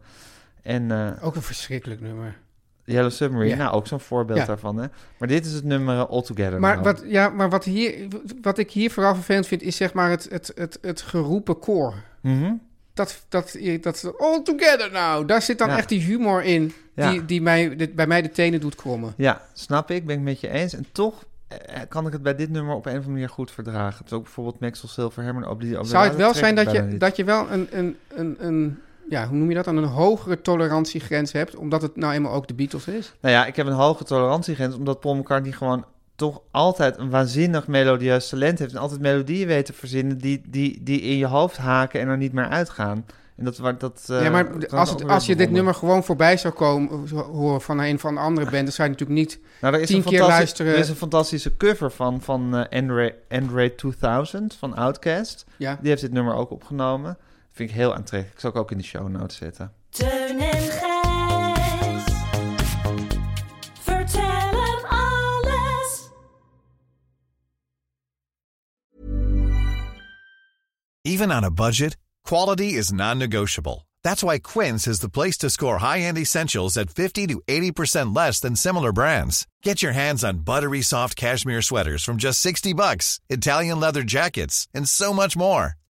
Speaker 2: En eh,
Speaker 3: ook een verschrikkelijk nummer.
Speaker 2: Yellow Submarine,
Speaker 3: Ja.
Speaker 2: nou ook zo'n voorbeeld
Speaker 3: Ja.
Speaker 2: daarvan. Hè? Maar dit is het nummer eh, All Together.
Speaker 3: Maar,
Speaker 2: Now.
Speaker 3: wat, ja, maar wat, hier, wat ik hier vooral vervelend vind, is zeg maar het, het, het, het geroepen koor.
Speaker 2: Mhm.
Speaker 3: Dat, dat, dat, all together now, daar zit dan
Speaker 2: Ja.
Speaker 3: echt die humor in
Speaker 2: Ja.
Speaker 3: die, die mij, dit- bij mij de tenen doet krommen.
Speaker 2: Ja, snap ik, ben ik met je eens. En toch eh, kan ik het bij dit nummer op een of andere manier goed verdragen. Dus ook bijvoorbeeld Maxwell Silverhammer en Obli
Speaker 3: Zou het wel zijn dat je, dat je wel een, een, een, een, ja, hoe noem je dat dan, een hogere tolerantiegrens hebt, omdat het nou eenmaal ook de Beatles is?
Speaker 2: Nou ja, ik heb een hoge tolerantiegrens, omdat Paul McCartney gewoon toch altijd een waanzinnig melodieus talent heeft. En altijd melodieën weet te verzinnen die, die, die in je hoofd haken en er niet meer uitgaan. En dat... waar- dat eh,
Speaker 3: ja,
Speaker 2: kan
Speaker 3: maar
Speaker 2: ik
Speaker 3: als,
Speaker 2: ook
Speaker 3: het,
Speaker 2: wel
Speaker 3: als je dit
Speaker 2: bewonderen.
Speaker 3: nummer gewoon voorbij zou komen, zou horen van een van de andere band, dan zou je natuurlijk niet...
Speaker 2: Nou, er is
Speaker 3: tien
Speaker 2: een
Speaker 3: keer
Speaker 2: fantastisch-
Speaker 3: luisteren.
Speaker 2: Er is een fantastische cover van, van eh, Andre, Andre 2000 van Outkast.
Speaker 3: Ja.
Speaker 2: Die heeft dit nummer ook opgenomen. Vind ik heel aantrekkelijk. Ik zal ik ook in de show notes zetten.
Speaker 5: Teun en Gijs. Vertel hem alles.
Speaker 7: Even on a budget, quality is non-negotiable. That's why Quince is the place to score high-end essentials at 50 to 80% less than similar brands. Get your hands on buttery soft cashmere sweaters from just 60 bucks, Italian leather jackets, and so much more.